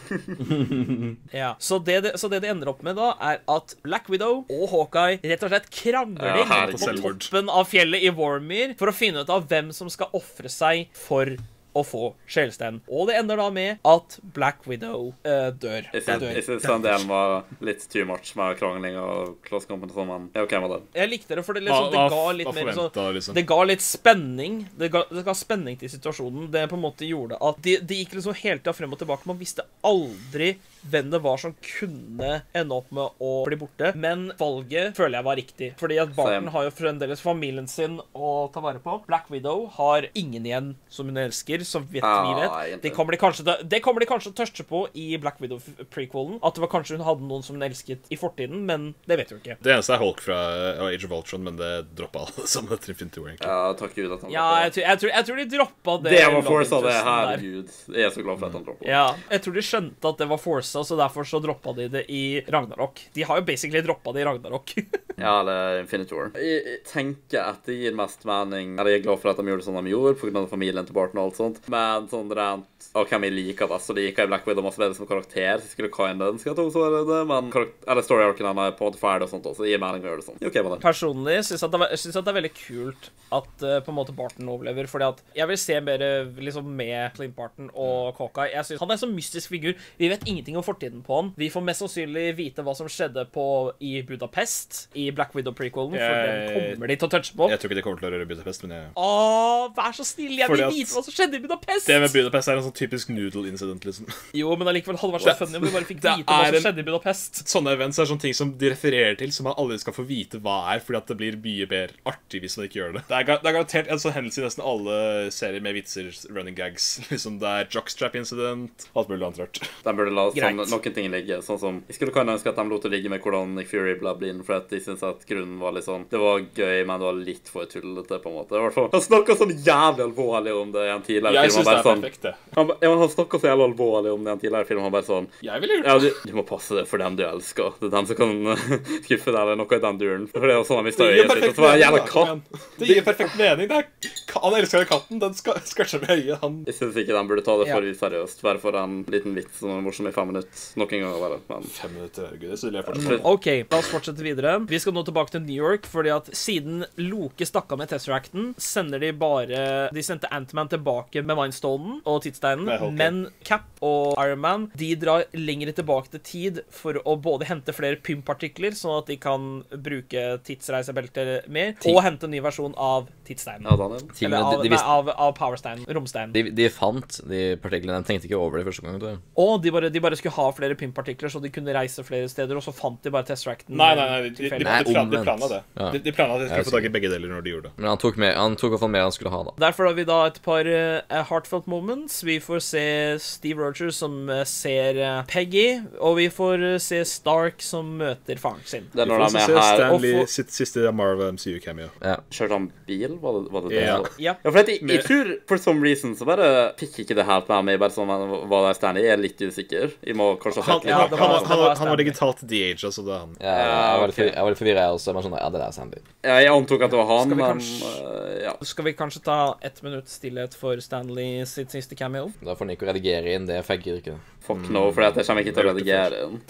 S5: Ja. Så, det det, så det det ender opp med, da, er at Black Widow og Hawkeye rett og slett krangler
S1: Ja, herregud.
S5: på toppen av fjellet i Warmere for å finne ut av hvem som skal ofre seg for å få sjelsteinen. Og det ender da med at Black Widow eh, dør.
S1: Jeg syns- jeg syns den delen var litt too much med krangling og klasskampen og sånn, men jeg er OK med det.
S5: Jeg likte det, for det, liksom, det
S4: Hva-
S5: ga
S4: hva-
S5: litt
S4: hva
S5: mer sånn
S4: forventet, liksom?
S5: Det ga litt spenning. Det ga, det ga spenning til situasjonen. Det på en måte gjorde at det de gikk liksom hele tida frem og tilbake. Man visste aldri hvem det var som kunne ende opp med å bli borte. Men valget føler jeg var riktig. Fordi at Barton
S1: Same.
S5: har jo fremdeles familien sin å ta vare på. Black Widow har ingen igjen som hun elsker, som vet, vi
S1: Ah,
S5: vet.
S1: egentlig.
S5: Det kommer de kanskje til- det kommer de kanskje til å tørste på i Black Widow-prequelen. At det var kanskje hun hadde noen som hun elsket i fortiden, men det vet vi jo ikke.
S4: Det eneste er Hulk fra eh, Age of Ultron, men det droppa alle sammen etter Infinity War. egentlig.
S1: Ja, takk Gud at han
S5: Ja, jeg tror, jeg tror, jeg tror de droppa det.
S1: Det var
S5: love
S1: force av det.
S5: interesten der.
S1: Herregud. Jeg er så glad for at han droppa.
S5: Ja, jeg tror de skjønte at det var forsa, så derfor så droppa de det i Ragnarok. De har jo basically droppa det i Ragnarok.
S1: Ja, eller Infinity War. Jeg jeg tenker at det gir mest mening Eller jeg er glad for at de gjorde sånn de gjorde, pga. familien til Barton og alt sånt, men sånn rent av hvem jeg liker best, så liker jeg Black Widow masse bedre som karakter, så jeg skulle kinda ønske at hun så det, men karak- eller story arcen hennes er på en måte ferdig og sånt også, så det gir mening å gjøre det sånn. Jeg er OK med det.
S5: Personlig syns jeg at det var- jeg synes at det er veldig kult at eh, på en måte Barton overlever, fordi at jeg vil se mer eh, liksom med Clint Barton og Hawkeye. Jeg synes Han er en sånn mystisk figur. Vi vet ingenting om fortiden på han. Vi får mest sannsynlig vite hva som skjedde på, i Budapest i i Black Widow-prequelen, for
S4: Jeg-
S5: den kommer de til å touche på.
S4: Jeg tror ikke det kommer til å røre Budapest, men jeg
S5: Å, vær så snill, jeg
S4: Fordi
S5: vil
S4: at-
S5: vite hva som skjedde i Budapest!
S4: Det med Budapest er en sånn typisk noodle incident, liksom.
S5: Jo, men allikevel hadde det vært
S4: Det-
S5: så funny om vi bare fikk
S4: det
S5: vite hva
S4: er
S5: som
S4: en-
S5: skjedde i Budapest.
S4: Sånne events er sånne ting som de refererer til, som man aldri skal få vite hva er, fordi at det blir mye mer artig hvis man ikke gjør det. Det er, ga- det er garantert en sånn hendelse i nesten alle serier med vitser, running gags. Liksom Det er jockstrap incident, alt mulig annet rart.
S1: De burde la sånn,
S5: Greit.
S1: noen ting ligge. Sånn som, Jeg skulle kunne ønske at de lot det ligge med hvordan Nick Fury ble blind, for at de syntes at grunnen var litt sånn Det var gøy, men det var litt for tullete, på en måte. I hvert fall, Han snakka sånn jævlig alvorlig om det i en tidligere
S4: Jeg
S1: film. Han
S4: syns det
S1: bare
S4: er
S1: sånn
S4: perfekt, det.
S1: Han, ba- ja, men han snakka så jævlig alvorlig om det i en tidligere film. Han bare sånn
S4: Jeg ville gjort det.
S1: Ja, du, du må passe deg for den du elsker. Det er den som kan eh, skuffe deg, eller noe i den duren. For det er jo sånn han mista øyet sitt. Og så var det en jævla katt.
S4: Det gir perfekt mening. Det er, han elsker den katten. Den ska- skvatcher med øyet. Han
S1: Jeg syns ikke de burde ta det
S7: Ja.
S1: for seriøst. Bare for en liten vits som er morsom i fem minutter. Noen ganger, bare. Men
S4: Fem minutter, herregud. Det vil jeg fortsatt.
S1: slutt.
S5: Ok, la oss fortsette videre. Vi skal nå tilbake til New York, fordi at siden Loke stakk av med Tesseracten, sender de bare De sendte Antman tilbake med Mindstonen og tidssteinen,
S4: Nei, ok.
S5: men Cap og Ironman de drar lenger tilbake til tid for å både hente flere pympartikler, sånn at de kan bruke tidsreisebelter mer, og hente en ny versjon av tidssteinen.
S1: Ja, Daniel.
S3: Tingene,
S5: Eller av,
S3: de, de,
S5: nei,
S3: visste,
S5: av, av powersteinen. Romsteinen.
S3: de, de fant de partiklene. De tenkte ikke over det første gang. tror jeg.
S5: Og de bare, de bare skulle ha flere pympartikler, så de kunne reise flere steder, og så fant de bare Tesseracten.
S4: Nei, nei, nei. De, de, de,
S5: tilfeldig.
S3: Nei,
S4: plan- de
S3: omvendt.
S4: planla det.
S3: Ja.
S4: De, de planla at de
S3: Jeg
S4: skulle få tak i begge deler når de gjorde det.
S3: Men han tok, med, han tok i hvert fall mer han skulle ha, da.
S5: Derfor har vi da et par eh, heartfelt moments. Vi får se Steve Rogers som eh, ser eh, Peggy, og vi får eh, se Stark som møter faren sin.
S1: Det er
S4: Vi
S1: når
S4: får
S1: de
S4: se
S1: er her og
S4: Stanley
S5: og få-
S4: sitt siste Marvel MCU-cameo.
S1: Kjørte han bil? Var det var det? det?
S4: Ja.
S1: da?
S5: Ja.
S1: Ja, for at jeg, jeg tror for some reason så bare fikk ikke det helt med meg. Bare sånn men hva det er Stanley. Jeg er litt usikker. Jeg må kanskje ha
S4: Han,
S1: sett litt.
S4: han,
S5: Ja,
S4: han,
S5: det
S1: mer.
S5: var-
S4: han,
S5: det var
S4: var- han var
S5: Stanley.
S4: digitalt de-age, altså. Det er han.
S3: Ja, jeg var litt,
S1: ok.
S3: jeg var litt forvirra, jeg også. Men jeg skjønner, ja, det er Sandy.
S1: Ja, jeg antok at det var han,
S5: Skal vi
S1: men
S5: kanskje-
S1: eh, ja.
S5: Skal vi kanskje ta ett minutt stillhet for Stanley sitt siste cameo?
S3: Da får Nico redigere inn det, for jeg gidder ikke.
S1: Fuck no, for at jeg kommer ikke til å redigere den.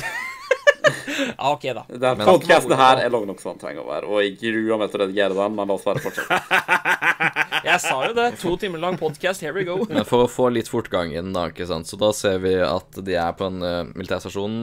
S5: Ja, ah, OK, da.
S1: Den
S3: Men-
S1: podcasten her er lang nok som den trenger å være, og jeg gruer meg til å redigere den, men la oss bare fortsette.
S5: Jeg sa jo det. To timer lang podkast. Here we go.
S3: Men for å få litt fortgang inn, da, ikke sant. Så da ser vi at de er på en eh, militærstasjon.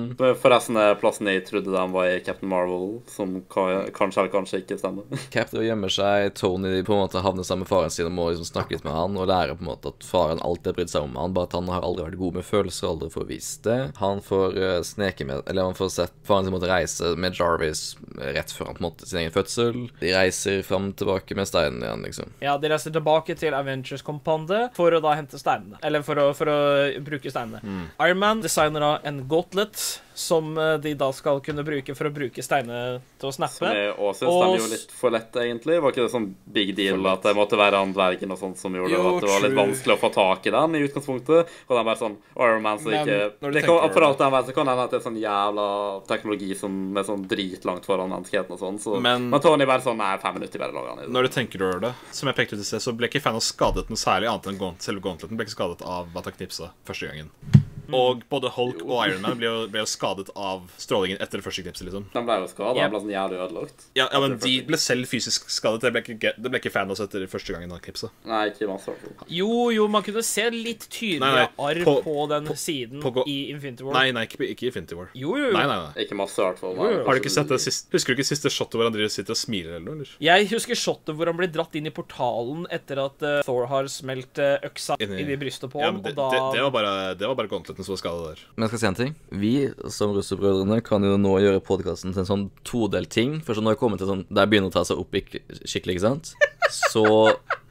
S1: Forresten er plassen jeg trodde den var i Captain Marvel, som ka- kanskje eller kanskje ikke stemmer.
S3: Cap da gjemmer seg, Tony på en måte havner sammen med faren sin og må liksom snakke litt med han og lære på en måte at faren alltid har brydd seg om han, bare at han har aldri vært god med følelser og aldri får vist det. Han får eh, sneke med Eller han får sett faren sin måtte reise med Jarvis eh, rett før han på en måte sin egen fødsel. De reiser fram og tilbake med steinen igjen, liksom.
S5: Ja, De reiser tilbake til Avengers Compoundet for å da hente steinene. Eller for å, for å bruke steinene.
S4: Mm.
S5: Ironman designer da en gauntlet som eh, de da skal kunne bruke for å bruke steinene til å snappe.
S1: Som jeg også synes
S5: Og
S1: den er jo litt for lett, egentlig. Var ikke det sånn big deal at det måtte være han dvergen og sånt som gjorde
S2: Jo,
S1: at det var litt
S2: true.
S1: vanskelig å få tak i den i utgangspunktet? Og den bare sånn Iron Man som
S2: Men,
S1: ikke
S2: når du
S1: det kan,
S2: tenker over
S1: For alt jeg vet, så kan det hende at det er sånn jævla teknologi som er sånn dritlangt foran menneskeheten og sånn, så Men,
S4: Men-
S1: Tony bare sånn Nei, fem minutter bare lager han i det.
S4: Når du tenker over det, som jeg pekte ut i sted, så ble ikke Thanos skadet noe særlig annet enn gaunt, selve gauntleten ble ikke skadet av at han knipsa første gangen. Og både Hulk og Ironman ble, jo- ble jo skadet av strålingen etter det første knipset, liksom.
S1: Den ble jo skadet,
S5: Yep.
S1: den ble sånn jævlig ødelagt.
S4: Ja, ja, men de ble selv fysisk skadet. Det ble ikke, ge- det ble ikke Thanos etter første gangen han knipsa.
S1: Nei, ikke masse, i hvert fall.
S5: Jo, jo, man kunne se litt tydeligere
S4: Nei, nei,
S5: arr på,
S4: på-
S5: den siden
S4: på gå-
S5: i Infinity War.
S4: Nei, nei, ikke, ikke Infinity War.
S5: Jo, jo, jo.
S4: Nei, nei, nei.
S1: Ikke masse, i hvert fall.
S5: jo.
S4: Har du ikke sett
S1: Altså,
S4: det siste, Husker du ikke siste shotet hvor han driver og sitter og smiler eller noe? eller?
S5: Jeg husker shotet hvor han blir dratt inn i portalen etter at eh, Thor har smelt eh, øksa inn
S4: Inni-
S5: i brystet på
S4: Ja,
S5: ham,
S4: men det,
S5: og da
S4: det, det var bare, det var bare gauntleten som var skadet der.
S3: Men jeg skal si en ting. Vi som russerbrødrene kan jo nå gjøre podkasten til en sånn todelt ting. For så når jeg kommer til sånn der begynner å ta seg opp ikk- skikkelig, ikke sant. Så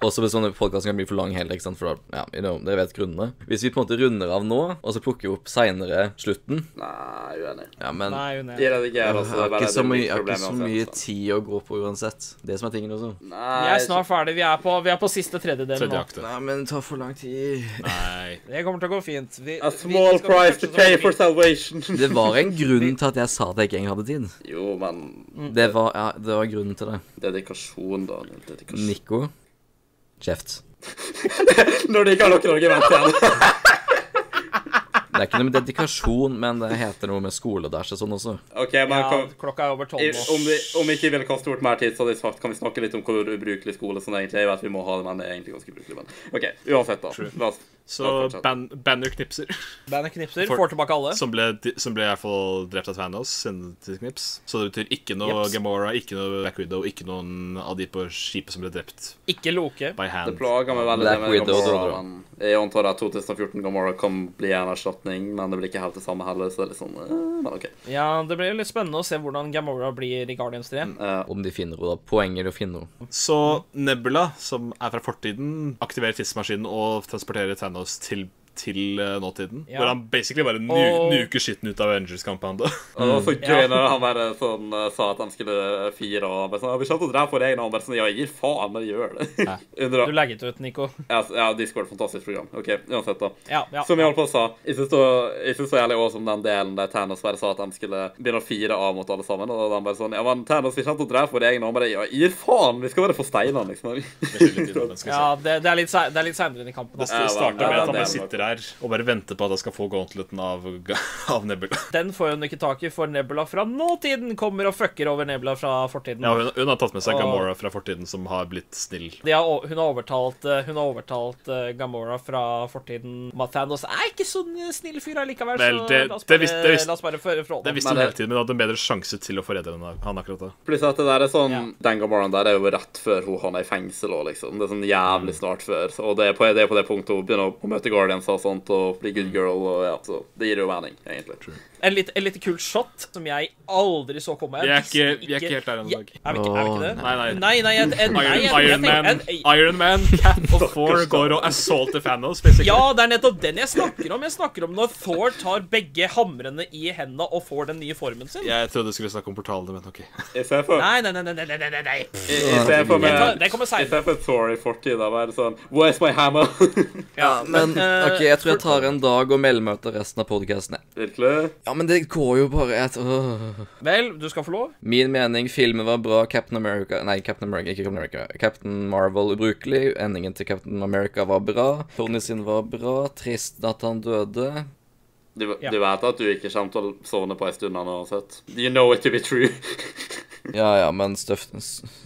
S3: også hvis sånne podkasten kan bli for lang heller, ikke sant. For da, ja, you know, dere vet grunnene. Hvis vi på en måte runder av nå, og så plukker vi opp seinere slutten
S1: Nei, uenig.
S3: Ja, men
S5: Nei,
S3: jeg
S5: hun
S1: De
S5: er
S1: redigerer også.
S3: har
S1: bare
S3: ikke så
S1: det
S3: mye,
S1: litt
S3: jeg har ikke
S1: problemer
S3: så
S1: med å
S3: mye
S1: se det.
S3: tid å gå på uansett. Det som er tingen også.
S1: Nei,
S5: Jeg er snart ferdig. Vi er på, vi er på siste tredjedel
S4: Tredje
S5: nå.
S4: akte.
S3: Nei, men det tar for lang tid.
S4: Nei.
S5: Det kommer til å gå fint. Vi,
S1: A
S5: vi
S1: small
S5: skal
S1: price to
S5: fortsette
S1: pay
S5: som-
S1: for salvation.
S3: Det var en grunn til at jeg sa at jeg ikke egentlig hadde tid.
S1: Jo, men
S3: Det var, ja, det var grunnen til det.
S1: dedikasjon, Daniel. Dedikasjon.
S3: Nico kjeft.
S1: Når de ikke har noen argument igjen.
S3: Det er ikke noe med dedikasjon, men det heter noe med skoledæsj og sånn også.
S1: OK, men
S5: Ja,
S1: kan,
S5: klokka er over tolv
S1: i-
S5: nå.
S1: om, de, om ikke ville kaste bort mer tid, så hadde jeg sagt kan vi snakke litt om hvor ubrukelig skole sånn egentlig er. Jeg vet vi må ha det, men det er egentlig ganske ubrukelig. Men OK, uansett, da. La oss
S4: Så
S1: fortsatt.
S4: ban Banner knipser.
S5: Bandet knipser,
S4: For-
S5: får tilbake alle.
S4: Som ble, som ble i hvert fall drept av Thanos, sendt til knips. Så det betyr ikke noe
S5: Jeps.
S4: Gamora, ikke noe Black Widow, ikke noen av de på skipet som ble drept
S5: Ikke Loke.
S4: by
S1: Det
S4: hand.
S1: plager meg veldig
S3: Black
S1: det med
S3: Widow, tror
S1: Gamora.
S3: jeg.
S1: Men jeg antar at 2014 Gamora kan bli en erstatning, men det blir ikke helt det samme heller, så det er litt sånn eh, Men OK.
S5: Ja, Det blir litt spennende å se hvordan Gamora blir i Guardians
S4: Mm,
S5: 3.
S1: Eh,
S3: Om de finner henne, da. Poenget er å finne henne.
S4: Så Nebula, som er fra fortiden, aktiverer tidsmaskinen og transporterer Thanos til, til eh, nåtiden.
S5: Ja.
S4: Hvor han basically bare nu
S5: Og-
S4: nuker skitten ut av Avengers-kampanjen.
S5: Mm.
S1: og det var så gøy når han bare sånn, eh, sa at han skulle fire og han bare sånn, «Ja, Vi kommer til å drepe vår egen, og han bare sånn Ja, jeg gir faen, men jeg gjør det. Undra.
S5: Du lagget ut, Nico.
S1: Ja, ja, Discord, fantastisk program. OK, uansett, da.
S5: Ja, ja.
S1: Som jeg holdt på å sa, jeg syns det var jævlig også om den delen der Thanos bare sa at de skulle begynne å fire av mot alle sammen. Og han bare sånn Ja, men Thanos, vi kommer til å drepe våre egne. Og han bare Ja, gir faen! Vi skal være på steinene, liksom.
S5: ja det, det er litt se- det er litt seinere inn i kampen.
S4: Det
S5: Altså.
S1: Ja,
S4: starter med
S1: ja,
S4: at han
S1: det
S4: bare
S1: er nok.
S4: sitter her og bare venter på at han skal få gauntleten av, av Nebula.
S5: Den får hun ikke tak i, for Nebula fra nåtiden kommer og fucker over Nebula fra fortiden.
S4: Ja, hun, hun har tatt med seg
S5: Og-
S4: Gamora fra fortiden, som har blitt snill.
S5: De har, o- hun har overtalt, eh, hun har overtalt eh, Gamora fra fortiden om at Thanos er ikke sånn eh, snill fyr allikevel,
S4: Vel,
S5: så
S4: det-
S5: la, oss
S4: det
S5: bare,
S4: visste- det visste-
S5: la oss bare føre fra
S4: Det
S5: den.
S4: visste hun
S1: Men
S4: hele
S1: det-
S4: tiden, men hun hadde en bedre sjanse til å forræde enn han akkurat da.
S1: Pluss at det der er sånn
S5: Ja.
S1: Den Gamoraen der er jo rett før hun havner i fengsel òg, liksom. Det er sånn jævlig
S5: Mm.
S1: snart før. Og det er på det, er på det punktet hun begynner å møte Guardians og sånt, og bli
S5: Mm.
S1: good girl, og ja, så det gir jo mening, egentlig.
S5: En litt, en litt kult shot som jeg aldri så komme.
S4: Vi
S5: Jeg
S4: er ikke,
S5: visste
S4: vi er ikke helt der ennå.
S5: Ja,
S4: Dag.
S5: Er vi ikke, er vi ikke det?
S4: Nei, nei.
S5: Nei, nei, jeg, jeg, nei, jeg,
S4: Iron,
S5: jeg,
S4: Iron,
S5: tenker-
S4: Man,
S5: en-
S4: Iron Man, Cat og Thor går og assaulter Thanos. basically.
S5: ja, det er nettopp den jeg snakker om. Jeg snakker om når Thor tar begge hamrene i hendene og får den nye formen sin.
S4: Jeg trodde du skulle snakke om portalene, men OK.
S1: Jeg ser for,
S5: Nei, nei, nei, nei, nei, nei, nei, nei.
S1: jeg, jeg ser for
S5: Jeg tar,
S1: meg
S5: den kommer
S1: jeg
S5: seinere.
S1: ser for Thor i fortida være sånn Where's my hammer?
S5: Ja,
S3: Men
S5: eh,
S3: OK, jeg tror jeg tar en dag og melder meg ut av resten av podkasten.
S1: Virkelig?
S3: Ja, men det går jo bare et åh.
S5: Vel, du skal få lov.
S3: Min mening, filmen var bra. Captain America Nei, Captain America, ikke Captain America. Captain Marvel ubrukelig. Endingen til Captain America var bra. Tony sin var bra. Trist at han døde.
S1: Du,
S5: Ja.
S1: du vet at du ikke kommer til å sovne på ei stund nå, uansett? You know it to be true.
S3: Ja ja, men stuff,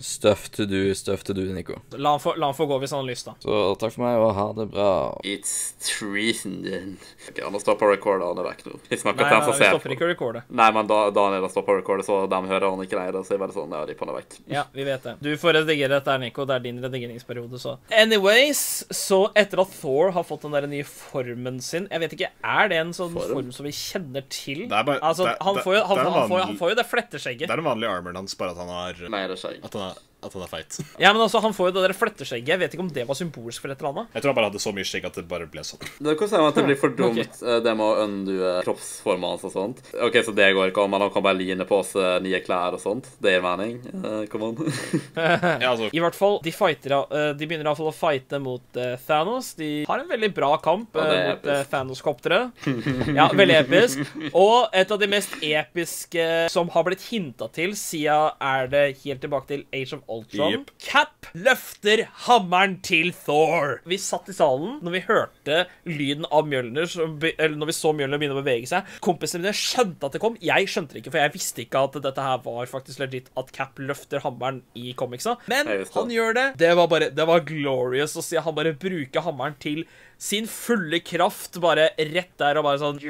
S3: stuff to do, stuff to do, Nico.
S5: La han få, la han få gå hvis han har lyst, da.
S3: Så takk for meg, og ha det bra.
S1: It's treason then. Ok, nå stopper recorden, han er vekk nå. Vi snakker
S5: Nei,
S1: til den
S5: nei, nei,
S1: som
S5: vi
S1: ser
S5: stopper
S1: på.
S5: ikke å recorde.
S1: Nei, men da Daniel har stoppa recordet, så de hører han ikke lenger. Så jeg bare sånn, ja, de på den vekk.
S5: Ja, vi vet det. Du får redigere dette, her, Nico. Det er din redigeringsperiode, så. Anyways, så etter at Thor har fått den der nye formen sin Jeg vet ikke, er det en sånn form, som vi kjenner til?
S4: Det er bare-
S5: altså,
S4: det-
S5: han,
S4: det-
S5: får jo, han,
S4: det er
S5: han, får, jo- han
S4: vanlig-
S5: får jo det
S4: Det
S5: fletteskjegget.
S4: er den vanlige armoren hans, bare at han har
S1: Nei, det skjer ikke.
S4: At han er, at han er feit.
S5: Ja, men altså, han får jo det der fletteskjegget. Jeg vet ikke om det var symbolsk for et eller annet.
S4: Jeg tror han bare hadde så mye skjegg at det bare ble sånn.
S1: Det kan si at det blir for dumt, eh, det med å undue kroppsformen hans og sånt. OK, så det går ikke an, men han kan bare line på seg nye klær og sånt. Det gir mening. Eh, Come on.
S4: Ja, altså,
S5: I hvert fall, de, fighter, eh, de begynner i hvert fall å fighte mot eh, Thanos. De har en veldig bra kamp
S1: Ja, det
S5: eh,
S1: er
S5: mot eh,
S1: episk.
S5: Thanos-kopteret. Ja, veldig episk. Og et av de mest episke eh, som har blitt hinta til siden er det helt tilbake til Age of Ultron.
S4: Jep.
S5: Cap løfter hammeren til Thor. Vi satt i salen når vi hørte lyden av Mjølner, som be- eller når vi så Mjølner begynne å bevege seg. Kompisene mine skjønte at det kom. Jeg skjønte det ikke, for jeg visste ikke at dette her var faktisk legit at Cap løfter hammeren i comicsa. Men
S1: Jeg visste
S5: han
S1: det.
S5: gjør det. Det var bare, det var glorious å se han bare bruke hammeren til sin fulle kraft, bare rett der og bare sånn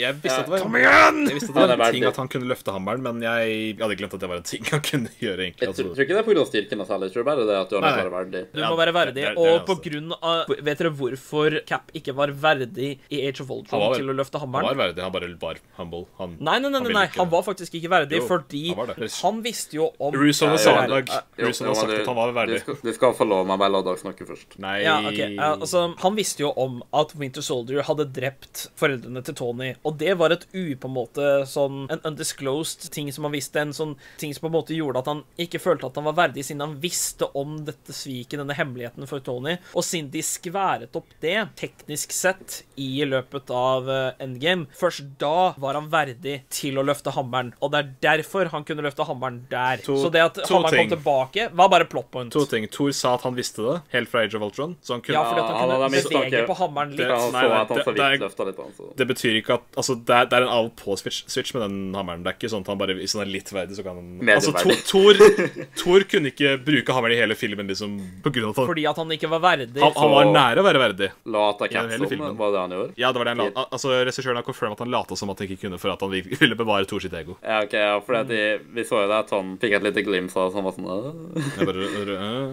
S4: jeg visste at det var
S1: Kom
S4: igjen! Jeg visste at det
S1: Han er
S4: var en
S1: verdig.
S4: ting at han kunne løfte hammeren, men jeg, jeg hadde glemt at det var en ting han kunne gjøre, egentlig.
S1: Jeg tror
S4: Altså,
S1: tror ikke det er pga. styrken hans heller. Jeg tror bare det er at du har
S4: Nei,
S1: nok
S4: nei.
S1: vært verdig.
S5: Du
S4: Ja,
S5: må være
S4: det-
S5: verdig.
S4: det er altså- det
S5: og på
S4: eneste.
S5: grunn av Vet dere hvorfor Cap ikke var verdig i Age of
S4: Han
S5: Ultron
S4: var vel-
S5: til å løfte
S4: han
S5: hammeren?
S4: var verdig, han bare var humble. Han,
S5: Nei, nei, nei,
S4: Han
S5: nei,
S4: ville
S5: nei.
S4: ikke
S5: han
S4: det.
S5: var faktisk ikke verdig,
S4: Jo,
S5: fordi
S4: han var
S5: han,
S4: det.
S5: visste jo om Eh,
S4: Russo
S1: Ja,
S4: har
S1: ja,
S4: sagt,
S1: ja.
S4: Dag.
S1: Jo,
S4: Russo
S1: jo,
S4: har sagt
S1: men du-
S4: at han var verdig.
S1: Du skal, du skal få lov, men bare la Dag snakke først.
S4: Nei
S5: ja, ok. Ja, altså, han visste jo om at Winter Soldier hadde drept foreldrene til Tony. Og det var et u, på en måte, sånn En undisclosed ting som han visste. En sånn ting som på en måte gjorde at han ikke følte at han var verdig, siden han visste om dette sviket, denne hemmeligheten for Tony. Og siden de skværet opp det, teknisk sett, i løpet av eh, Endgame, først da var han verdig til å løfte hammeren. Og det er derfor han kunne løfte hammeren der.
S4: To-
S5: Så det at
S4: to
S5: hammeren
S4: ting.
S5: kom tilbake, var bare plot point.
S4: To ting. Thor sa at han visste det, helt fra Age of Ultron. Så han kunne,
S5: Ja, fordi at
S1: Ja,
S5: han
S1: han hadde
S5: kunne bevege
S1: mistanke.
S5: på hammeren litt.
S1: Ja, Han
S4: Nei,
S1: så
S4: nei,
S1: at han
S4: det-
S1: så
S4: det
S1: vidt
S4: er-
S1: løfta litt på han, så
S4: Det betyr ikke at Altså, det er, det er en av-på-switch med den hammeren. Det er ikke sånn at han bare Hvis han er litt verdig, sånn så kan han Altså,
S1: Medieverdig.
S4: Tor, Tor, Thor kunne ikke bruke hammeren i hele filmen liksom, på grunn av at han,
S5: Fordi at han ikke var verdig.
S4: han, han var nære å være verdig.
S1: Lata
S4: Ja, hele
S1: Cats om,
S4: filmen.
S1: var det han gjorde?
S4: Ja, det var det han la, al- altså Regissøren har confirmet at han lata som at han ikke kunne for at han vil- ville bevare Thor sitt ego.
S1: Ja, ok, ja, for de, vi så jo det at han fikk et lite glimt av det, så han var sånn «Øh».
S4: Jeg bare,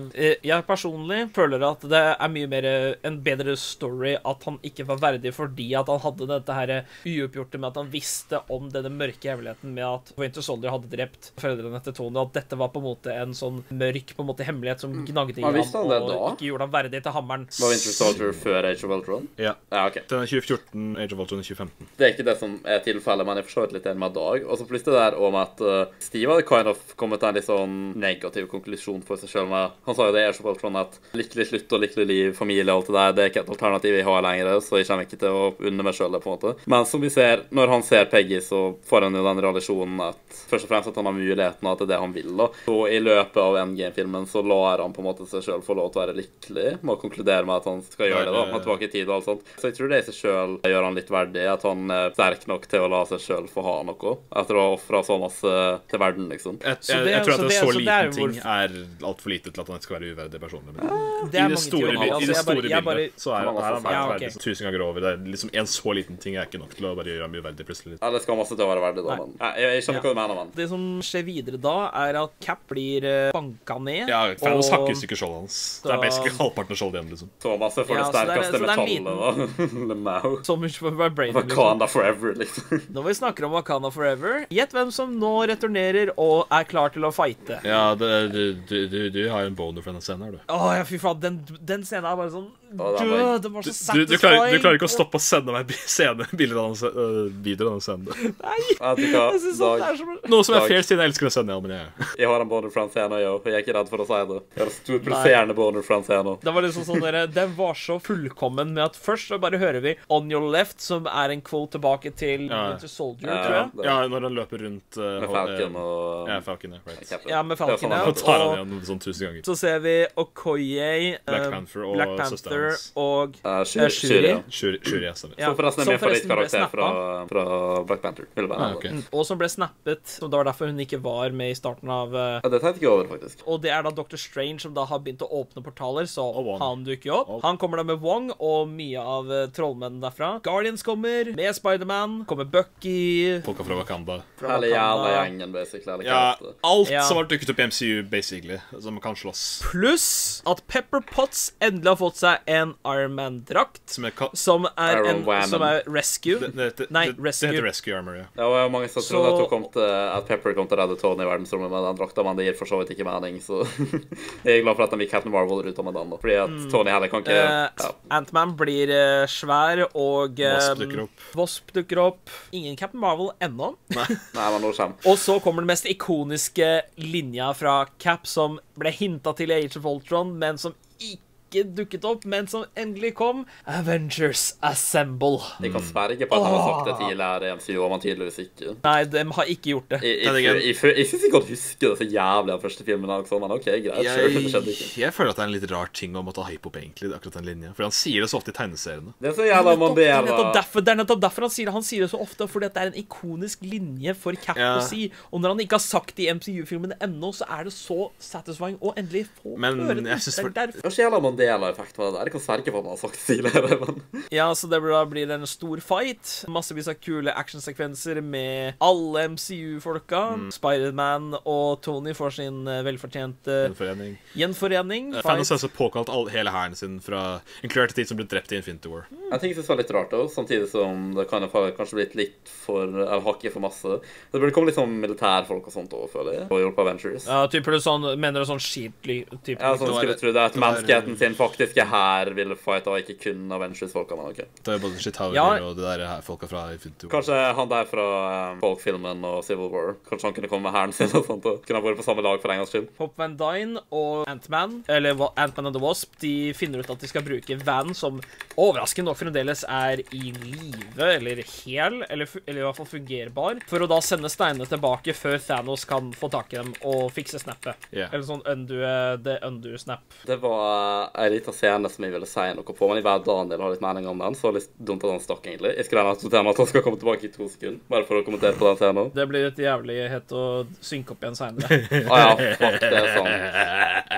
S4: øh,
S5: Eh, Jeg personlig føler at det er mye mer eh, en bedre story at han ikke var verdig fordi at han hadde dette her eh, uoppgjorte med at han visste om denne mørke hemmeligheten med at Winter Soldier hadde drept foreldrene til Tony, og at dette var på en måte en sånn mørk på en måte hemmelighet som gnagde i
S1: Han
S5: ham
S1: Mm. visste han det
S5: og
S1: da?
S5: ikke gjorde ham verdig til hammeren.
S1: Var Winter Soldier før Age of Ultron?
S4: ja.
S1: Ja, ok.
S4: Den er 2014, Age of Ultron er 2015.
S1: Det er ikke det som er tilfellet, men jeg er for så vidt litt enig med Dag. Og så plutselig det der om at eh, Steve hadde kind of kommet til en litt sånn negativ konklusjon for seg sjøl. Han sa jo det i Age of Ultron at lykkelig slutt og lykkelig liv, familie og alt det der, det er ikke et alternativ jeg har lenger, så jeg kommer ikke til å unne meg sjøl det, på en måte. Men som vi ser, når han ser Peggy, så får han jo den realisjonen at først og fremst at han har muligheten, og at det er det han vil, da. Så i løpet av Endgame-filmen så lar han på en måte seg sjøl få lov til å være lykkelig, med å konkludere med at han skal gjøre det, da. Han er tilbake i tid og alt sånt. Så jeg tror det i seg sjøl gjør han litt verdig, at han er sterk nok til å la seg sjøl få ha noe, etter å ha ofra så masse til verden, liksom.
S4: Jeg,
S5: Så
S4: jeg,
S5: det-
S4: jeg tror
S5: så
S4: at en
S5: det-
S4: så
S5: så det er
S4: liten
S5: jo
S4: ting
S5: hvorf-
S4: er altfor lite til at han skal være uverdig person. Men
S5: Det
S4: I
S5: er
S4: det
S5: mange
S4: store,
S5: teorier,
S4: bil-
S5: altså,
S4: i det
S5: jeg
S4: store
S5: bare- jeg bare-
S4: bildet så er, er han
S5: Ja, ok.
S4: verdig som tusen ganger over. Det er liksom En så liten ting er ikke nok til å bare gjøre ham uverdig plutselig.
S1: Ja, det skal masse til å være verdig, da, men Nei, jeg, jeg skjønner hva du mener, men
S5: Det som skjer videre da, er at Cap blir eh, banka ned.
S4: Ja, Thanos
S5: og-
S4: hakker jo ikke skjoldet hans. Det
S5: Da-
S4: er basically halvparten av skjoldet igjen. liksom
S1: så masse for
S5: Ja,
S1: det
S5: så det er- så
S1: sterkeste
S5: det er en
S1: metallet, da. Lemau.
S5: Som for Brain, liksom.
S1: Wakanda forever, liksom.
S5: Når vi snakker om Wakanda Forever, gjett hvem som nå returnerer og er klar til å fighte.
S4: Ja, det, du, du, du, du har jo en boner for denne scenen her, du.
S5: Å, ja, fy faen, den, den scenen er bare sånn
S1: Å, den
S5: Død,
S1: var-
S5: den var
S4: Du, du,
S5: så satisfying.
S4: du, klarer, du klarer ikke å stoppe å sende meg bi- scene, bilder av den se- øh, videoer av den scenen.
S1: Vet du hva,
S5: Jeg synes sånn, det
S1: Dag,
S5: er som
S4: Noe som er
S1: Dag.
S4: fair, siden jeg elsker den scenen. Ja, men jeg,
S1: jeg har en boner fra en scene, jeg òg. Jeg er ikke redd for å si det. Jeg har en stor pulserende boner fra en scene.
S5: det var liksom sånn dere, Den var så fullkommen med at først så bare hører vi 'On Your Left', som er en quote tilbake til
S4: Ja.
S5: Winter Soldier,
S1: Ja,
S5: tror jeg.
S1: det-
S4: ja, når han løper rundt øh,
S1: Med
S4: hold-
S1: Falcon
S4: øh,
S1: og
S4: Ja, Falcon, ja, right.
S1: Captain.
S5: Ja, med
S1: Det er sånn
S5: Falcon,
S1: han
S5: ja.
S4: Han tar han
S5: Og
S4: igjen sånn tusen ganger.
S5: så ser vi Okoye,
S4: Black
S5: eh,
S4: Panther og
S5: Black
S4: søsteren
S5: Panther
S4: hans.
S5: og
S1: Eh, Shuri-
S5: Eh, Shuri.
S1: Shuri, ja.
S4: Shuri, Shuri er stemmer.
S5: Ja,
S1: Som forresten er
S5: som
S1: min
S5: forresten ble
S1: favorittkarakter fra,
S5: snappa.
S1: fra Black Panther. Ville bare
S4: Ah,
S1: nevne
S4: ok.
S1: det.
S5: Og som ble snappet. Så det var derfor hun ikke var med i starten av eh,
S1: Ja, det tenkte jeg ikke over, faktisk.
S5: Og det er da Dr. Strange som da har begynt å åpne portaler, så
S4: Og Wong.
S5: han dukker jo opp.
S4: Og-
S5: Han kommer da med Wong og mye av eh, trollmennene derfra. Guardians kommer, med Spiderman, kommer Bucky
S4: Folka fra Wakanda.
S5: fra
S1: Hele jævla
S5: Wakanda.
S1: gjengen, basically. Eller
S4: Ja,
S1: hva det heter.
S4: alt
S5: Ja.
S4: som har dukket opp i MCU, basically, som kan slåss.
S5: Pluss at Pepper Potts endelig har fått seg en Iron Man-drakt.
S4: Som er ka
S5: Som er
S1: Iron
S5: en
S1: Woman.
S5: som er Rescue.
S4: det, det, det,
S5: Nei,
S4: det, det
S5: Rescue.
S4: heter Rescue Armor, ja.
S1: Ja, og jeg var mange som
S5: Så-
S1: trodde at, hun kom til, at Pepper kom til å redde Tony i verdensrommet med den drakta, men det gir for så vidt ikke mening, så jeg er glad for at de gikk Captain Marvel ut av med den, da. Fordi at Tony heller kan ikke
S5: Mm. Eh,
S1: ja.
S5: Antman blir eh, svær, og eh,
S4: Wasp dukker opp.
S5: Wasp dukker opp. Ingen Captain Marvel ennå.
S1: Nei, men nå kommer
S5: Og så kommer den mest ikoniske linja fra Cap, som ble hinta til i Age of Ultron, men som ikke dukket opp, men som endelig kom. Avengers Assemble.
S1: Jeg
S4: Mm.
S1: kan sverge på at de har sagt det tidligere i MCU, og man tydeligvis ikke.
S5: Nei, de har ikke gjort det.
S1: Jeg,
S4: Nei,
S1: jeg,
S4: det er
S1: jeg,
S4: greit.
S1: jeg, jeg syns ikke han husker det så jævlig av første filmen, også, men OK, greit. sure, det skjedde ikke.
S4: jeg føler at det er en litt rar ting å måtte hype opp, egentlig. akkurat den linja. For han sier det så ofte i tegneseriene.
S1: Det er så jævla
S5: Det er
S1: Mandela
S5: nettopp derfor, det er nettopp derfor han sier det. Han sier det så ofte, fordi at det er en ikonisk linje for Cap
S4: Ja.
S5: å si. Og når han ikke har sagt det i MCU-filmene ennå, så er det så satisfying å endelig få
S4: Men
S5: høre det.
S4: jeg synes
S5: Det er
S4: for-
S5: derfor-
S1: Det er så jævla Mandela-effekt med det der. Jeg kan sverge på at han har sagt det tidligere, men
S5: Ja, så det blir- da blir det en stor fight. Massevis av kule actionsekvenser med alle MCU-folka. Spiderman og Tony får sin eh, velfortjente
S4: Gjenforening.
S5: gjenforening.
S4: Thanos
S5: Fight.
S4: har altså påkalt all, hele hæren sin fra inkludert de som ble drept i Infinity War.
S1: en ting jeg synes var litt rart også, samtidig som det kan ha kanskje blitt litt for Eller hakket for masse. Det burde komme litt sånn militærfolk og sånt òg, føler jeg. Og hjulpet Avengers. Ja.
S5: Ja, typer du sånn, mener du sånn shield-type?
S1: sånn
S4: Det var-
S1: skulle tro det at
S4: det var-
S1: menneskeheten sin faktiske hær ville fighte, og ikke kun Avengers-folka. Men ok.
S4: Det er både Chitauri
S5: Ja.
S4: og det der her folka fra Infinity War.
S1: Kanskje han der fra eh, Folk-filmen og Civil War Kanskje han kunne komme med hæren sin og sånt og kunne ha vært på samme lag for en gangs skyld.
S5: Pop Van Dyne og Ant-Man, eller Wa- Ant-Man and the Wasp, de finner ut at de skal bruke Van, som overraskende nok fremdeles er i live, eller hel, eller, fu- eller i hvert fall fungerbar, for å da sende steinene tilbake før Thanos kan få tak i dem og fikse snappet.
S4: Ja.
S5: Eller sånn eh, undo, the undo snap.
S1: Det var ei lita scene som jeg ville si noe på, men jeg vet Daniel har litt mening om den, så litt dumt at han stakk, egentlig. Jeg skulle gjerne hatt med at han skal komme tilbake i to sekunder, bare for å kommentere på den scenen.
S5: Det blir et jævlig hett å synke opp igjen seinere.
S1: Å Ah, ja, fuck, det er sant.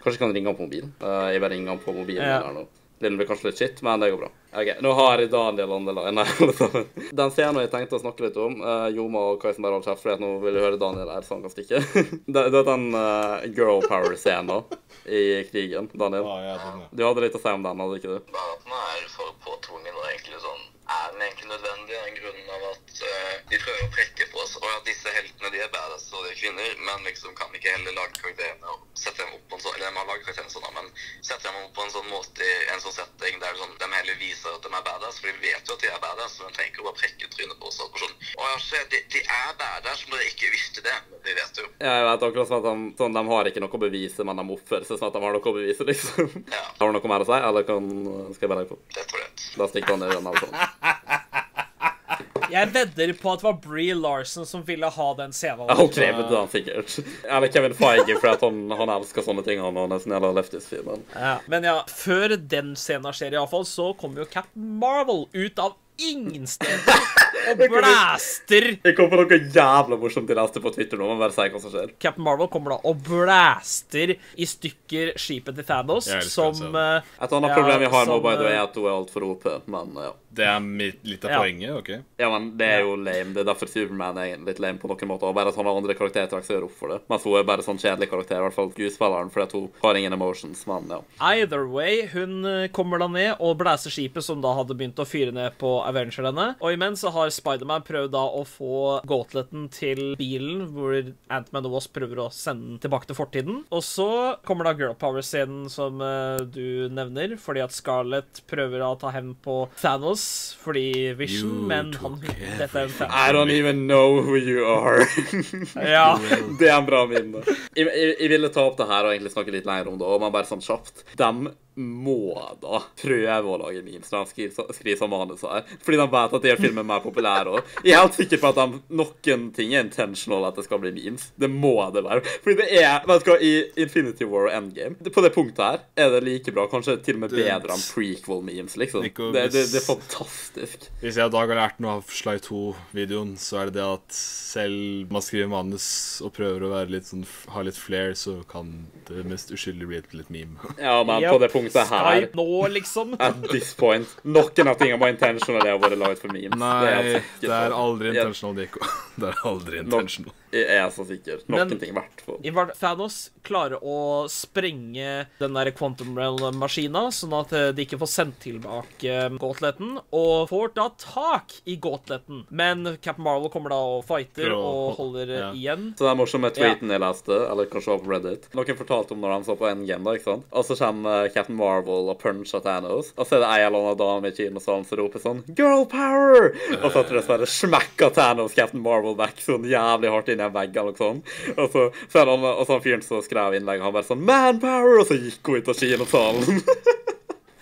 S1: Kanskje jeg kan ringe han på mobilen. Eh, jeg bare ringer han på mobilen
S5: Ja.
S1: min her nå. Den blir kanskje litt shit, men det går bra. Ok, Nå har jeg Daniel Andela. Nei, alle sammen. Den scenen jeg tenkte å snakke litt om, uh, Joma og Kajsen bare holdt kjeft, for nå vil jeg høre Daniel her, så han kan stikke. det, det er den eh, girl power-scenen i krigen, Daniel.
S4: Ah, Ja, ja, den, ja.
S1: Du hadde litt å si om den, hadde ikke du?
S8: Bare at den er for påtvungen og egentlig sånn Er den egentlig nødvendig av grunnen av at eh, de prøver å prekke på oss? Og at disse heltene de er badass og de er kvinner, men liksom kan ikke heller lage karakterene og sette dem opp på en sånn Eller de har laget karakterene sånn, da, men sette dem opp på en sånn måte i en sånn setting der sånn, de heller viser at de er badass, for de vet jo at de er badass, men de trenger ikke å bare prekke trynet på oss. Og sånn, å ja, se, de, de er badass, men dere ikke visste det. Men de vet jo.
S1: Ja, jeg vet akkurat som at de, sånn, de har ikke noe å bevise, men de oppfører seg som at de har noe å bevise, liksom.
S8: Ja,
S1: Har du noe mer å si, eller kan, skal jeg bare legge på?
S8: det tror jeg.
S1: Da stikker han i den. Altså.
S5: Jeg vedder på at det var Bree Larson som ville ha den scenen.
S1: Ja, Hun krever det, sikkert. Eller Kevin Feige, for at han, han elsker sånne ting. Han sånn har nesten hele Leftis-filmen.
S5: Ja. Men ja, før den scenen skjer, iallfall, så kommer jo Captain Marvel ut av ingen steder og blæster
S1: Jeg kom på noe jævla morsomt i neste på Twitter nå, men bare si hva som skjer.
S5: Captain Marvel kommer da og blæster i stykker skipet til Thanos,
S4: Jeg elsker den
S5: som
S4: scenen.
S5: eh,
S1: Et annet
S5: Ja,
S1: problem jeg har nå,
S5: som,
S1: by the way,
S5: eh,
S1: er at hun er altfor OP, men ja.
S4: det er mitt, litt av
S5: Ja.
S4: poenget, OK?
S1: ja. men Det er jo lame. Det er derfor Superman er litt lame på noen måter. og Bare at han har andre karaktertrekk som gjør opp for det. Mens hun er bare sånn kjedelig karakter, i hvert fall skuespilleren, fordi at hun har ingen emotions, men ja.
S5: Either way, hun eh, kommer da ned og blæser skipet som da hadde begynt å fyre ned på Avengerne. Og imens så har Spiderman prøvd da å få gauntleten til bilen, hvor Ant-Man og Wasp prøver å sende den tilbake til fortiden. Og så kommer da girl power-scenen som eh, du nevner, fordi at Scarlett prøver å ta hevn på Thanos fordi Vision,
S4: You
S5: men
S4: took
S5: han Dette er jo
S4: everything.
S5: Thanos.
S1: I don't even know who you are.
S5: Ja.
S1: Det er en bra minne. Jeg, jeg, jeg ville ta opp det her og egentlig snakke litt lenger om det. Og man bare sånn kjapt De må da prøve å lage memes når de skriver, så- skriver sånn manus her. Fordi de vet at de gjør filmen mer populær òg. Jeg er helt sikker på at de, noen ting er intentional at det skal bli memes. Det må det være. Fordi det er Vet du hva, i Infinity War og Endgame På det punktet her er det like bra, kanskje til og med bedre enn prequel-memes, liksom.
S4: Nico,
S1: Det, det,
S4: hvis-
S1: det er fantastisk.
S4: Hvis jeg i dag har lært noe av Sly 2-videoen, så er det det at selv man skriver manus og prøver å være litt sånn, ha litt flair, så kan det mest uskyldig bli til et meme.
S1: Ja, men på
S5: Yep.
S1: det punktet her
S5: Skype nå, liksom.
S1: At this point. Noen av tingene var intentional, det har vært laget for memes. det er altså
S4: Nei,
S1: jeg så
S4: det er
S1: sikker på.
S4: aldri intentional, Nico. Det er aldri intentional.
S1: Jeg er så sikker. Noen
S5: Men-
S1: ting i hvert fall.
S5: I hvert- Thanos klarer å sprenge den der quantum realm-maskina, sånn at eh, de ikke får sendt tilbake eh, gauntleten, og får da tak i gauntleten. Men Captain Marvel kommer da og fighter
S4: Prøver å
S5: og holder eh,
S4: ja.
S5: igjen.
S1: Så den morsomme tweeten jeg leste, eller kanskje var på Reddit Noen fortalte om når han så på Endgame, da, ikke sant? Og så kommer eh, Captain Marvel og puncher Thanos, og så er det ei eller annen dame i kinosalen som roper sånn 'Girl power!' Og så tror jeg dessverre smekka Thanos Captain Marvel back sånn jævlig hardt inn i en vegg eller noe sånt. Og så, så er det han, og så han fyren som skrev innlegget, han bare sånn 'Man power!' Og så gikk hun ut av kinosalen.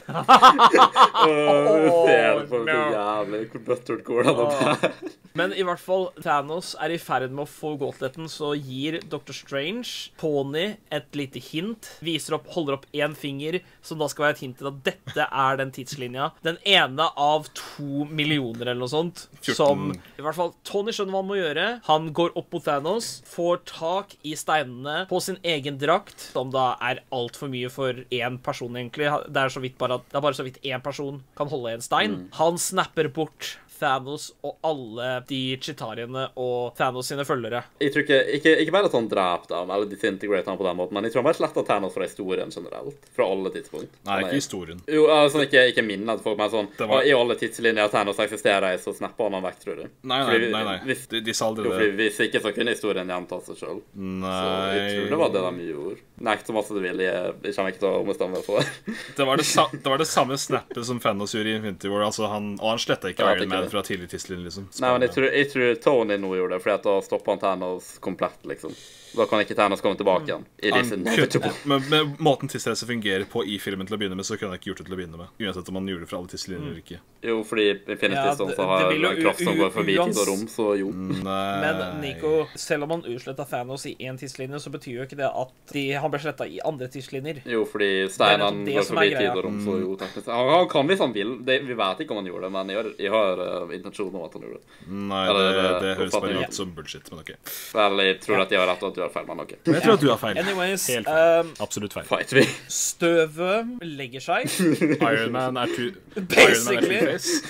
S1: Åh, ser du på det jævlig hvor buttered går det an?
S5: Men i hvert fall, Thanos er i ferd med å få gåtleten, så gir Dr. Strange Pony et lite hint. Viser opp, holder opp én finger, som da skal være et hint til at dette er den tidslinja. Den ene av to millioner eller noe sånt. Som i hvert fall Tony skjønner hva han må gjøre. Han går opp mot Thanos, får tak i steinene på sin egen drakt, som da er altfor mye for én person, egentlig. Det er, så vidt bare at, det er bare så vidt én person kan holde en stein. Han snapper bort Thanos og alle de chitariene og Thanos sine følgere.
S1: Jeg tror ikke, ikke, ikke bare at han drepte ham eller disintegrerte ham på den måten, men jeg tror han bare sletta Thanos fra historien generelt. Fra alle tidspunkt.
S4: Nei,
S1: Han er-
S4: ikke historien.
S1: Jo, altså ikke, ikke minnet folk, men sånn
S4: Det var-
S1: I alle tidslinjer at Thanos eksisterer, så snapper han ham vekk, tror du.
S4: Nei, nei,
S1: Fordi vi-
S4: nei. nei.
S1: Hvis,
S4: De, de sa aldri
S1: jo, fordi
S4: det.
S1: hvis ikke, så kunne historien gjenta seg sjøl.
S4: eh,
S1: Så jeg tror det var
S4: Nei
S1: det de gjorde. Nekt så masse du vil, jeg, jeg kommer ikke til å ombestemme meg for det.
S4: Det var det, sa det, var det samme snappet som Thanos gjorde i Infinity War. Altså han, og han sletta ikke
S1: Ja, det
S4: Iron
S1: er
S4: Man
S1: ikke det.
S4: fra tidlig tidslinje, liksom.
S1: Nei, men jeg tror, jeg tror Tony nå gjorde det, fordi at da stoppa han Thanos komplett, liksom. Da kan ikke Thanos komme tilbake igjen. It is
S4: Mm. Han kutt-
S1: inevitable.
S4: men med måten tidsreise fungerer på i filmen til å begynne med, så kunne jeg ikke gjort det til å begynne med. Uansett om man gjorde det fra alle tidslinjer eller ikke.
S1: Jo, fordi Infinity
S5: Ja,
S1: Stones
S5: det-
S1: har
S5: det vil jo
S1: en kraft som
S5: u-
S1: går
S5: u-
S1: forbi tid og
S5: uans-
S1: rom, så jo.
S4: Nei
S5: Men Nico, selv om han utsletta Thanos i én tidslinje, så betyr jo ikke det at de, han han ble sletta i andre tidslinjer.
S1: Jo, fordi steinene
S5: det
S1: går
S5: som er
S1: forbi
S5: greia.
S1: tid og rom, så jo, teknisk sett. Han, han kan hvis han vil. Det, vi vet ikke om han gjorde det, men jeg har, jeg har eh, intensjonen om at han gjorde det.
S4: Nei, det,
S1: Eller,
S4: det,
S1: eh,
S4: høres
S1: oppfatning.
S4: bare ut som bullshit, men ok.
S1: Vel, jeg tror at jeg har rett, og at du har feil, men ok.
S4: Men jeg tror at du har feil.
S5: Anyways,
S4: Helt feil.
S5: eh,
S4: Absolutt feil.
S1: Fight me.
S5: støvet legger seg.
S4: Ironman er two
S5: Basically.
S4: face.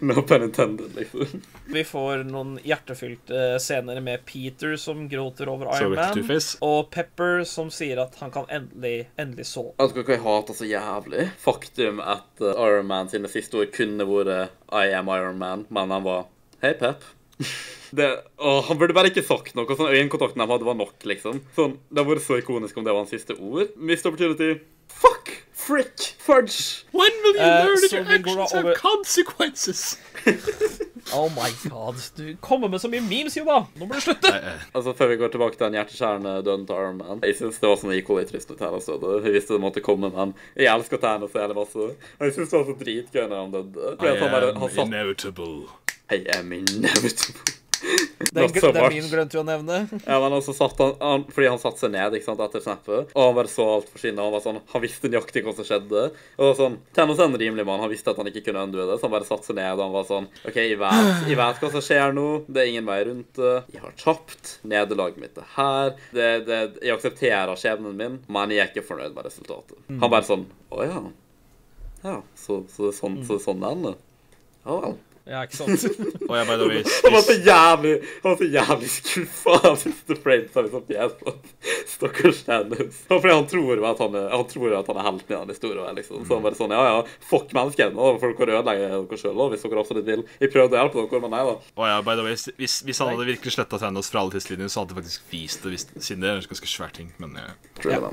S1: No pun intended, liksom.
S5: Vi får noen hjertefylte scener med Peter som gråter over
S4: Så
S5: Iron
S4: ikke
S5: Man.
S4: Two-Face.
S5: Og Pepper som sier at han kan endelig, endelig sove.
S1: Vet dere hva jeg hater så jævlig? Faktum at eh, Iron Man sine siste ord kunne vært uh, I am Iron Man, men han var Hei, Pep. Det, åh, han burde bare ikke sagt noe. Sånn Øyekontakten de hadde, var nok, liksom. Sånn, Det hadde vært så ikonisk om det var hans siste ord. Missed opportunity. Fuck! Frick! Fudge!
S4: When will you
S5: Eh,
S4: learn that
S5: så
S4: your
S5: vi går da
S4: actions have
S5: over-
S4: consequences?
S5: Oh my god. Du kommer med så mye memes, Juba! Nå må du slutte!
S1: Altså, Før vi går tilbake til den hjerteskjærende døden til Iron Man Jeg synes det var sånn equally trist når Thanos døde. Jeg visste det måtte komme, men jeg elsker Thanos hele masse. Og jeg synes det var så dritgøy når han døde. Fordi at han bare, han satt
S4: inevitable.
S1: I am inevitable.
S5: Den,
S1: Not so
S5: den
S1: much.
S5: min glemte vi å nevne.
S1: Ja, men altså satt han, han Fordi han satte seg ned ikke sant, etter snappet, og han bare så alt forsvinne. og Han var sånn, han visste nøyaktig hva som skjedde. Og det var sånn, Thanos er en rimelig mann. Han visste at han ikke kunne undue det, så han bare satte seg ned og han var sånn OK, jeg vet, jeg vet hva som skjer nå. Det er ingen vei rundt det. Jeg har tapt. Nederlaget mitt er her. Det, det, jeg aksepterer skjebnen min, men jeg er ikke fornøyd med resultatet.
S5: Mm.
S1: Han bare sånn Å ja. Ja, så, så det er sånn, så det er sånn det ender. Ja vel.
S5: Ja, ikke sant?
S4: Og jeg by the way
S1: Han var så
S4: spiste
S1: jævlig Han var så jævlig skuffa av siste frames av liksom Pietro. Stakkars Thanos. Ja, Fordi han tror jo at han er, han tror jo at han er helten i den historien. Liksom. Så han bare sånn Ja, ja, fuck menneskene. Og folk kan ødelegge dere sjøl hvis dere absolutt vil. Jeg prøvde å hjelpe dere, men nei da.
S4: Å ja, by the way, hvis, hvis han hadde virkelig sletta Thanos fra alle tidslinjer, så hadde jeg faktisk vist det, hvis, siden det er en ganske svær ting. Men eh,
S1: Tror jeg da.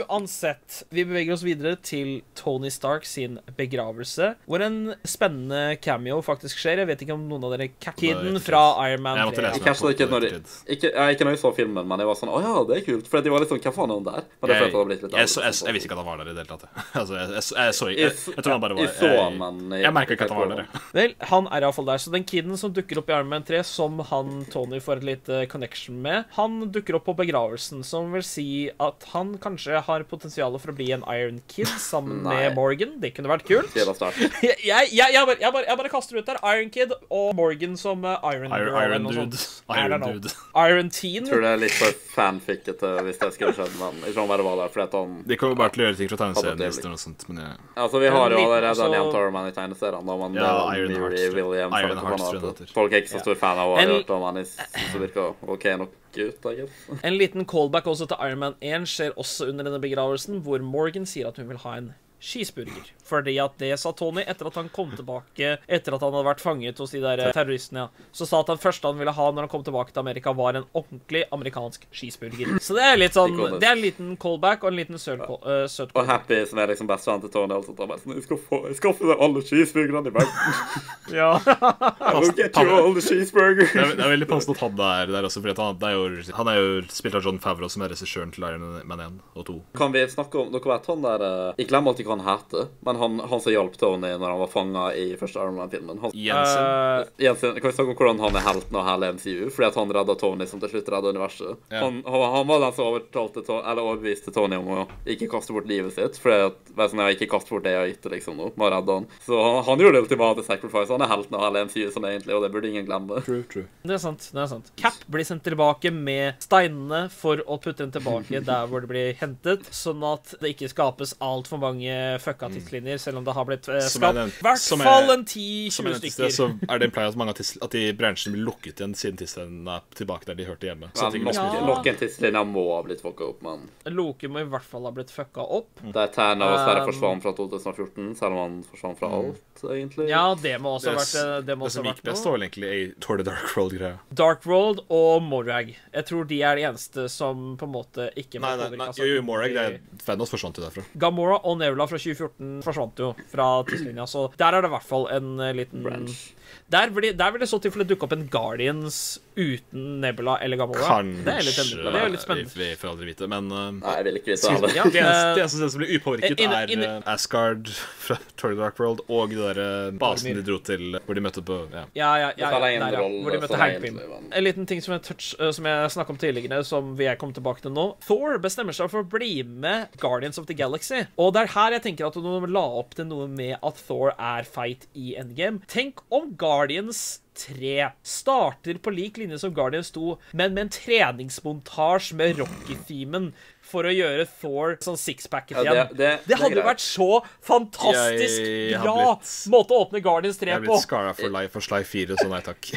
S5: Uansett, vi beveger oss videre til Tony Stark sin begravelse, hvor en spennende cameo faktisk skjer. Jeg vet ikke om noen av dere Kid-en fra Iron Man
S4: jeg måtte
S5: 3.
S4: lese
S1: Jeg catchet det ikke når jeg,
S4: ettertid.
S1: ikke, jeg, ikke når jeg så filmen, men jeg var sånn Å ja, det er kult. Fordi de var litt sånn Hva faen er han der? Men det
S4: Jeg,
S1: følte jeg hadde blitt litt
S4: jeg, så- jeg, jeg visste ikke at han var der i det hele tatt. jeg. Altså, jeg, jeg, jeg så ikke jeg, jeg, tror han bare var
S1: Jeg så han, men
S4: Jeg merket ikke at han var der. jeg.
S5: Vel, han er iallfall der. Så den kiden som dukker opp i Iron Man 3, som han Tony får et lite connection med, han dukker opp på begravelsen, som vil si at han kanskje har potensial for å bli en Iron Kid sammen
S1: Nei.
S5: med Morgan. Det kunne vært kult.
S1: Sier det sterkt.
S5: Jeg, jeg, jeg, bare, jeg, bare, jeg bare kaster ut der Iron Kid og Morgan som eh, Iron,
S4: Iron,
S5: Girl eller
S4: Iron
S5: noe
S4: Dude.
S5: sånt. I don't
S4: Iron
S5: know.
S4: Dude.
S5: Iron Teen.
S1: Tror det er litt for fanfickete hvis det skulle skjedd, men jeg tror han bare var der fordi at han
S4: De kommer bare til å gjøre ting fra tegneserien
S1: Adoptivt.
S4: hvis det er noe sånt, men jeg,
S1: Altså, vi har jo
S5: Men
S1: allerede
S5: altså-
S1: nevnt Ironman i tegneseriene, da, men
S4: Ja,
S1: det er
S4: Iron
S1: Miri
S4: Hearts, tror jeg.
S1: Williams
S4: Iron
S1: eller hva
S4: Hearts,
S1: faen
S4: tror
S1: det
S4: jeg det
S1: heter.
S4: heter.
S1: altså. Folk er ikke så stor fan av
S5: En-
S1: Iron Man, jeg synes det virker OK nok ut, I guess.
S5: En liten callback også til Iron Man 1 skjer også under denne begravelsen, hvor Morgan sier at hun vil ha en cheeseburger. Fordi at det sa Tony etter at han kom tilbake etter at han hadde vært fanget hos de der eh, terroristene. ja. Så sa at han første han ville ha når han kom tilbake til Amerika, var en ordentlig amerikansk cheeseburger. Så det er litt sånn Det er en liten callback og en liten søt call- eh, søt
S1: Og Happy, som er liksom bestevennen til Tony, altså, tar bare sånn Jeg skal få, jeg skal få deg alle cheeseburgerne i verden.
S5: Ja.
S1: I will get you all the cheeseburger.
S4: det, er, det er veldig passende at han er der også, for han, det er jo- han er jo spilt av John Favreau, som er regissøren til Iron Man 1 og 2.
S1: Kan vi snakke om Dere vet han der eh, Jeg glemmer alltid hva han heter, men han, han som hjalp Tony når han var fanga i første Iron Man-filmen. Han-
S4: Jensen.
S5: Eh,
S1: Jensen, kan vi snakke om hvordan han er helten av hele MCU? Fordi at han redda Tony, som til slutt redda universet.
S4: Ja.
S1: Han, han, han var den som overtalte, To- eller overbeviste Tony om å ikke kaste bort livet sitt. Fordi at, vær sånn, jeg har ikke kastet bort det jeg har gitt, liksom, nå. Må redde han. Så han, han gjorde det ultimate sacrifice. Han er helten av hele MCU, sånn egentlig, og det burde ingen glemme.
S4: True, true.
S5: Det er sant. det er sant Cap blir sendt tilbake med steinene for å putte den tilbake der hvor det blir hentet, sånn at det ikke skapes altfor mange fucka tidslinjer, selv om det har blitt eh,
S4: Mm. Som jeg
S5: skapt
S4: nevnte-
S5: i hvert
S4: som jeg-
S5: fall en
S4: Som jeg
S5: 10-20
S4: nevnte i sted,
S5: stykker.
S4: så er det en pleie at mange av, tids, at de bransjene blir lukket igjen siden tidslinjene er tilbake der de hørte hjemme. Så ting blir
S1: Men nok-
S4: smidt.
S1: Nok en tidslinje må ha blitt fucka opp, men
S5: Loke må i hvert fall ha blitt fucka opp.
S4: Mm.
S1: der Terna dessverre
S5: Um,
S1: forsvant fra 2014, selv om han forsvant
S4: mm.
S1: fra alt, egentlig.
S5: Ja, det må også ha vært, eh, det må
S4: det
S5: også
S4: som
S5: ha
S4: gikk
S5: vært
S4: best,
S5: noe.
S4: var vel egentlig ei Tour the Dark World-greia.
S5: Dark World og Morag. Jeg tror de er de eneste som på en måte ikke altså,
S4: Nei, nei, nei, jo, jo, Morag, det er Thanos forsvant jo derfra.
S5: Gamora og Nevla fra 2014 forsvant jo fra tidslinja, så der er det i hvert fall en eh, liten
S1: Branch.
S5: Der vil, der vil det så tilfelle dukke opp en Guardians uten Nebula eller Gamora.
S4: Kanskje
S5: Det er litt, spennende. det er jo litt spennende.
S4: Vi, vi får aldri vite, men uh,
S1: Nei, jeg vil ikke vite det heller.
S5: Ja,
S4: det eneste,
S5: eh,
S4: det eneste stedet som blir upåvirket,
S5: inn-
S4: er
S5: inn-
S4: eh, Asgard fra Tory Dark World og de der eh, basen de dro til hvor de møtte på ja.
S5: Ja, ja, ja,
S1: Det var
S5: ja,
S1: en
S5: der, ja.
S1: rolle
S5: Hvor de møtte
S1: som
S5: Hank
S1: egentlig
S5: Pym.
S1: var-
S5: En liten ting som jeg, touch, eh, som jeg snakket om tidligere, som jeg kom tilbake til nå. Thor bestemmer seg for å bli med Guardians of the Galaxy. Og det er her jeg tenker at de la opp til noe med at Thor er feit i endgame. Tenk om Guardians 3 starter på lik linje som Guardians 2, men med en treningsmontasje med Rocky-themen. For å gjøre Thor sånn sixpacket
S1: Ja,
S5: igjen.
S1: det- det- det er
S5: hadde jo
S1: greit.
S5: vært så fantastisk
S4: Jeg har
S5: bra
S4: blitt-
S5: måte å åpne Guardians 3
S4: Jeg er
S5: på.
S4: blitt skara for, Li- for Sly 4, så nei takk.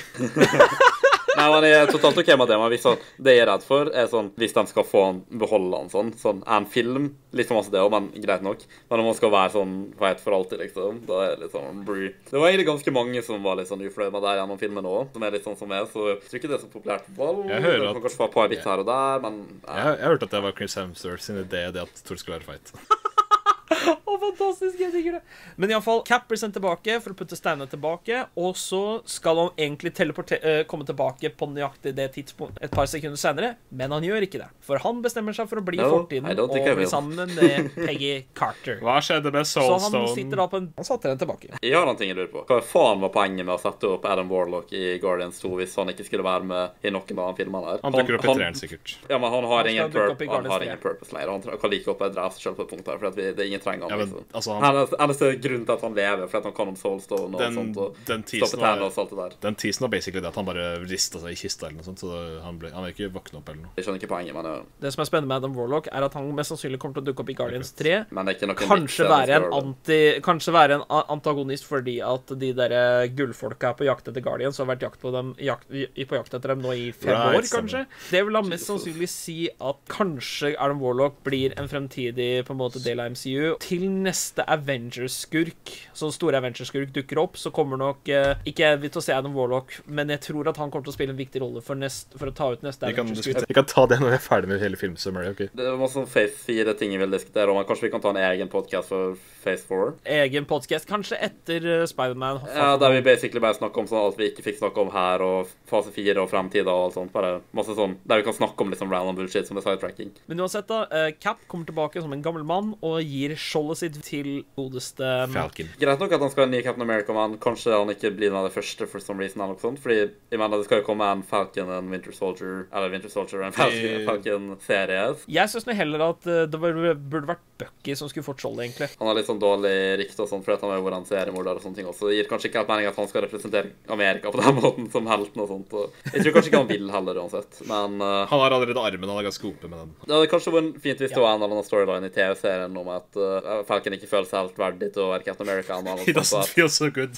S1: Nei, men jeg er totalt ok med det, men hvis han, det jeg er redd for, er sånn Hvis de skal få han, beholde han sånn, sånn er en film Litt for masse det òg, men greit nok. Men om han skal være sånn feit for alltid, liksom, da er det litt sånn brr. Det var egentlig ganske mange som var litt sånn ufløyd med det gjennom filmen òg, som er litt sånn som meg, så jeg tror ikke det er så populært. Vel,
S4: Jeg hører
S1: det
S4: at-
S1: kan kanskje være et par bits her og der, men
S4: Jeg,
S1: nei.
S4: jeg hørte at det var Chris Hemsworth sin idé, det at Thor skulle være feit.
S5: Å, fantastisk, jeg digger det. Men iallfall, Cap blir sendt tilbake for å putte steinene tilbake, og så skal han egentlig teleporte- eh, komme tilbake på nøyaktig det tidspunktet et par sekunder senere, men han gjør ikke det. For han bestemmer seg for å bli i
S1: No,
S5: fortiden
S1: I don't
S5: og
S1: think I
S5: bli
S1: will.
S5: sammen med Peggy Carter.
S4: Hva skjedde med
S5: Så han sitter da på en
S9: Han satte den tilbake.
S1: Jeg har en ting jeg lurer på. Hva faen var poenget med å sette opp Adam Warlock i Guardians 2 hvis han ikke skulle være med i noen av filmene her?
S4: Han dukker opp i treeren, sikkert.
S1: Ja, men han har,
S5: skal
S1: ingen,
S5: dukke opp i
S1: purp han har
S5: Guardians
S1: ingen
S5: tre.
S1: purpose lenger. Han tre- kan like opp å drepe seg selv på et punkt her, for at vi, det er ingen trenger
S4: Ja,
S1: han.
S4: men,
S1: liksom.
S4: altså, han-
S1: han... Eneste grunnen til at han lever, er for at han kan om Soulstone og
S4: Den-
S1: sånt, og
S4: den teasen
S1: stoppe
S4: var-
S1: tærne og alt det der.
S4: Den teasen var basically det at han bare rista seg i kista eller noe sånt, så det- han, ble, han vil ikke våkne opp eller noe.
S1: Jeg skjønner ikke poenget, men, eh, ja.
S5: Det som er spennende med Adam Warlock, er at han mest sannsynlig kommer til å dukke opp i Guardians 3.
S1: men det er ikke noe
S5: Kanskje være, en anti, kanskje være en a- antagonist fordi at de der eh, gullfolka er på jakt etter Guardians og har vært jakt på, dem, jakt, i- på jakt etter dem nå i fem
S4: Right,
S5: år, kanskje. Det vil da mest sannsynlig si at kanskje Adam Warlock blir en fremtidig på en måte del av MCU. Til neste Avengers-skurk, sånn store Avengers-skurk dukker opp, så kommer nok eh, Ikke vi til å se Adam Warlock, men jeg tror at han kommer til å spille en viktig rolle for, nest, for å ta ut neste
S4: Vi kan,
S5: Avengers-skurk.
S4: diskutere- vi kan ta det når vi er ferdig med hele filmsummary. ok?
S1: Det er masse sånn Phase 4 ting jeg vil diskutere, men kanskje vi kan ta en egen podcast for Phase 4?
S5: Egen podcast, kanskje etter eh, Spider-Man
S1: Ja, der vi basically bare snakker om sånn alt vi ikke fikk snakke om her, og fase 4 og fremtiden og alt sånt. Bare masse sånn, der vi kan snakke om liksom random bullshit som er sidetracking.
S5: Men uansett, da. eh, Cap kommer tilbake som en gammel mann og gir skjoldet sitt til godeste mm,
S4: Falcon.
S1: Greit nok at han skal ha en ny Captain America, men kanskje han ikke blir den av det første for some reason. eller noe sånt, fordi jeg mener det skal jo komme en Falcon, en Winter Soldier eller Winter Soldier, en Falcon, en Falcon-serie.
S5: Jeg syns heller at eh, det var- burde vært Bucky som skulle fått skjoldet, egentlig.
S1: Han har litt sånn dårlig rykte og sånn fordi at han har vært en seriemorder og sånne ting også. Det gir kanskje ikke helt mening at han skal representere Amerika på den måten som helten og sånt. og Jeg tror kanskje ikke han vil heller uansett, men eh,
S4: Han har allerede armen, han er ganske OP med den.
S1: det hadde kanskje vært fint hvis det var en eller annen storyline i TV-serien om at eh, Falcon ikke føler seg helt verdig til å være Captain America. eller noe
S4: He
S1: sånt, så at-
S4: doesn't feel so good.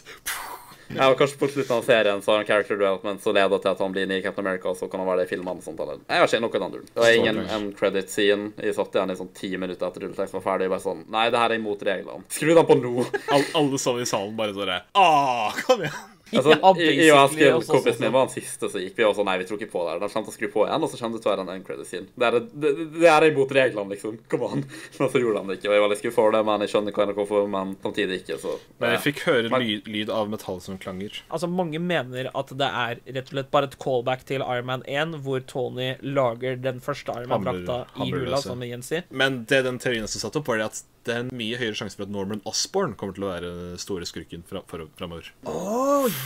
S1: Ja, og kanskje på slutten av serien så har han character development som leder til at han blir ny Captain America, og så kan han være det i filmene og sånt. Eller. Jeg vet ikke, noe i den duren. Det var ingen en credit scene. Jeg satt igjen i sånn ti minutter etter rulleteksten var ferdig, bare sånn Nei, det her er imot reglene. Skru den på nå!
S4: All, alle sammen i salen bare sånn Ah, kom igjen!
S1: Altså,
S5: Ja,
S1: jeg, jeg og
S5: basically,
S1: Askild,
S5: altså,
S1: kompisen
S5: sånn.
S1: min, var den siste som gikk. Vi var sånn Nei, vi tror ikke på det her. De kommer til å skru på igjen, og så kommer det til å være en end credit scene. Det er, det, det- det er imot reglene, liksom. Kom an. Men så gjorde han det ikke, og jeg var litt skuffet over det, men jeg skjønner hva NRK får, men samtidig ikke, så
S4: Men jeg fikk høre
S1: Men-
S4: ly, lyd av metall som klanger.
S5: Altså, Mange mener at det er rett og slett bare et callback til Iron Man 1, hvor Tony lager den første Iron
S4: Hamburger-
S5: Man-drakta i
S4: hamburger,
S5: hula,
S4: altså.
S5: som Jens sier.
S4: Men det den teorien som satt opp, var det at det er en mye høyere sjanse for at Norman Osborn kommer til å være den store skurken fra, for, framover.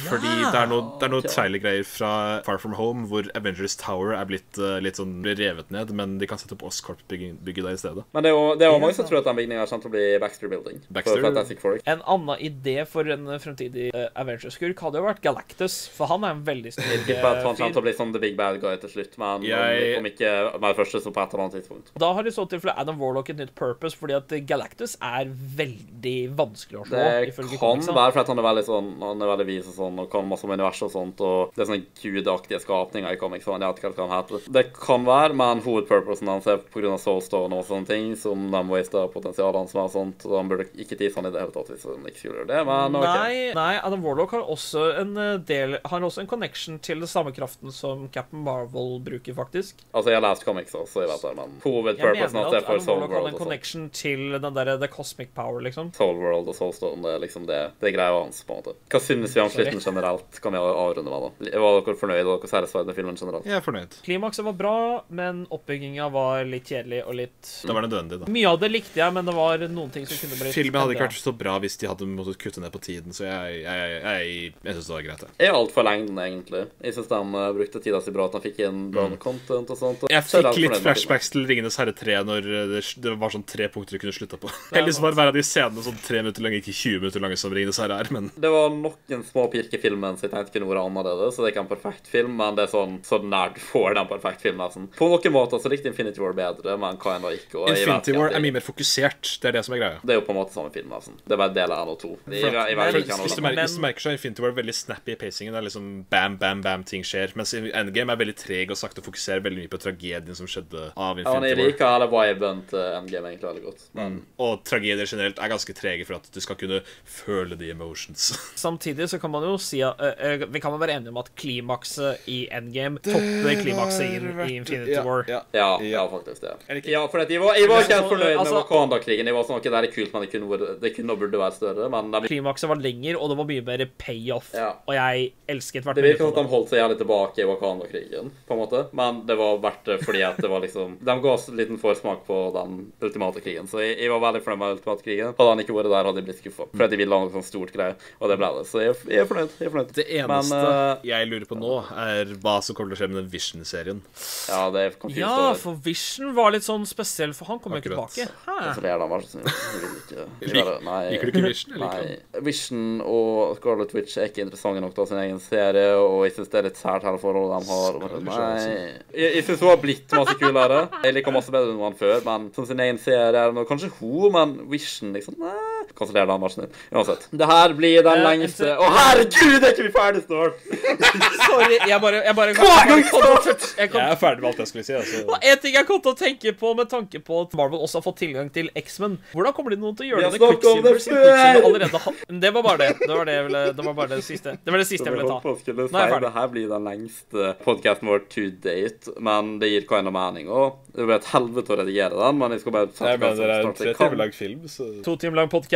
S4: Fordi det er noe, det er noe trailergreier fra Far From Home hvor Avengers Tower er blitt eh, litt sånn blir revet ned, men de kan sette opp Oscorp-bygget der i stedet.
S1: Men det er jo, det er jo mange som tror at den bygningen her kommer til å bli Baxter Building.
S4: Baxter-
S1: For Fantastic Four.
S5: En annen idé for en fremtidig eh, Avengers-skurk hadde jo vært Galactus, for han er en veldig stor
S1: Tipper at han
S5: eh,
S1: kommer til å bli sånn the big bad guy til slutt, men
S4: Jeg-
S1: om ikke hver første, så på et eller annet tidspunkt.
S5: Da har i så tilfelle Adam Warlock et nytt purpose, fordi at eh, Galactus er veldig vanskelig å slå.
S1: Det kan
S5: ifølge comicsene.
S1: være fordi at han er veldig sånn, han er veldig vis og sånn, og kan masse om universet og sånt, og det er sånne gudaktige skapninger i comics, og jeg vet ikke helt hva han heter. Det kan være, men hovedpurposen hans er på grunn av Soulstone og sånne ting, som de waster potensialet hans med og sånt, og han burde ikke tise han i det hele tatt hvis han ikke skulle gjøre det, men ok.
S5: Nei, nei, Adam Warlock har også en eh, del Har også en connection til den samme kraften som Captain Marvel bruker, faktisk.
S1: Altså, jeg har lest comics også, jeg vet det, men
S5: Jeg mener at
S1: hovedpurposen hans er for
S5: Adam
S1: Soul
S5: Warlock har
S1: World
S5: en
S1: og sånt.
S5: connection til den derre The Cosmic Power, liksom.
S1: Soul World og Soulstone, det er liksom det, det er greia hans, på en måte. Hva synes vi om
S5: Sorry.
S1: Helheten generelt kan vi avrunde med, da. Var dere fornøyd og dere satisfied med filmen generelt?
S4: Jeg er fornøyd.
S5: Klimakset var bra, men oppbygginga var litt kjedelig og litt
S4: Det var nødvendig, da.
S5: Mye av det likte jeg, men det var noen ting som kunne blitt
S4: Filmen hadde ikke
S5: bedre.
S4: vært så bra hvis de hadde måttet kutte ned på tiden, så jeg, jeg, jeg, jeg, jeg syns det var greit, jeg.
S1: Jeg er alt for lengden, egentlig. Jeg synes de eh, brukte tida si bra, at de fikk inn bra med content og sånt. og
S4: Mm. Jeg
S1: så er alt
S4: fikk litt
S1: fornøyd med filmen.
S4: flashbacks til Ringenes herre 3 når det, det var sånn tre punkter du kunne slutta på. Heldigvis var hver av de scenene sånn tre minutter lange, ikke 20 minutter lange som Ringenes herre er, men
S1: Det var noen små pirk i filmen som jeg tenkte kunne vært annerledes. Så det er ikke en perfekt film, men det er sånn så nær du får den perfekte filmen. nesten. På noen måter så likte Infinity War bedre, men hva enn da ikke. og jeg vet
S4: Infinity
S1: ikke
S4: War
S1: at
S4: er
S1: jeg-
S4: mye mer fokusert. Det er det som er greia.
S1: Det er jo på en måte samme film, nesten. Det er bare del av NO2. Det er, jeg, jeg vet ikke
S4: Hvis du,
S1: hva
S4: merker,
S5: Men-
S4: hvis du merker så er Infinity War veldig snappy i pacingen. Det er liksom bam, bam, bam, ting skjer. Mens Endgame er veldig treg og sakte og fokuserer veldig mye på tragedien som skjedde
S1: ja,
S4: av
S1: men jeg
S4: Infinity War.
S1: liker hele viben til Endgame egentlig veldig godt. Men
S4: Og tragedier generelt er ganske trege for at du skal kunne føle the emotions.
S5: Samtidig så kan man jo si at eh, eh, Vi kan vel være enige om at klimakset i Endgame topper klimakset i, i Infinity War.
S10: Ja,
S1: ja, ja, faktisk det. Ja, for at jeg var, jeg var ikke helt fornøyd med
S5: altså-
S1: Wakanda-krigen. Jeg var sånn, ok, det her er kult, men det kunne, vært- det kunne og burde være større. Men de
S5: Klimakset var lenger, og det var mye mer payoff.
S1: Ja.
S5: Og jeg elsket hvert
S1: Det
S4: sånn,
S1: virker som
S5: minutt.
S1: at de holdt seg jævlig tilbake i Wakanda-krigen, på en måte. Men det var verdt det fordi at det var liksom De ga oss en liten forsmak på den ultimate krigen. Så jeg, jeg var veldig fornøyd med ultimate krigen. Hadde han ikke vært der, hadde jeg blitt skuffa. For at de ville ha noe sånt stort greie, og det ble det. Så jeg, jeg er fornøyd. Jeg er fornøyd.
S4: Det eneste
S1: Men, eh,
S4: jeg lurer på nå, er hva som kommer til å skje med den Vision-serien.
S1: eh, ja, det er confused
S5: Ja,
S1: over.
S5: for Vision var litt sånn spesiell, for han kom jo ikke
S4: Akkurat.
S5: tilbake. Hæ?
S1: Så ler de, vær så snill. Jeg vil ikke- jeg vil være- Nei.
S4: Liker du ikke Vision? Jeg liker den.
S1: Nei. Vision og Scarlet Witch er ikke interessante nok til å ha sin egen serie, og jeg syns det er litt sært hele forholdet de har.
S4: Scarlet Witch er
S1: Nei. Jeg, jeg syns hun har blitt masse kulere. Jeg liker masse bedre enn hun før, men som sin egen serie er det nå kanskje hun, men Vision liksom Nei. Kanseller den, vær så snill. Uansett. Det her blir den lengste Å, herregud, er ikke vi ferdig snart?
S5: Sorry, jeg bare, jeg bare
S1: Hver gang snart!
S5: jeg kom,
S4: Jeg er ferdig med alt jeg skulle si. Altså.
S5: En ting jeg kom til å tenke på med tanke på at Marvel også har fått tilgang til X-Men Hvordan kommer de noen
S1: Vi
S5: til å gjøre
S1: har
S5: det når
S1: snakket om det
S5: Quicksilver siden
S1: før!
S5: Quicksilver allerede har Det var bare det. Det var, det, jeg ville, det var bare det siste Det var det siste jeg ville ta.
S1: Skulle
S5: Nå er jeg
S1: si,
S5: ferdig.
S1: det her blir den lengste podcasten vår to date, men det gir hva enn mening. Og det blir et helvete å redigere den, men jeg skal bare sette
S10: jeg
S1: meg
S10: mener
S1: som
S10: det er en
S1: snart
S10: tre
S1: jeg kan.
S10: timer lang film, så
S5: To timer lang podkast.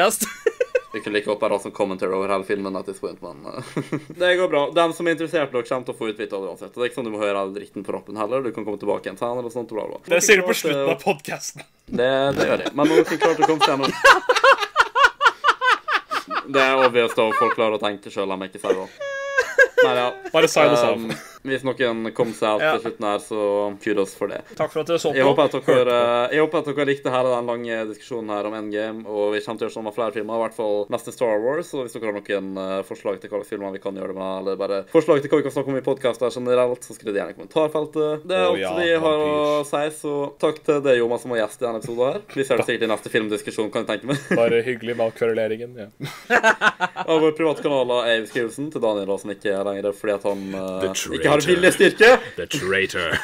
S1: Vi kunne like godt bare hatt sånn commentary over hele filmen at this point, men eh, Det går bra. Dem som er interessert, dere kommer til å få utbytte av det uansett. Det er ikke sånn du må høre all dritten på rappen heller. Du kan komme tilbake igjen senere og sånt. Bla, bla.
S4: Det sier du på slutten av podkasten.
S1: Det, det gjør jeg. Men noen som klarte å komme seg gjennom Det er obvious da folk klarer å tenke sjøl om jeg ikke sier det. Nei, ja.
S4: Bare sign oss av.
S1: Um, hvis noen kom seg av til slutten her, så kudos for det.
S5: Takk for at dere så
S1: Jeg
S5: på.
S1: håper, at dere, jeg håper at dere likte her den lange diskusjonen her om Endgame. Og vi kommer til å gjøre sånn med flere filmer, i hvert fall neste Star Wars. Og hvis dere har noen eh, forslag til hva slags filmer vi kan gjøre det med, eller bare forslag til hva vi kan snakke om i podkaster generelt, så skriv det gjerne i kommentarfeltet. Det er
S4: Å
S1: alt
S4: ja,
S1: vi har å
S4: vampyr.
S1: si, så takk til deg, Jonas, som var gjest i denne episoden her. Vi ser det sikkert i neste filmdiskusjon, kan jeg tenke meg.
S10: bare hyggelig med all kveruleringen. Ja.
S1: Og vår private kanaler er i beskrivelsen til Daniel, da, som ikke er lenger fordi at han eh,
S4: The traitor.
S1: ikke har viljestyrke.
S4: The Traitor.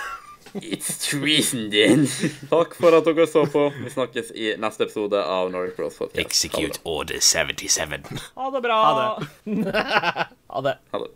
S1: It's treason din. Takk for at dere så på. Vi snakkes i neste episode av Nordic Bros Podcast. Ha det bra.
S4: Order 77.
S5: Ha det bra. Ha det.
S1: Ha det.